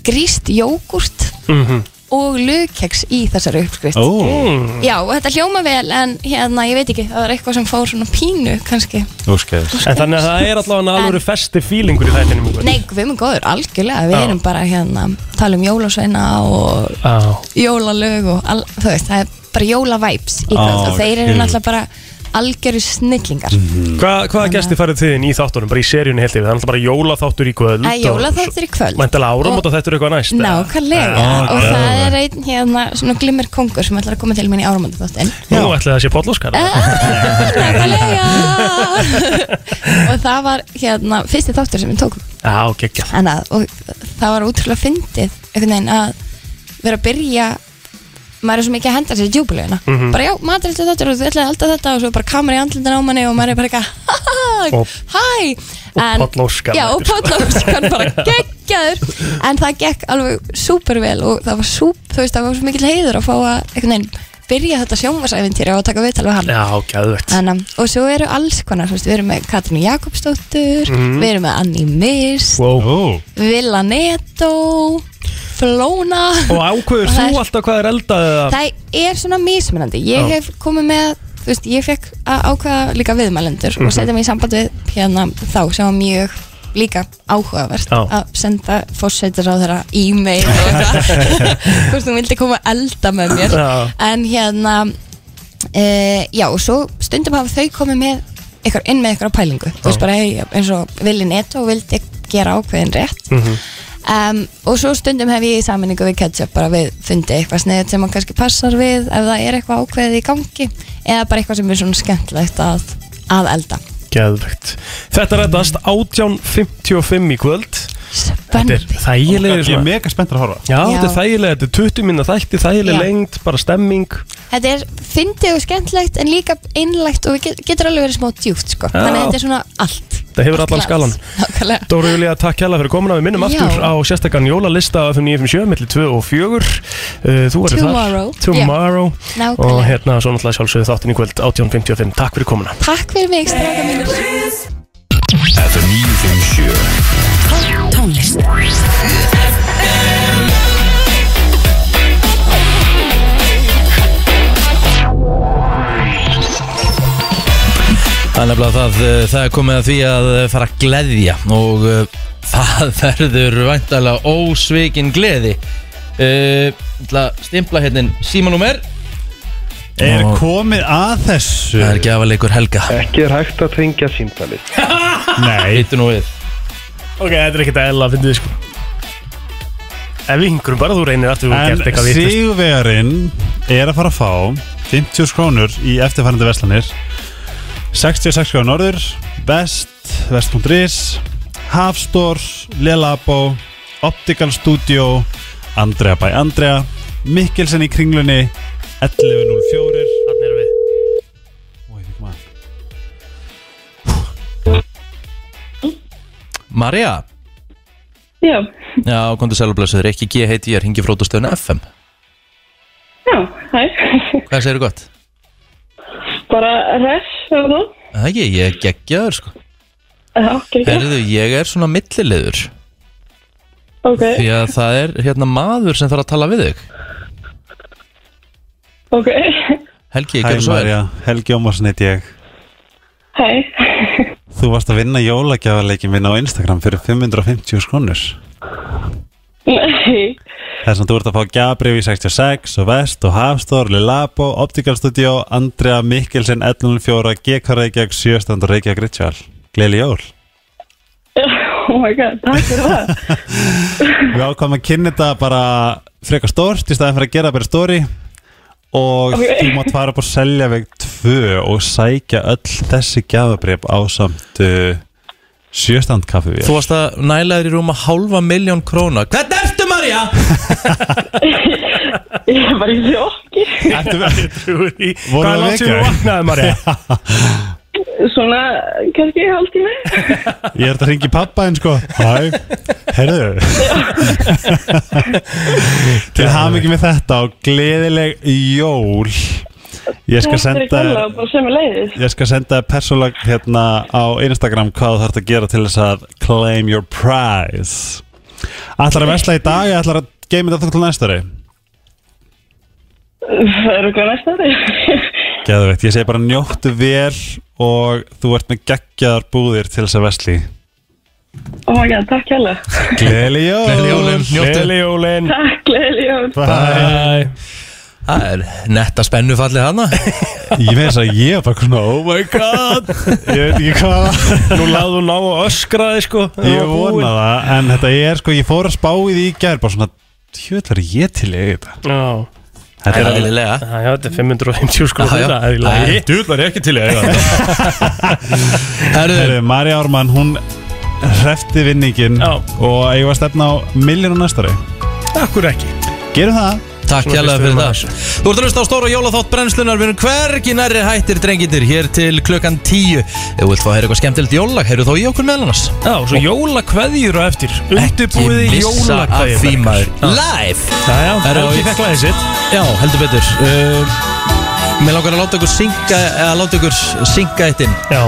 Speaker 5: gríst jógurt
Speaker 2: Mhm.
Speaker 5: og lögkeks í þessari uppskrift
Speaker 2: Ó. Mm.
Speaker 5: Já, og þetta hljóma vel en hérna, ég veit ekki, það var eitthvað sem fór svona pínu kannski
Speaker 4: Úrskæðis
Speaker 2: En þannig að það er allavega alveg festi fílingur í þættinum ykkur.
Speaker 5: Nei, við erum góður, algjörlega, við
Speaker 2: Já.
Speaker 5: erum bara hérna, tala um jólasveina og
Speaker 2: Á.
Speaker 5: jólalög og al, þú veist, það er bara jólavæps í
Speaker 2: Á,
Speaker 5: kvöld og þeir eru
Speaker 2: skil.
Speaker 5: náttúrulega bara algjöru snillingar
Speaker 2: Hva, hvaða gesti farið þið inn í þáttunum, bara í seríunni heilt yfir? Það er alltaf bara jólaþáttur í kvöld
Speaker 5: Að jólaþáttur í kvöld
Speaker 2: Mæntalega áramóta þetta eru eitthvað næst eða?
Speaker 5: Nákvæmlega,
Speaker 2: Ah,
Speaker 5: og
Speaker 2: já.
Speaker 5: það er einn hérna svona glimmer kongur sem ætlar að koma til mín í áramöndu þáttin
Speaker 2: Nú ætlaði það sé potlóskar
Speaker 5: Ah. *laughs* og það var hérna fyrsti þáttur sem við tókum
Speaker 2: Já, geggja
Speaker 5: En að, og það var útrúlega fyndið einhvern veginn að vera að byrja maður er svo mikið að henda sér í djúbuleguna
Speaker 2: Mhm.
Speaker 5: bara já, maður ætlaði þetta og þú ætlaði alltaf þetta og svo bara kamera í andlindin á manni og maður er bara eitthvað "Ha, ha, ha,
Speaker 2: Og-
Speaker 5: hæ En-
Speaker 2: pollóskan
Speaker 5: já, og
Speaker 2: mætir, sko.
Speaker 5: potlóskan
Speaker 2: *laughs*
Speaker 5: bara geggjaður en það gekk alveg supervel og það var súp, þú veist, það var svo mikil heiður að fá að einhvern veginn byrja þetta sjónvarsævintýri og taka viðtal við hann
Speaker 2: Já, gæðvögt
Speaker 5: Þannig, að- og svo eru alls konar, þú veist, við erum með Katrínu Jakobsdóttur,
Speaker 2: Mhm.
Speaker 5: við erum með Annie Mist,
Speaker 2: wow.
Speaker 5: Villa Neto, Flóna
Speaker 2: Og ákveður
Speaker 5: það
Speaker 2: þú
Speaker 5: er-
Speaker 2: alltaf hvað er eldað eða?
Speaker 5: Það er svona mismunandi, ég
Speaker 2: Já.
Speaker 5: hef komið með, þú veist, ég fekk að ákveða líka viðmælendur og
Speaker 2: Mhm.
Speaker 5: setja mig í samband við hérna þá sem var mjög líka áhugavert
Speaker 12: Já.
Speaker 5: að senda fórsættir á þeirra e-mail og eitthvað,
Speaker 2: *laughs*
Speaker 5: hvort þú vildi koma að elda með mér
Speaker 12: Já.
Speaker 5: en hérna uh, já, og svo stundum hafa þau komið með ykkur, inn með ykkur á pælingu þú veist bara hey, eins og Vili Neto vildi gera ákveðin rétt
Speaker 2: Mhm,
Speaker 5: um, og svo stundum hef ég í saminningu við ketchup bara við fundið eitthvað sniðið sem að kannski passar við ef það er eitthvað ákveðið í gangi eða bara eitthvað sem er svona skemmtlegt að, að elda
Speaker 2: Gæðvögt Þetta reddast 18.55 í kvöld Þetta er þægilega
Speaker 4: Ég er mega spenntur að horfa
Speaker 2: Já,
Speaker 5: Já.
Speaker 2: þetta er þægilega, þetta er 20 minna þætti,
Speaker 5: Já.
Speaker 2: þægilega lengt, bara stemming
Speaker 5: Þetta er fyndið og skemmtlegt en líka einlægt og get, getur alveg verið smá djúft sko.
Speaker 2: Já.
Speaker 5: Þannig að þetta er svona allt
Speaker 2: Þetta hefur allan skalan
Speaker 5: Nákvæmlega
Speaker 2: Dóra Júlía, takk hérlega fyrir komuna Við minnum
Speaker 5: Já.
Speaker 2: aftur á sérstakann jólalista á FM 957 millir 2 og 4 uh, Þú verður þar
Speaker 5: Tomorrow.
Speaker 2: Tomorrow
Speaker 5: Nákvæmlega.
Speaker 2: Og hérna svo náttúrulega sjálfsögðu þáttin í kvöld 18.55 Takk fyrir komuna
Speaker 5: Takk fyrir mig, stráka mínir
Speaker 3: FM 957
Speaker 6: Tónlist
Speaker 1: Það er nefnilega það, eh, það er komið að því að eh, fara að gleðja og eh, það *laughs* verður væntalega ósvikin gleði Eh, Ég ætla að stimpla hérna inn símanúmer
Speaker 4: Er komið að þessu?
Speaker 1: Það er ekki aðval ykkur helga
Speaker 12: Ekki er hægt að tengja símtalið
Speaker 4: Nei
Speaker 1: Hittu nú við
Speaker 2: Ok, þetta er ekkert að ella að finna þið sko Ef við hingurum bara þú reynir aftur þú
Speaker 4: En
Speaker 2: gert eitthvað vitlaust.
Speaker 4: sigurvegarinn er að fara að fá 50 krónur í eftirfærandi verslanir 66 krónur norður Vest, Vest.ris Hafstór, Lelabó Optical Studio Andrea by Andrea Mikkelsen í kringlunni 11.04
Speaker 2: Þarna erum við
Speaker 4: Ó, ég fikk maður.
Speaker 1: Marja,
Speaker 13: Já,
Speaker 1: já, komdu sælublessuður, ekki G heiti ég, ringi frótastöðun FM
Speaker 13: já, hæ *laughs*
Speaker 1: Hvað segirðu gott?
Speaker 13: Bara res, hefur þú?
Speaker 1: Það er ekki, ég er geggjaður sko
Speaker 13: Já, ekki ekki
Speaker 1: Herðu, ég er svona millilegur
Speaker 13: Ok,
Speaker 1: Því að það er hérna maður sem þarf að tala við þig
Speaker 13: ok,
Speaker 1: Helgi,
Speaker 4: Hæ
Speaker 1: gerðu svo vel
Speaker 4: Marja, Helgi Ómarsson heit ég
Speaker 13: hæ *laughs*
Speaker 4: Þú varst að vinna jólagjafaleikin minn á Instagram fyrir 550 krónur
Speaker 13: Nei,
Speaker 4: Þess að þú ert að fá Gjabrif í 66 og Vest og Hafstór, Lilabo, Optical Studio, Andrea Mikkelsen, 114, GK Reykjavík, 7 stand og Reykjavík Ritual. Gleili jól.
Speaker 13: oh my god, takk fyrir það
Speaker 4: Við ákvæmum að kynna þetta bara frekar stórt í staðin fyrir að gera bara stóri og
Speaker 13: Ok.
Speaker 4: þú mátt fara upp og selja veg 2 og sækja öll þessi Gjabrif á samt uh, 7 stand kaffi við.
Speaker 1: Þú varst að nælaður í rúma hálfa miljón króna Hvern ertu Marja?
Speaker 13: Ég er bara í sjokki
Speaker 4: Ertu
Speaker 2: við?
Speaker 4: Voru
Speaker 2: Hvað er
Speaker 4: það
Speaker 2: langt sem þú
Speaker 4: vekjaður?
Speaker 2: vaknaði, *laughs* Marja?
Speaker 13: Svona, kannski ég haldi mig
Speaker 4: Ég er þetta að ringi pappa en sko Hæ, herðu Til hamingi með þetta og gleðileg jól Ég skal senda
Speaker 13: Takk fyrir kolla, bara sem er leiðis
Speaker 4: Ég skal senda þér persónlag hérna á Instagram hvað þú þarf að gera til þess að claim your prize Ætlar að vesla í dag eða ætlar að geima þetta til næsta ári?
Speaker 13: Það eru hvað næsta
Speaker 4: *laughs*
Speaker 13: ári
Speaker 4: Geðvegt, ég segi bara njóttu vel og þú ert með geggjaðar búðir til þess að vesli
Speaker 13: Oh my god, takk hella
Speaker 4: Gleðileg jól
Speaker 1: Gleðileg jólin, njóttu.
Speaker 2: Gleðileg jólin
Speaker 13: Takk, leiðileg jól
Speaker 4: Bye.
Speaker 2: Bye.
Speaker 1: Það er netta spennufallið hana
Speaker 4: Ég veist að ég var bara svona Oh my god Ég veit ekki hvað það var.
Speaker 2: Nú laðu ná að öskra þig sko
Speaker 4: Ég vona það En þetta er sko Ég fór að spá í því í gær Bara svona Tjöðl er ég til í þetta
Speaker 2: Já,
Speaker 4: Þetta er alveg
Speaker 1: eðlilega
Speaker 2: Já, já, þetta er 550 sko
Speaker 1: Já, já.
Speaker 2: Það er í lagi.
Speaker 1: Dúlar ekki til ég Herðu,
Speaker 4: Herðu, Marja Ármann Hún hrefti vinningin
Speaker 2: Já.
Speaker 4: Og ég var að stefna á Miljónu næstari
Speaker 2: Akkur ekki
Speaker 4: Gerum það
Speaker 1: Takk
Speaker 2: Svona
Speaker 1: hérlega
Speaker 2: fyrst
Speaker 1: fyrir
Speaker 2: við
Speaker 1: það Þú ert að hlusta á stóra jólaþátt brennslunar Við erum hvergi nærri hættir drengindir Hér til klukkan tíu Ef þú vilt fá að heyra eitthvað skemmtilegt jólag Heyrðu þá í okkur meðal annars
Speaker 2: Já, svo jólakveðjur á eftir Undirbúið
Speaker 1: Ekki missa af því
Speaker 2: jólakveðjur
Speaker 1: maður Live
Speaker 2: Já, já,
Speaker 1: Herra,
Speaker 2: Helgi
Speaker 1: og-
Speaker 2: fekk lagið sitt
Speaker 1: Já, heldur betur uh, Mér langar að láta ykkur synga Að láta ykkur synga eitt inn
Speaker 2: Já,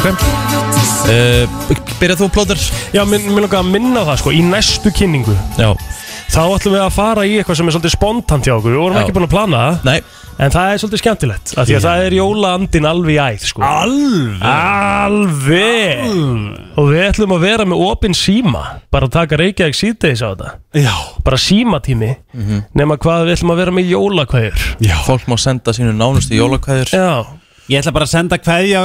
Speaker 2: ok
Speaker 1: uh, Byrjað þú plóður?
Speaker 2: Já, mér mér langar að minna á það sko Í næstu kynningu
Speaker 1: Já
Speaker 2: Þá ætlum við að fara í eitthvað sem er svolítið spontant hjá okkur Við vorum
Speaker 1: Já.
Speaker 2: ekki búin að plana það
Speaker 1: Nei
Speaker 2: En það er svolítið skemmtilegt af Því að það er jólaandin alveg í æð sko. Alveg? Alveg Og við ætlum að vera með opinn síma Bara að taka Reykjavík síðdeis á þetta
Speaker 4: Já
Speaker 2: Bara símatími Nema hvað við ætlum að vera með jólakvæður
Speaker 4: Já
Speaker 1: Fólk má senda sínu nánustu jólakvæður
Speaker 2: Já,
Speaker 4: Ég ætla bara að senda kveðja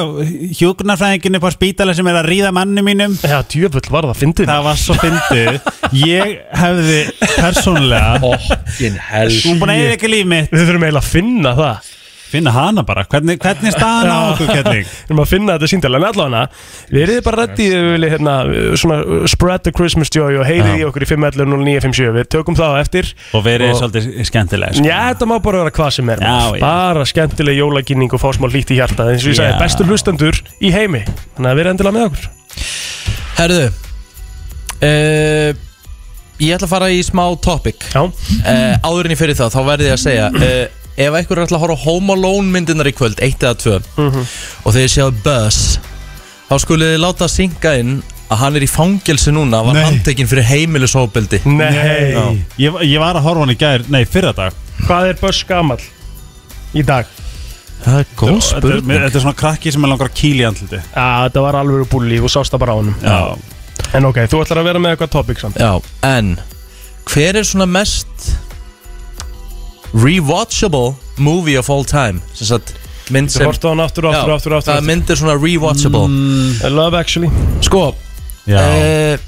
Speaker 4: Hjúknarfræðinginu på spítala sem er að ríða manni mínum
Speaker 2: já, djöfull var það fyndið
Speaker 4: Það var svo fyndið Ég hefði persónlega
Speaker 2: Oh,
Speaker 1: Fokkin hel
Speaker 4: Hún búin að eða ekki líf mitt
Speaker 2: Við þurfum eiginlega að finna það
Speaker 4: finna hana bara Hvernig, hvernig er staðan á okkur, Kjelling?
Speaker 2: Við erum að finna þetta síndalega með allavega Verið þið bara rætti Við viljið hérna Svona uh, spread the Christmas joy Og heyrið
Speaker 4: Já.
Speaker 2: í okkur í 5.11.09.57 Við tökum það á eftir
Speaker 4: Og verið svolítið skemmtilega
Speaker 1: Sko.
Speaker 2: Já, þetta má bara vera hvað sem er
Speaker 4: Já, já.
Speaker 2: Bara skemmtileg jólaginning og fá smá lít í hjarta eins og ég sagði,
Speaker 4: Já.
Speaker 2: bestu hlustendur í heimi Þannig að við erum endilega með okkur
Speaker 1: Herðu uh, Ég ætla að fara í smá topic Eh,
Speaker 2: uh,
Speaker 1: Áður en ég fyrir það, þá verði ég að segja uh, Ef einhver er alltaf að horfa á Home Alone myndinar í kvöld Eitt eða tvö Og þegar ég séu Buzz Þá skulle þið láta synga inn að hann er í fangelsi núna Var handtekinn fyrir heimilisofbeldi
Speaker 4: Já. ég, ég var að horfa hann í gær, nei, fyrra dag
Speaker 2: Hvað er Buzz gamall í dag?
Speaker 1: Það er
Speaker 2: góð spurning.
Speaker 4: Þetta er svona krakki sem er langar að kýli andliti
Speaker 2: Já, þetta var alveg búli og sást það bara á honum
Speaker 4: Já.
Speaker 2: En ok, þú ætlar að vera með eitthvað topic samt
Speaker 1: Já, en Hver er svona mest Rewatchable movie of all time Sem sagt mynd
Speaker 2: Þú
Speaker 1: sem
Speaker 2: horfst á hann aftur og aftur
Speaker 1: Já,
Speaker 2: og aftur og aftur Mm.
Speaker 1: Það mynd er svona rewatchable
Speaker 2: I love actually
Speaker 1: Sko
Speaker 4: Já.
Speaker 1: eh,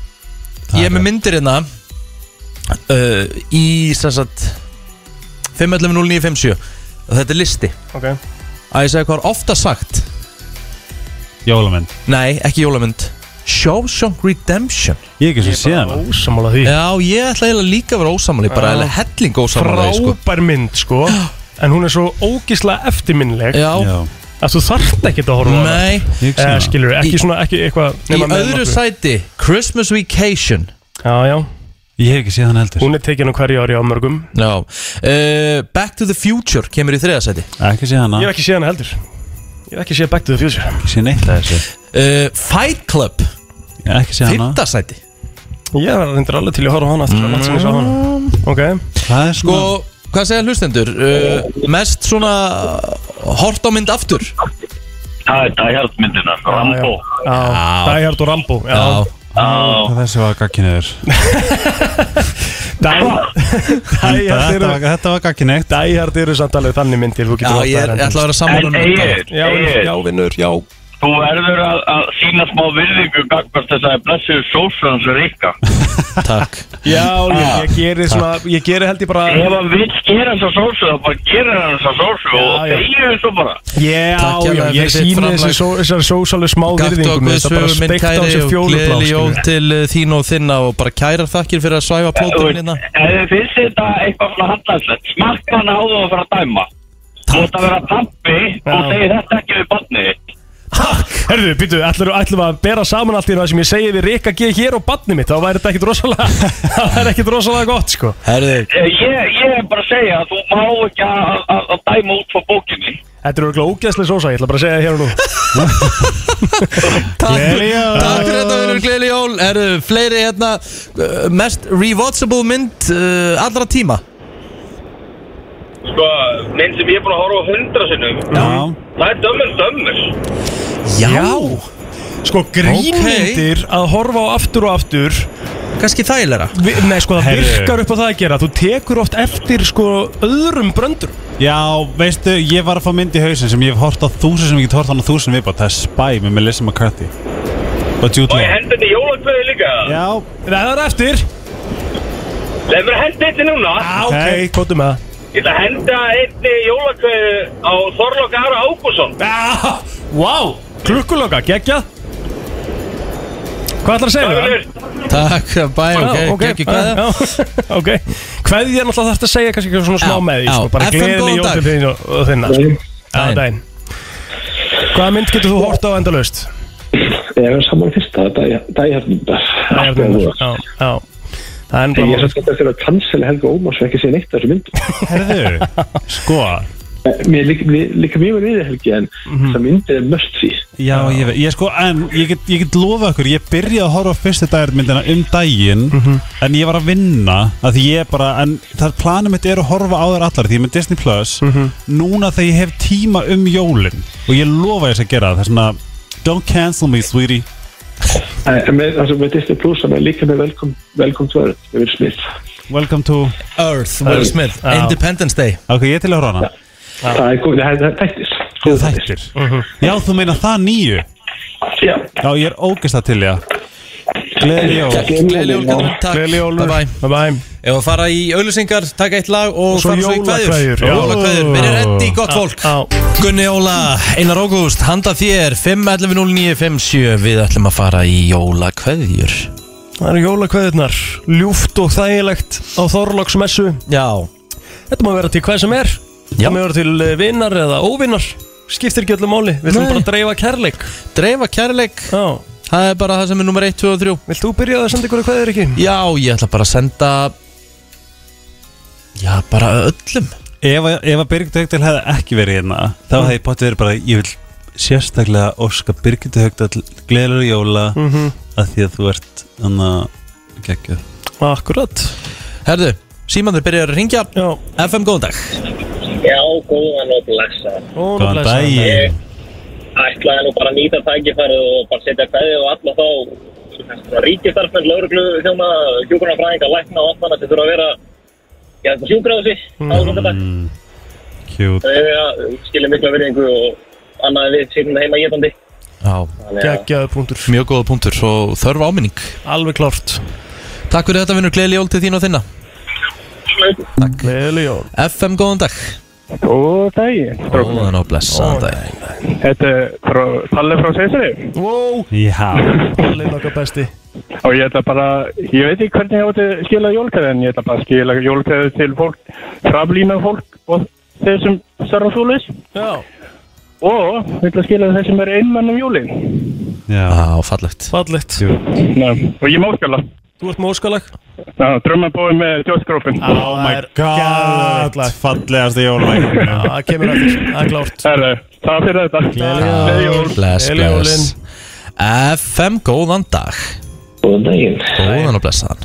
Speaker 1: Ég er með myndir hérna uh, Í sem sagt 5.11.09.57 Og Þetta er listi
Speaker 2: Ok
Speaker 1: Að ég segja hvað er ofta sagt
Speaker 4: Jólamynd
Speaker 1: Nei, ekki jólamynd Shawshank Redemption
Speaker 4: Ég er ekki sem séðan
Speaker 2: Ósamála því
Speaker 1: Já, ég ætla eiginlega líka að vera ósamáli Bara
Speaker 2: Já.
Speaker 1: eiginlega helling ósamála því, sko.
Speaker 2: Frábær mynd
Speaker 1: *gasps*
Speaker 2: sko En hún er svo ógíslega eftirminnileg
Speaker 1: Já. Já.
Speaker 2: Að þú þarft ekkert að horfa á hana.
Speaker 1: Nei. Ég hugsa
Speaker 2: eh,
Speaker 1: það.
Speaker 2: Skilur, ekki
Speaker 1: Í-
Speaker 2: svona, ekki eitthvað
Speaker 1: Í
Speaker 2: nema með
Speaker 1: öðru
Speaker 2: nokkru.
Speaker 1: sæti Christmas Vacation
Speaker 2: Já, já
Speaker 4: Ég hef ekki séð hann heldur
Speaker 2: Hún er tekin á hverju ári á mörgum
Speaker 1: Já uh, Back to the Future kemur í þriða sæti
Speaker 4: Ekki séð hana
Speaker 2: Ég hef ekki séð hana heldur Ég hef ekki séð Back to the Future
Speaker 4: Ekki séð neitt að þessu
Speaker 1: uh, Fight Club
Speaker 4: Ég hef ekki séð hana
Speaker 1: Fimmta sæti
Speaker 2: Ég var reyndir alveg til að horfa á hana Þannig að ég sá hana Mm. Ok
Speaker 4: Það er
Speaker 1: Sko, hvað segja hlustendur? Uh, mest svona uh, Hort á mynd aftur
Speaker 9: Það er sko. dagjaldmyndina, Rambo
Speaker 2: Die Hard og Rambo Já
Speaker 4: Hvað þessi var gagkinuður
Speaker 2: Die Hard
Speaker 4: Þetta
Speaker 2: eru
Speaker 4: var- þetta var gagkinegt
Speaker 2: Die Hard eru samt alveg þannig myndir þú getur
Speaker 1: Já,
Speaker 2: notað
Speaker 1: ég er-
Speaker 2: þær
Speaker 1: ég ætla að vera
Speaker 2: endalaust.
Speaker 1: sammála um
Speaker 9: En Egil,
Speaker 2: Já,
Speaker 9: Egil.
Speaker 2: já, vinnur, já
Speaker 9: Þú verður að, að sína smá virðingu gagvart þess að blessuðu sósrans rikka.
Speaker 1: Takk
Speaker 2: Já, ég, ég geri svona, ég geri held ég bara
Speaker 9: Ef hann vil gera þess að sósu, þá bara gera hann þess að sósu og
Speaker 2: já.
Speaker 9: deyju svo bara.
Speaker 2: Já,
Speaker 1: Takk
Speaker 2: já,
Speaker 1: hérlega
Speaker 2: ég
Speaker 1: fyrir þitt
Speaker 2: síni
Speaker 1: framlag.
Speaker 2: þessar sósaleg smá
Speaker 1: Gakt og
Speaker 2: virðingu mér, þetta er bara
Speaker 1: guðsögu minn
Speaker 2: steikt á
Speaker 1: kæri
Speaker 2: þessu
Speaker 1: og
Speaker 2: fjólublá,
Speaker 1: gleðli jól
Speaker 2: skilur.
Speaker 1: til uh, þín og þinna og bara kærar þakkir fyrir að svæfa plóturinn hérna
Speaker 9: Ef þið finnst þetta eitthvað svona hallarslegt, smakka hann á það og fara að dæma. Þú ætti að vera pappi og segja þetta ekki við barnið. þitt.
Speaker 2: Herðu, býtu, ætlum, ætlum að bera saman allt í það sem ég segi við Rikka G hér og badni mitt, þá væri þetta ekkit rosalega *laughs* það væri ekkit rosalega gott, sko
Speaker 1: Herðu,
Speaker 9: Eh, Ég, ég er bara að segja að þú má ekki að, að, að dæma út frá bókinni.
Speaker 2: Þetta eru örugglega ógeðslega sósa, ég ætla bara að segja það hér og nú
Speaker 1: Gleðli jól Takk fyrir þetta vinnur gleðli jól Eru fleiri hérna uh, Mest rewatchable mynd uh, allra tíma
Speaker 9: Sko, minn sem ég er búin að horfa á hundra sinnum,
Speaker 4: Já
Speaker 9: það er dömur dömur.
Speaker 2: Sko, grínmyndir að horfa á aftur og aftur
Speaker 1: Kanski þægilega
Speaker 2: Vi, Nei, sko, það
Speaker 4: Herðu.
Speaker 2: virkar upp á það að gera Þú tekur oft eftir, sko, öðrum bröndur
Speaker 4: Já, veistu, ég var að fá mynd í hausin sem ég hef hort á þúsund sem ég get hort á hana þúsund viðbátt Það er Spy með Melissa McCarthy Og Jude
Speaker 9: Og ég
Speaker 4: Law
Speaker 9: hendi þetta í jólakveði líka.
Speaker 4: Já,
Speaker 2: Nei, það er eftir
Speaker 9: Leif mér að hendi þetta núna.
Speaker 2: ah, Ok, kvotum með það
Speaker 9: Ég ætla að henda einni jólakveði á Þorlokk Ara Ágússon.
Speaker 2: ah, Wow, klukkuloka, geggjað Hvað ætlar að segja? Leifur?
Speaker 1: Takk, bæ,
Speaker 2: Já,
Speaker 1: ok,
Speaker 2: ok,
Speaker 1: ekki hvað
Speaker 2: já, já, *laughs* ok Kveðja er náttúrulega þarf að segja kannski eitthvað svona smá
Speaker 1: Já,
Speaker 2: með því
Speaker 1: já.
Speaker 2: sko, bara
Speaker 1: FM,
Speaker 2: gleðileg
Speaker 1: góðan
Speaker 2: jól til
Speaker 1: dag.
Speaker 2: þín og, og þinna sko. Já,
Speaker 1: Daginn.
Speaker 2: daginn Hvaða mynd getur þú hort á endalaust?
Speaker 12: Ég er saman fyrsta, dæjarnindar
Speaker 2: Dæjarnindar, já, já Það er
Speaker 12: Ég er
Speaker 2: bara
Speaker 12: svo skemmt eftir að cancel Helga Ómars og ekki sé neitt af þessu myndu
Speaker 4: herðu, sko
Speaker 12: Mér líka, mér líka mjög vel við Helgi en það myndi er must see
Speaker 4: Mhm. Já, ég veit, ég sko, en ég get, ég get lofa ykkur Ég byrjaði að horfa á fyrstu dagarmyndina um daginn En ég var að vinna að Því ég bara, en það planum mitt er að horfa á þær allar Því ég er með Disney Plus Núna þegar ég hef tíma um jólin Og ég lofa þess að gera það, það er svona Don't cancel me, sweetie
Speaker 12: En en með, altså, með Disney Plus þannig að líka með Welcome, welcome to Earth með Will Smith
Speaker 4: Welcome to
Speaker 1: Earth, Will Smith,
Speaker 2: Já.
Speaker 1: Independence Day
Speaker 4: Ok, ég er til að horfa á hana
Speaker 12: Það er góð, það er tættis
Speaker 4: Já, þættir Já, þú meina það nýju
Speaker 12: Já,
Speaker 4: Já, ég er ógist að til, já Gleðileg jól.
Speaker 1: Gleðileg jól, kallar minn. Takk.
Speaker 4: Gleðileg jól.
Speaker 1: Bye bye.
Speaker 2: Bye bye.
Speaker 1: Ef að fara í auðlýsingar, taka eitt lag og,
Speaker 2: Og svo
Speaker 1: fara svo í kveðjur.
Speaker 2: jólakveðjur, já.
Speaker 1: Jólakveðjur. Við erum reddi, gott
Speaker 2: Á,
Speaker 1: fólk. Gunni Óla, Einar Ógúst, handa þér 5.11.09.57. Við ætlum að fara í jólakveðjur.
Speaker 2: Það eru jólakveðurnar, ljúft og þægilegt á Þorlóksmessu
Speaker 1: Já
Speaker 2: Þetta má vera til hvað sem er
Speaker 1: Já.
Speaker 2: Það má vera til eh, vinnar eða óvinnar Skiptir ekki öllu máli, við ætlum
Speaker 1: Nei.
Speaker 2: bara að dreifa kærleik
Speaker 1: Dreifa kærleik
Speaker 2: Já
Speaker 1: Það er bara það sem er nummer 1, 2 og 3.
Speaker 2: Vilt þú byrja á að senda ykkur að kveður ekki?
Speaker 1: Já, ég ætla bara að senda... Já, bara öllum
Speaker 4: Ef, að- ef að Birgit Haugdal hefði ekki verið hérna þá hefði ég bóttið verið bara ég vil sérstaklega óska Birgit Haugdal gleðilega jóla mm
Speaker 2: Mhm.
Speaker 4: að því að þú ert hann að geggja
Speaker 2: Akkurat
Speaker 1: Herðu, símandur byrjar að ringja.
Speaker 2: Já.
Speaker 1: FM, góðan dag.
Speaker 14: Já, góðan og blessa.
Speaker 2: Góðan
Speaker 1: og Góðan blessaðan. daginn.
Speaker 14: Ég ætlaði nú bara að nýta tækifærið og bara setja kveði og alla þá ríkistarfmenn, lauruglu, þjóna, hjúgrunarfræðinga, lækna og allmanna sem þurfa að vera í þessum sjúkrahúsi á sundardag.
Speaker 4: Kjút
Speaker 14: Það er að eh, skilja mikla virðingu og annað en við sýnum heima getandi.
Speaker 1: Já,
Speaker 2: geggjaðu punktur
Speaker 1: Mjög góða punktur, svo þörf áminning
Speaker 2: Alveg klárt
Speaker 1: Takk fyrir þetta vinnur, gleðli jól til þín og þinna Takk
Speaker 2: Gleðli jól
Speaker 1: FM, góðan dag
Speaker 15: Góð daginn
Speaker 1: Góðan og blessaðan dag
Speaker 15: Þetta er frá, Palli frá Seisari
Speaker 2: wow.
Speaker 1: Já
Speaker 2: Palli nokkað besti
Speaker 15: Og ég ætla bara, ég veit ekki hvernig ég átti að skila jólkæði En ég ætla bara að skila jólkæði til fólk Fraflína fólk og þeir sem starfa svoleiðis
Speaker 2: Já
Speaker 15: Og ég ætla að skila þeir sem er einmann um jólin
Speaker 1: Já, fallegt
Speaker 2: Fallegt
Speaker 15: Ná, Og ég má skala
Speaker 2: Þú ert móskalag
Speaker 15: Ná, drömmabói með Jóskrófin
Speaker 2: Oh my god
Speaker 4: Fallegasti jóla
Speaker 2: Það kemur að þér, það er klárt
Speaker 15: Herre, það fyrir þetta Gleðileg jól
Speaker 1: Bless,
Speaker 2: Gleðli
Speaker 1: bless FM, góðan dag
Speaker 16: Góðan daginn
Speaker 1: Góðan og blessaðan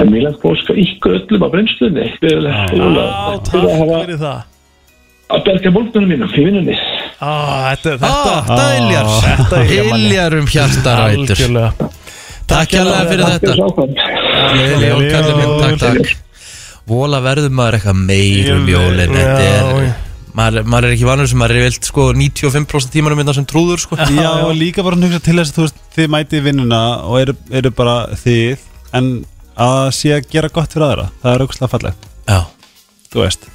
Speaker 16: En mér langt bóðska ykkur öllum á brennstunni Gleðilega jóla
Speaker 2: Takk fyrir það
Speaker 16: Að berga bólknunum mínum í vinnunni
Speaker 2: Á, Þetta er
Speaker 1: Ah, Þetta iljar
Speaker 2: Þetta iljar manni.
Speaker 1: Iljar um hjartarætur
Speaker 2: Algjörlega
Speaker 1: Takk hérlega fyrir þetta Gleðli jól, kallið minn, takk, takk Vola verður maður eitthvað meir um jólin Þetta er Maður, maður er ekki vanur sem maður er vilt sko 95% tímanum mynda sem trúður sko
Speaker 4: Já, og líka bara hugsa til þess að þú veist þið mætið í vinnuna og eru, eru bara þið en að sé að gera gott fyrir aðra það er aukslega fallegt
Speaker 1: Já
Speaker 4: Þú veist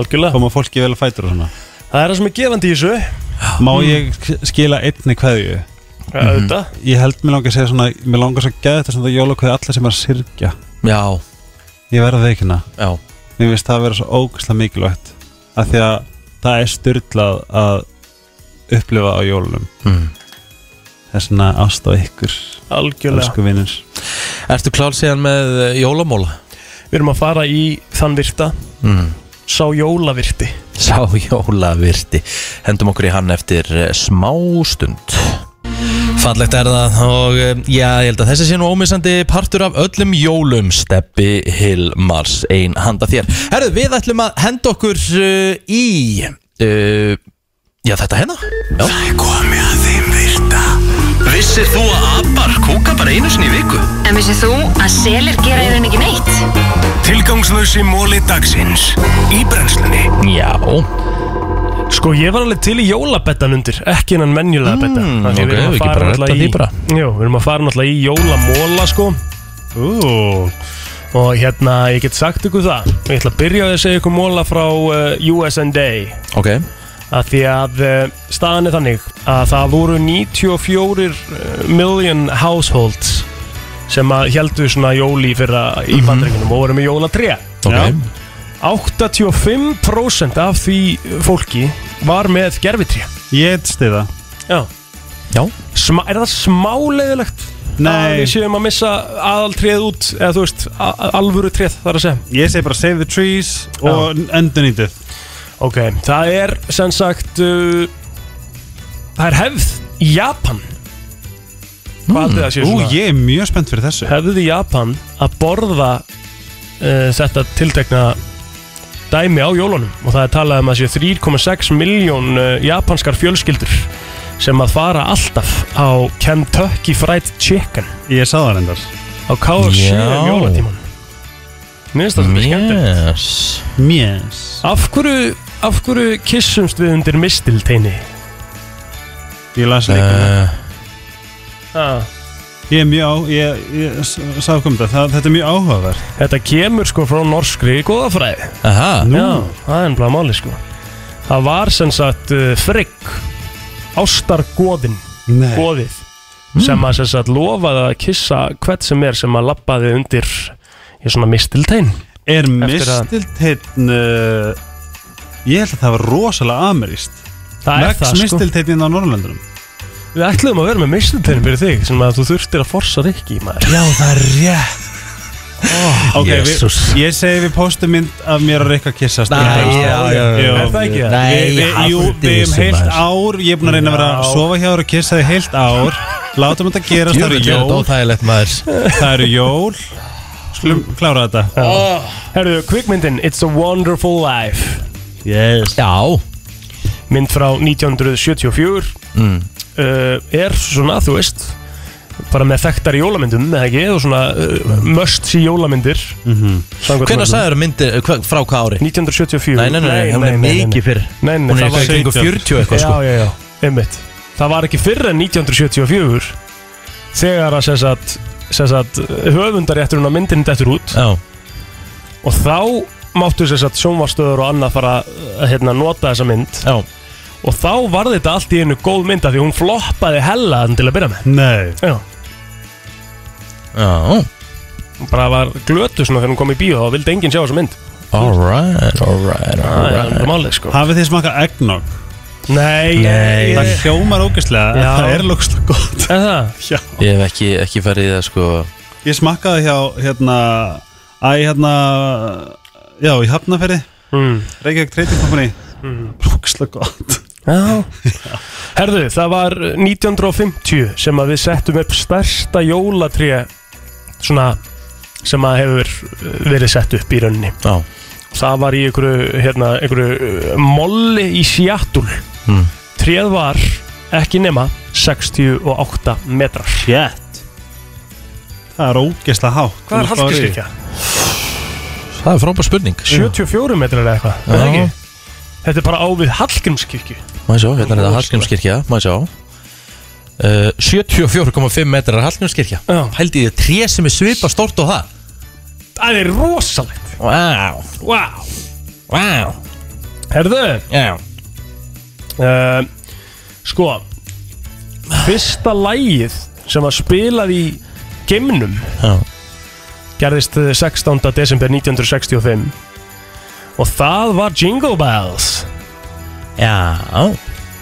Speaker 2: Algjörlega
Speaker 4: Koma fólki vel að fætur og svona
Speaker 2: Það er það sem er gefandi í þessu
Speaker 4: Má ég skila einni kveðju?
Speaker 2: Ja,
Speaker 1: Mhm.
Speaker 2: auðvitað.
Speaker 4: Ég held mér langar að segja svona Mér langar svo að geða þetta svona jólakveði alla sem er að syrgja
Speaker 1: Já
Speaker 4: Ég verða veikina
Speaker 1: Já
Speaker 4: Mér finnst það að vera svo ógæslega mikilvægt Af því að það er styrlað að upplifa á jólunum
Speaker 1: Mm.
Speaker 4: Það er svona ást á ykkur
Speaker 2: Algjörlega.
Speaker 4: Elsku vinnins
Speaker 1: Ertu klár síðan með eh, jólamóla?
Speaker 2: Við erum að fara í þann virta
Speaker 1: Mm.
Speaker 2: Sá jólavirti
Speaker 1: Sá jólavirti Hendum okkur í hann eftir eh, smástund Fallegt er það og eh, já, ég held að þessi sé nú ómissandi partur af öllum jólum Steppi Hilmars ein handa þér Herðu, við ætlum að henda okkur uh, í uh, Já, þetta hérna Já. Það er komið að þeim virta
Speaker 11: Vissir þú að abar kúka bara einu sinni í viku?
Speaker 6: En vissið þú að selir gera í raun ekki neitt?
Speaker 11: Tilgangslösi móli dagsins Í brennslunni
Speaker 1: Já
Speaker 2: Sko ég var alveg til í jólabettan undir Ekki innan menjulega betta
Speaker 1: Mm,
Speaker 2: Þannig
Speaker 1: ok,
Speaker 2: við erum
Speaker 1: við
Speaker 2: að
Speaker 1: ekki
Speaker 2: fara
Speaker 1: bara
Speaker 2: náttúrulega
Speaker 1: redda
Speaker 2: í
Speaker 1: því bara.
Speaker 2: Jó, við erum að fara náttúrulega í jólamóla sko Ú Og hérna, ég get sagt ykkur það Ég ætla að byrja á því að segja ykkur móla frá uh, USND
Speaker 1: Ok
Speaker 2: að Því að uh, staðan er þannig að það voru 94 eh, million households sem að heldu svona jóli fyrra í
Speaker 1: Mhm.
Speaker 2: bandreikunum og voru með jólatré
Speaker 1: Ok.
Speaker 2: Já. 85% af því fólki var með gerfitré
Speaker 4: Ég stiða
Speaker 2: Já,
Speaker 1: Já.
Speaker 2: Sma, Er það smáleðilegt?
Speaker 4: Nei.
Speaker 2: að Við séum að missa aðaltréð út eða þú veist, a- a- alvöru tréð þar að segja
Speaker 4: Ég segi bara save the trees og endurnýtið
Speaker 2: Ok, það er sem sagt uh, Það er hefð í Japan Hvað mm. það sé
Speaker 4: Ú,
Speaker 2: svona
Speaker 4: ég er mjög spennt fyrir þessu
Speaker 2: Hefð í Japan að borða uh, þetta tiltekna dæmi á jólunum og það er talað um að sé 3,6 miljón uh, japanskar fjölskyldur sem að fara alltaf á Kentucky Fried Chicken
Speaker 4: Ég sá það reyndar
Speaker 2: á KFC
Speaker 1: Já.
Speaker 2: um jólatíman Mér finnst það svolítið skemmtilegt
Speaker 4: Mjess
Speaker 2: Af hverju, af hverju kissumst við undir mistilteini?
Speaker 1: Eh,
Speaker 4: Ég las líka
Speaker 2: Ah,
Speaker 4: Ég er mjög á, ég, ég s- sá kom þetta, það, þetta er mjög áhugaverð
Speaker 2: Þetta kemur sko frá norskri góðafræði
Speaker 1: Aha
Speaker 4: Nú.
Speaker 2: Ah, Já, það er ennbláð máli sko Það var sem sagt uh, Frigg Ástargóðin
Speaker 4: Nei.
Speaker 2: Góðið Sem að sem sagt lofaði að kissa hvert sem er sem að labbaði undir Í svona mistiltein
Speaker 4: Er
Speaker 2: Eftir
Speaker 4: mistilteinn uh, Ég held að það var rosalega ameríst
Speaker 2: Það er það, sko.
Speaker 4: mistilteinn á Norrlandunum
Speaker 2: Við ætluðum að vera með mistiltein fyrir þig Sem að þú þurftir að forsa Rikki maður
Speaker 4: Já, það er rétt Ok,
Speaker 2: Jesus.
Speaker 4: við, ég segi við postum mynd af mér og Rikka kissast
Speaker 2: Nei,
Speaker 4: Í-
Speaker 2: já, já, já.
Speaker 4: Jú.
Speaker 2: Er það ekki það?
Speaker 4: Nei,
Speaker 2: Við- við-
Speaker 4: við- Jú,
Speaker 2: haldið
Speaker 4: við hefum
Speaker 2: þessu,
Speaker 4: heilt
Speaker 2: maður.
Speaker 4: ár Ég er búin að reyna að vera að
Speaker 2: Já.
Speaker 4: sofa hjá þér og kissa þig heilt ár Látum þetta gerast, það
Speaker 1: Djöfull
Speaker 4: eru
Speaker 1: er þetta
Speaker 4: jól
Speaker 1: óþægilegt maður
Speaker 4: Það eru jól Skulum klára þetta
Speaker 2: Herðu, kvikmyndin It's a Wonderful Life
Speaker 4: yes.
Speaker 1: Eh, Já
Speaker 2: Mynd frá 1974
Speaker 1: Mm.
Speaker 2: uh, Er svona, þú veist Bara með þekktar í jólamyndum eða ekki, og svona uh, must see jólamyndir
Speaker 1: Mhm.
Speaker 2: Samkvæmt
Speaker 1: Hvenær
Speaker 2: mörgum.
Speaker 1: sagðirðu myndir, hva- frá hvað ári?
Speaker 2: 1974
Speaker 1: Nei, nei, nei, nei, hún er mikið fyrr.
Speaker 2: nei, nei,
Speaker 1: Hún er
Speaker 2: það var
Speaker 1: eitthvað í kringum 40 eitthvað, sko.
Speaker 2: Já, já, já, einmitt Það var ekki fyrr en 1974 Þegar að sem sagt, sem sagt, höfundarétturinn á myndinni dettur út
Speaker 1: Já
Speaker 2: Og þá máttu sem sagt sjónvarstöður og annað fara að hérna, nota þessa mynd
Speaker 1: Já
Speaker 2: Og þá var þetta allt í einu góð mynd af Því hún floppaði hella þann til að byrja með
Speaker 4: Nei
Speaker 2: Já
Speaker 1: Já
Speaker 2: Hún Bara var glötu svona þegar hún kom í bíó og vildi enginn sjá þessa mynd
Speaker 1: Alright, alright,
Speaker 2: Það er
Speaker 1: alright
Speaker 2: alveg málið sko
Speaker 4: Hafið þið smakað eggnog?
Speaker 2: Nei,
Speaker 1: Nei.
Speaker 2: ég-
Speaker 4: Það hljómar ógeðslega en
Speaker 2: Já.
Speaker 4: Það er lókslega gott *laughs*
Speaker 2: Er það?
Speaker 4: Já.
Speaker 1: Ég hef ekki, ekki farið í það sko
Speaker 4: Ég smakkaði hjá hérna Æ, hérna Já, í Hafnaferði
Speaker 2: mm.
Speaker 4: Reykjavík Trading Company Mhm. Lókslega gott
Speaker 2: Já Herðu, það var 1950 sem að við settum upp stærsta jólatré svona sem að hefur uh, verið sett upp í rauninni
Speaker 1: Já.
Speaker 2: Það var í einhverju, hérna, einhverju uh, molli í Seattle
Speaker 1: Mm.
Speaker 2: Tréð var ekki nema 68 metrar
Speaker 4: Shit Það er ógeðslega hátt
Speaker 2: Hvað er Hallgrímskirkja?
Speaker 1: Það er frábær spurning
Speaker 2: 74 metrar eða eitthvað, er það ekki? Þetta er bara á við Hallgrímskirkju
Speaker 1: Má ég sjá, hérna er þetta Hallgrímskirkja Má ég sjá uh, 74,5 metrar er Hallgrímskirkja Hældi ég tré sem er svipa stort og það
Speaker 2: Það er rosalegt
Speaker 1: Vá
Speaker 2: Vá
Speaker 1: Vá
Speaker 2: Herðu
Speaker 1: Já
Speaker 2: uh, Sko Fyrsta lægið sem var spilað í geimnum
Speaker 1: Já.
Speaker 2: gerðist eh, 16. desember 1965 og það var Jingle Bells
Speaker 1: Já
Speaker 2: ha.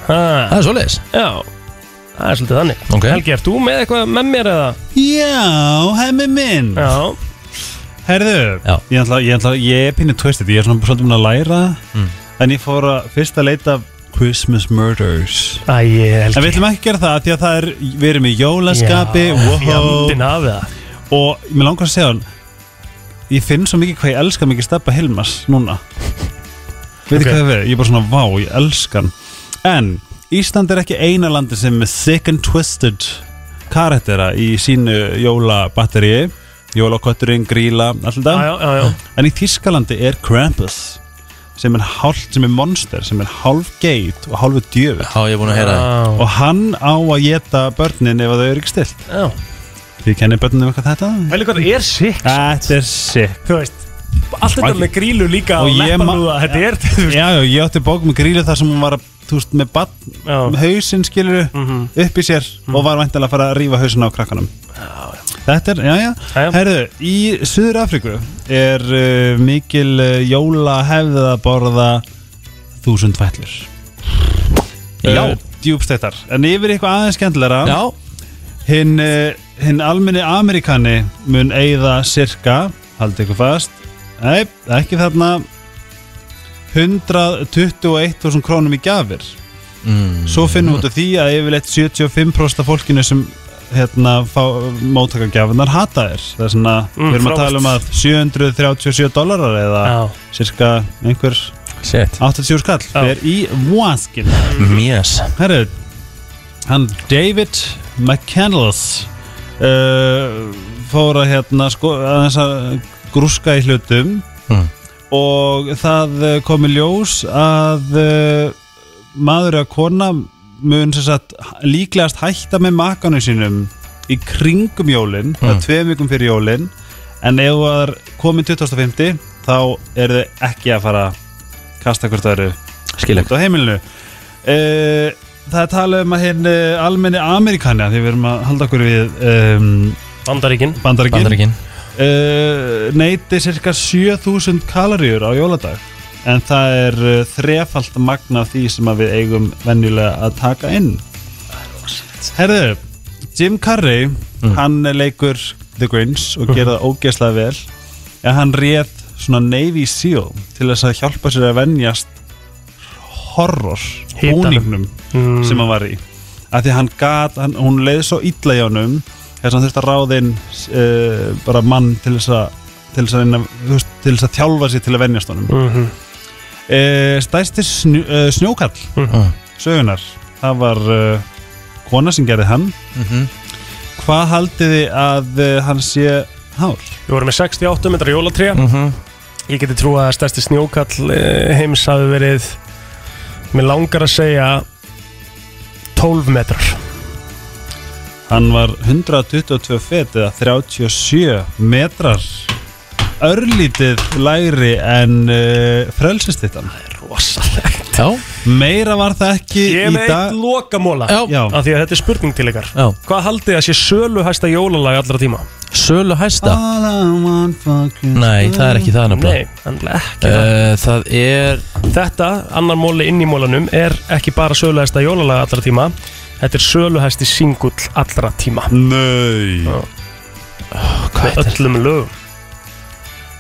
Speaker 1: Það er svoleiðis
Speaker 2: Já, það er svolítið þannig
Speaker 1: Ok.
Speaker 2: Helgi, ert þú með eitthvað með mér eða?
Speaker 4: Já, hemmi minn
Speaker 2: Já
Speaker 4: Herðu, ég ætla, ég ætla, ég er pínu twisted Ég er svona svolítið mun að læra
Speaker 1: Mm.
Speaker 4: En ég fór að fyrst að leita af Christmas Murders
Speaker 2: Æ,
Speaker 4: En við ætlum ekki að gera það af Því að það er, við erum í jólaskapi
Speaker 2: Já, fjandinn af það
Speaker 4: Og mér langar að segja hann Ég finn svo mikið hvað ég elska mikið Steppa Hilmas núna
Speaker 2: Ok.
Speaker 4: Veitir hvað það er? Ég er bara svona vá, ég elska hann En Ísland er ekki eina landi sem er thick and twisted karaktera í sínu jólabatteríi Jólakotturinn, gríla, alltaf
Speaker 2: Já, já, já, já.
Speaker 4: En í Þískalandi er Krampus sem er, hálf, sem er monster, sem er hálf geit og hálfu djöfitt
Speaker 1: Já, ég er búin að heyra það.
Speaker 4: Og hann á að geta börnin ef þau eru ekki stilt
Speaker 2: Já
Speaker 4: Þið kennir börnum eitthvað þetta?
Speaker 2: Helgi, hvað það er sick
Speaker 4: Þetta er sick
Speaker 2: Þú veist, allt þetta með grílu líka og, og leppanúða, þetta er *laughs*
Speaker 4: Já, já, ég átti bók með grílu þar sem hún var að, þú veist, með badn, með hausinn skilur upp í sér og var væntalega að fara að rífa hausinn á krakkanum Þetta er, já, já, herðu, í Suður Afríku er uh, mikil uh, jóla hefðið að borða þúsund fætlur
Speaker 1: Já.
Speaker 4: Djúbstettar, en yfir í eitthvað aðeins skemmtilega
Speaker 1: Já
Speaker 4: Hinn, uh, hinn almenni Amerikani mun eigða cirka, haldið ykkur fast Nei, ekki þarna 121.000 krónum í gjafir
Speaker 1: Mm.
Speaker 4: Svo finnum við út af því að yfirleitt 75% af fólkinu sem hérna, fá, móttaka gjafinar hata þér Það er svona,
Speaker 2: Mm,
Speaker 4: við erum að
Speaker 2: frábært.
Speaker 4: tala um að 737 dollarar eða cirka einhver
Speaker 1: Shit.
Speaker 4: 80 skall fer í vaskin
Speaker 1: Yes
Speaker 4: Herru, hann David McCandless uh, fór að hérna sko, aðeins að grúska í hlutum
Speaker 1: Mm.
Speaker 4: og það eh, kom í ljós að uh, maður eða kona mun sem sagt líklegast hætta með makanu sínum í kringum jólin það er tveim vikum fyrir jólin en ef þú er komin 2050 þá eru þau ekki að fara að kasta hvert öðru skilja á heimilinu uh, það er talað um að hinn uh, almenni Amerikani því við erum að halda okkur við um,
Speaker 2: Bandaríkin
Speaker 4: Bandaríkin,
Speaker 1: Bandaríkin.
Speaker 4: Uh, neyti cirka 7000 kaloríur á jóladag en það er uh, þrefalt magna því sem að við eigum venjulega að taka inn Herðu, Jim Carrey hann leikur The Grinch og gera það ógeðslega vel en hann réð svona Navy Seal til þess að hjálpa sér að venjast horror
Speaker 2: Hitanum.
Speaker 4: búningnum
Speaker 2: Mm.
Speaker 4: sem hann var í af því að hann gat, hann, hún leið svo illa í honum þess að hann þurfti að ráðin uh, bara mann til þess að til þess að, reyna- þú veist, til þess að þjálfa sér til að venjast honum
Speaker 2: Mhm.
Speaker 4: Eh, stærsti snjó, uh, snjókall sögunar það var uh, kona sem gerði hann
Speaker 1: Mhm.
Speaker 4: hvað haldið þið að uh, hann sé hár?
Speaker 2: Við vorum með 68 metrar jólatré Ég geti trú að stærsti snjókall eh, heims hafi verið Mér langar að segja 12 metrar
Speaker 4: hann var 122 fet eða 37 metrar örlítið lægri en uh, frelsistittan
Speaker 2: Rosalegt
Speaker 1: Já.
Speaker 4: meira var það ekki
Speaker 2: Ég
Speaker 4: í
Speaker 2: er með
Speaker 4: dag
Speaker 2: eitt lokamóla
Speaker 4: Já. Já.
Speaker 2: Af því að þetta er spurning til ykkar
Speaker 1: Já.
Speaker 2: Hvað haldið að sé sölu hæsta jólalag allra tíma?
Speaker 1: Sölu hæsta?
Speaker 4: All I want for Christmas.
Speaker 1: Nei, það er ekki það nefnilega
Speaker 2: Nei, nefnilega ekki
Speaker 1: Eh, Það er
Speaker 2: Þetta, annar móli inn í mólanum Er ekki bara sölu hæsta jólalag allra tíma Þetta er sölu hæsti singull allra tíma
Speaker 4: Nei
Speaker 2: Með öllum lögum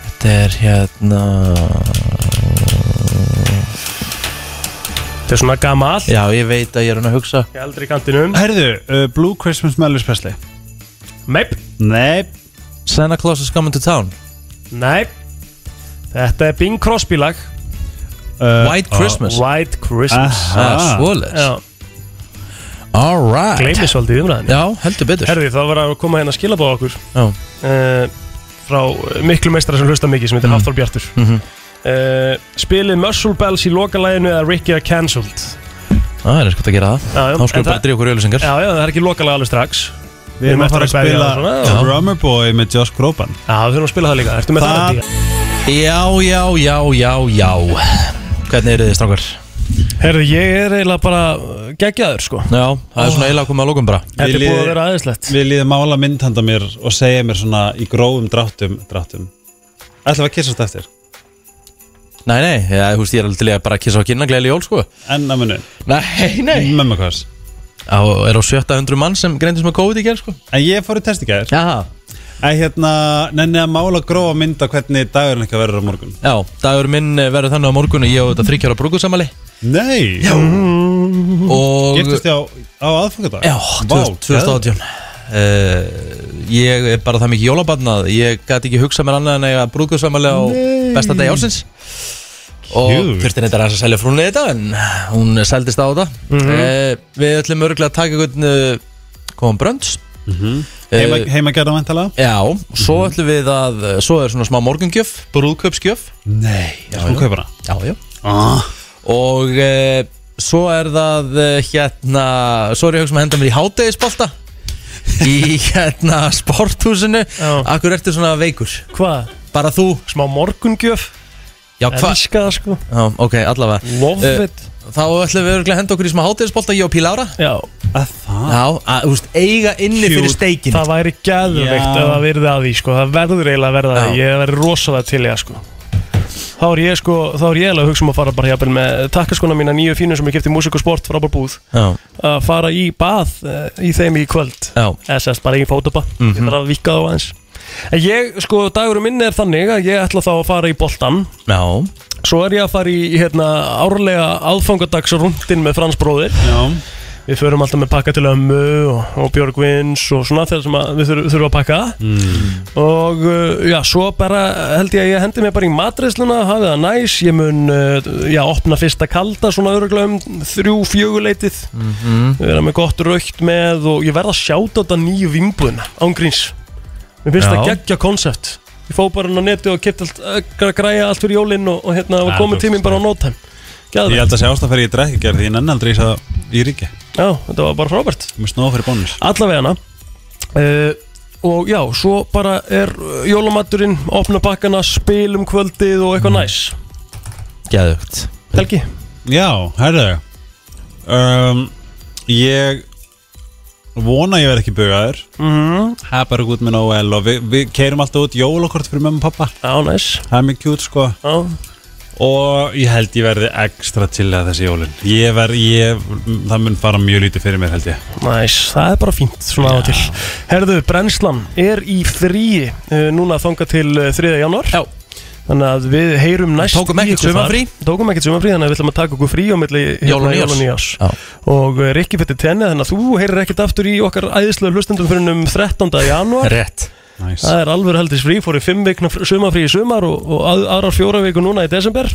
Speaker 1: Þetta er hérna
Speaker 2: Þetta er svona gamall
Speaker 1: Já, ég veit að ég er hann að hugsa
Speaker 2: Ég eldri í kantinum
Speaker 4: Herðu, uh, Blue Christmas með Elvis Presley
Speaker 2: Meip
Speaker 4: Nei
Speaker 1: Santa Claus is coming to town
Speaker 2: Nei Þetta er Bing Crosby lag Eh,
Speaker 4: uh,
Speaker 1: White
Speaker 2: oh,
Speaker 1: Christmas.
Speaker 2: White Christmas
Speaker 1: Aha. Ah, svoleiðis. Alright
Speaker 2: Gleimið svolítið í umræðinu
Speaker 1: Já, heldur betur
Speaker 2: Herði, það var að koma hérna að skila bá okkur
Speaker 1: Já.
Speaker 2: Eh, Frá miklu meistara sem hlusta mikið sem heitir Hafþór Bjartur
Speaker 1: Mhm.
Speaker 2: Eh, Spilið Muscle Bells í lokalæginu eða Ricky are cancelled
Speaker 1: Það er sko að gera það
Speaker 2: Já, já,
Speaker 1: Þá
Speaker 2: en
Speaker 1: skulum bara
Speaker 2: það-
Speaker 1: drífa okkur í auðlýsingar
Speaker 2: Já, já, það er ekki lokalega alveg strax
Speaker 4: Við erum að fara að
Speaker 2: kveðja og
Speaker 4: spila
Speaker 2: svona, já.
Speaker 4: Drummer Boy með Josh Groban
Speaker 2: Já, við þurfum að spila það líka Ertu með það?
Speaker 4: Það-
Speaker 1: Já, já, já, já, já Hvernig eru þið strákar?
Speaker 2: Herði, ég er eiginlega bara eh, geggjaður sko
Speaker 1: Já, það er svona eiginlega að koma að lókum bara
Speaker 2: Þetta er búið að vera aðeinslegt
Speaker 4: Við líðum mála mynd handa mér og segja mér svona í grófum dráttum dráttum Ætlum við að kissast eftir
Speaker 1: Nei, nei, já, þú veist, ég er alveg til í að bara kissa á kynna gleyli jól, sko
Speaker 4: Enn að munu
Speaker 1: Nei, nei
Speaker 4: Mömmu hvers
Speaker 1: Á, er á 700 mann sem greindist með COVID í gerð, sko
Speaker 4: En ég fór í test í gæðir
Speaker 1: Já
Speaker 4: En hérna, nenni að mála grófa mynd á hvernig dagurinn ekki verður á morgun
Speaker 1: Já, dagur minn eh, verður þannig á morgun og ég á þetta þryggjára brúkusamali
Speaker 4: Nei Já
Speaker 2: Mm.
Speaker 1: Mm. Og
Speaker 4: Giftist ég á, á aðfangadag
Speaker 1: Já, 2000- 2018 uh, Ég er bara það mikið jólabarn að Ég gæti ekki hugsað mér annað en að ég að brúðgjóðsvæmali á besta degi ásins Og
Speaker 4: Cute.
Speaker 1: þurfti neitt að ræsa að selja frúnni þetta En hún seldist á þetta mm Við ætlum örgulega að taka einhvern uh, Komum brönds Mhm. Eh,
Speaker 4: Heima, heima gerða vantala
Speaker 1: Já, og svo ætlum við að eh, Svo er svona smá morgungjöf, brúðkaupsgjöf
Speaker 4: Nei, þú kaupar hana
Speaker 1: Já, Ah. já Og e, svo er það e, hérna Svo er ég að hugsa um að henda mér í hátegisbolta *laughs* Í hérna sporthúsinu Akkur ertu svona veikur
Speaker 2: Hvað?
Speaker 1: Bara þú
Speaker 2: Smá morgungjöf
Speaker 1: Já, hvað?
Speaker 2: Elska það sko
Speaker 1: Já, ok, allavega
Speaker 2: Love
Speaker 1: Eh,
Speaker 2: it
Speaker 1: Þá ætlum við örugglega að henda okkur í smá hátegisbolta Ég og Pílára
Speaker 2: Já,
Speaker 4: Að það
Speaker 1: Já, að, þú veist, eiga inni
Speaker 4: Cute.
Speaker 1: fyrir steikin
Speaker 2: það væri gæðveikt
Speaker 4: Já.
Speaker 2: ef það verði að því sko. það verður eiginlega að verða að því ég verði rosalega til ég sko. þá er ég sko þá er ég eiginlega að hugsa um að fara bara hjapil með takkaskona mína nýju fínu sem ég kefti músik og sport frábær búð
Speaker 1: Já,
Speaker 2: að fara í bað eh, í þeim í kvöld
Speaker 1: já,
Speaker 2: eða sérst bara í fótaba
Speaker 1: Mhm.
Speaker 2: ég þarf að vika þá aðeins en ég sko dagurum minn er þannig að ég ætla þá að fara í boltan
Speaker 1: já
Speaker 2: svo er ég að fara í hérna árlega aðfangadagsrúndin með Frans bróðir
Speaker 4: Já
Speaker 2: Við förum alltaf með pakka til ömmu og, og Björgvins og svona þegar sem að við þurfum, þurfum að pakka
Speaker 4: Mm.
Speaker 2: og uh, já, svo bara held ég að ég hendi mig bara í matreisluna hafið það næs, ég mun uh, já, opna fyrsta kalda svona öruglega um þrjú fjöguleitið mm
Speaker 4: Mhm.
Speaker 2: -hmm. vera með gott raukt með og ég verð að sjáta þetta nýju vimbuna ángríns, mér finnst
Speaker 1: Já.
Speaker 2: það geggja konsept ég fó bara inn á neti og kipta allt, að græja allt fyrir jólinn og, og hérna og
Speaker 4: Ah,
Speaker 2: komið
Speaker 4: þú-
Speaker 2: tíminn bara á no time
Speaker 4: Ég
Speaker 2: Gæðvegt,
Speaker 4: held að segja ástæða fyrir ég drekki gerð því ég nenni aldrei í það í ríki
Speaker 2: já, þetta var bara frábært
Speaker 4: Mér snóða fyrir bónus
Speaker 2: allavega hana uh, Og já, svo bara er eh, jólamatturinn Opna bakkana, spil um kvöldið og
Speaker 1: Mm.
Speaker 2: eitthvað næs
Speaker 1: Gæðugt
Speaker 2: Helgi
Speaker 4: Já, herðu um, Ég vona ég verð ekki bugaður
Speaker 2: Mhm.
Speaker 4: Það er bara út með Noel og við vi keirum alltaf út jólakort fyrir mömmu og pappa
Speaker 2: Já, næs nice.
Speaker 4: Það er mjög kjút sko
Speaker 2: Já
Speaker 4: Og ég held ég verði ekstra til að þessi jólin Ég verð, ég, það mun fara mjög lítið fyrir mér held ég
Speaker 2: Næs, það er bara fínt svona á og til Herðu, brennslan er í fríi uh, Núna þanga til uh, 3. janúar Já Þannig að við heyrum næst
Speaker 1: Tókum
Speaker 2: í
Speaker 1: ekkert
Speaker 2: ykkur þar.
Speaker 1: sumarfrí.
Speaker 2: Tókum ekkert sumarfrí, þannig að við ætlum að taka okkur frí á milli hérna
Speaker 1: Jóla og nýárs.
Speaker 2: nýjás Og uh, Rikki fyrir tenni, þannig að þú heyrir ekkert aftur í okkar æðislega hlustendum fyrir um 13. janúar
Speaker 1: Rétt
Speaker 4: Nice.
Speaker 2: Það er alveg heldis frí, fór í fimm vikna fr- sumarfrí í sumar og, og að, aðrar fjóra viku núna í desember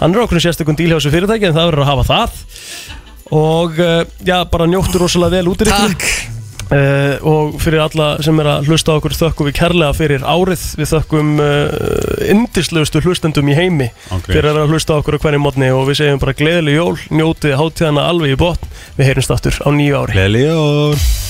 Speaker 2: Hann er okkur sérstakun dílhjásu fyrirtæki en það verður að hafa það Og uh, já, bara njóttu rosalega vel út í Rikki Takk Uh, og fyrir alla sem er að hlusta á okkur þökkum við kærlega fyrir árið við þökkum uh, indislegustu hlustendum í heimi
Speaker 4: Ok.
Speaker 2: fyrir að vera að hlusta á okkur á hvernig mótni og við segjum bara gleðileg jól, njótið hátíðana alveg í botn við heyrumst aftur á nýju ári
Speaker 4: Gleðileg jól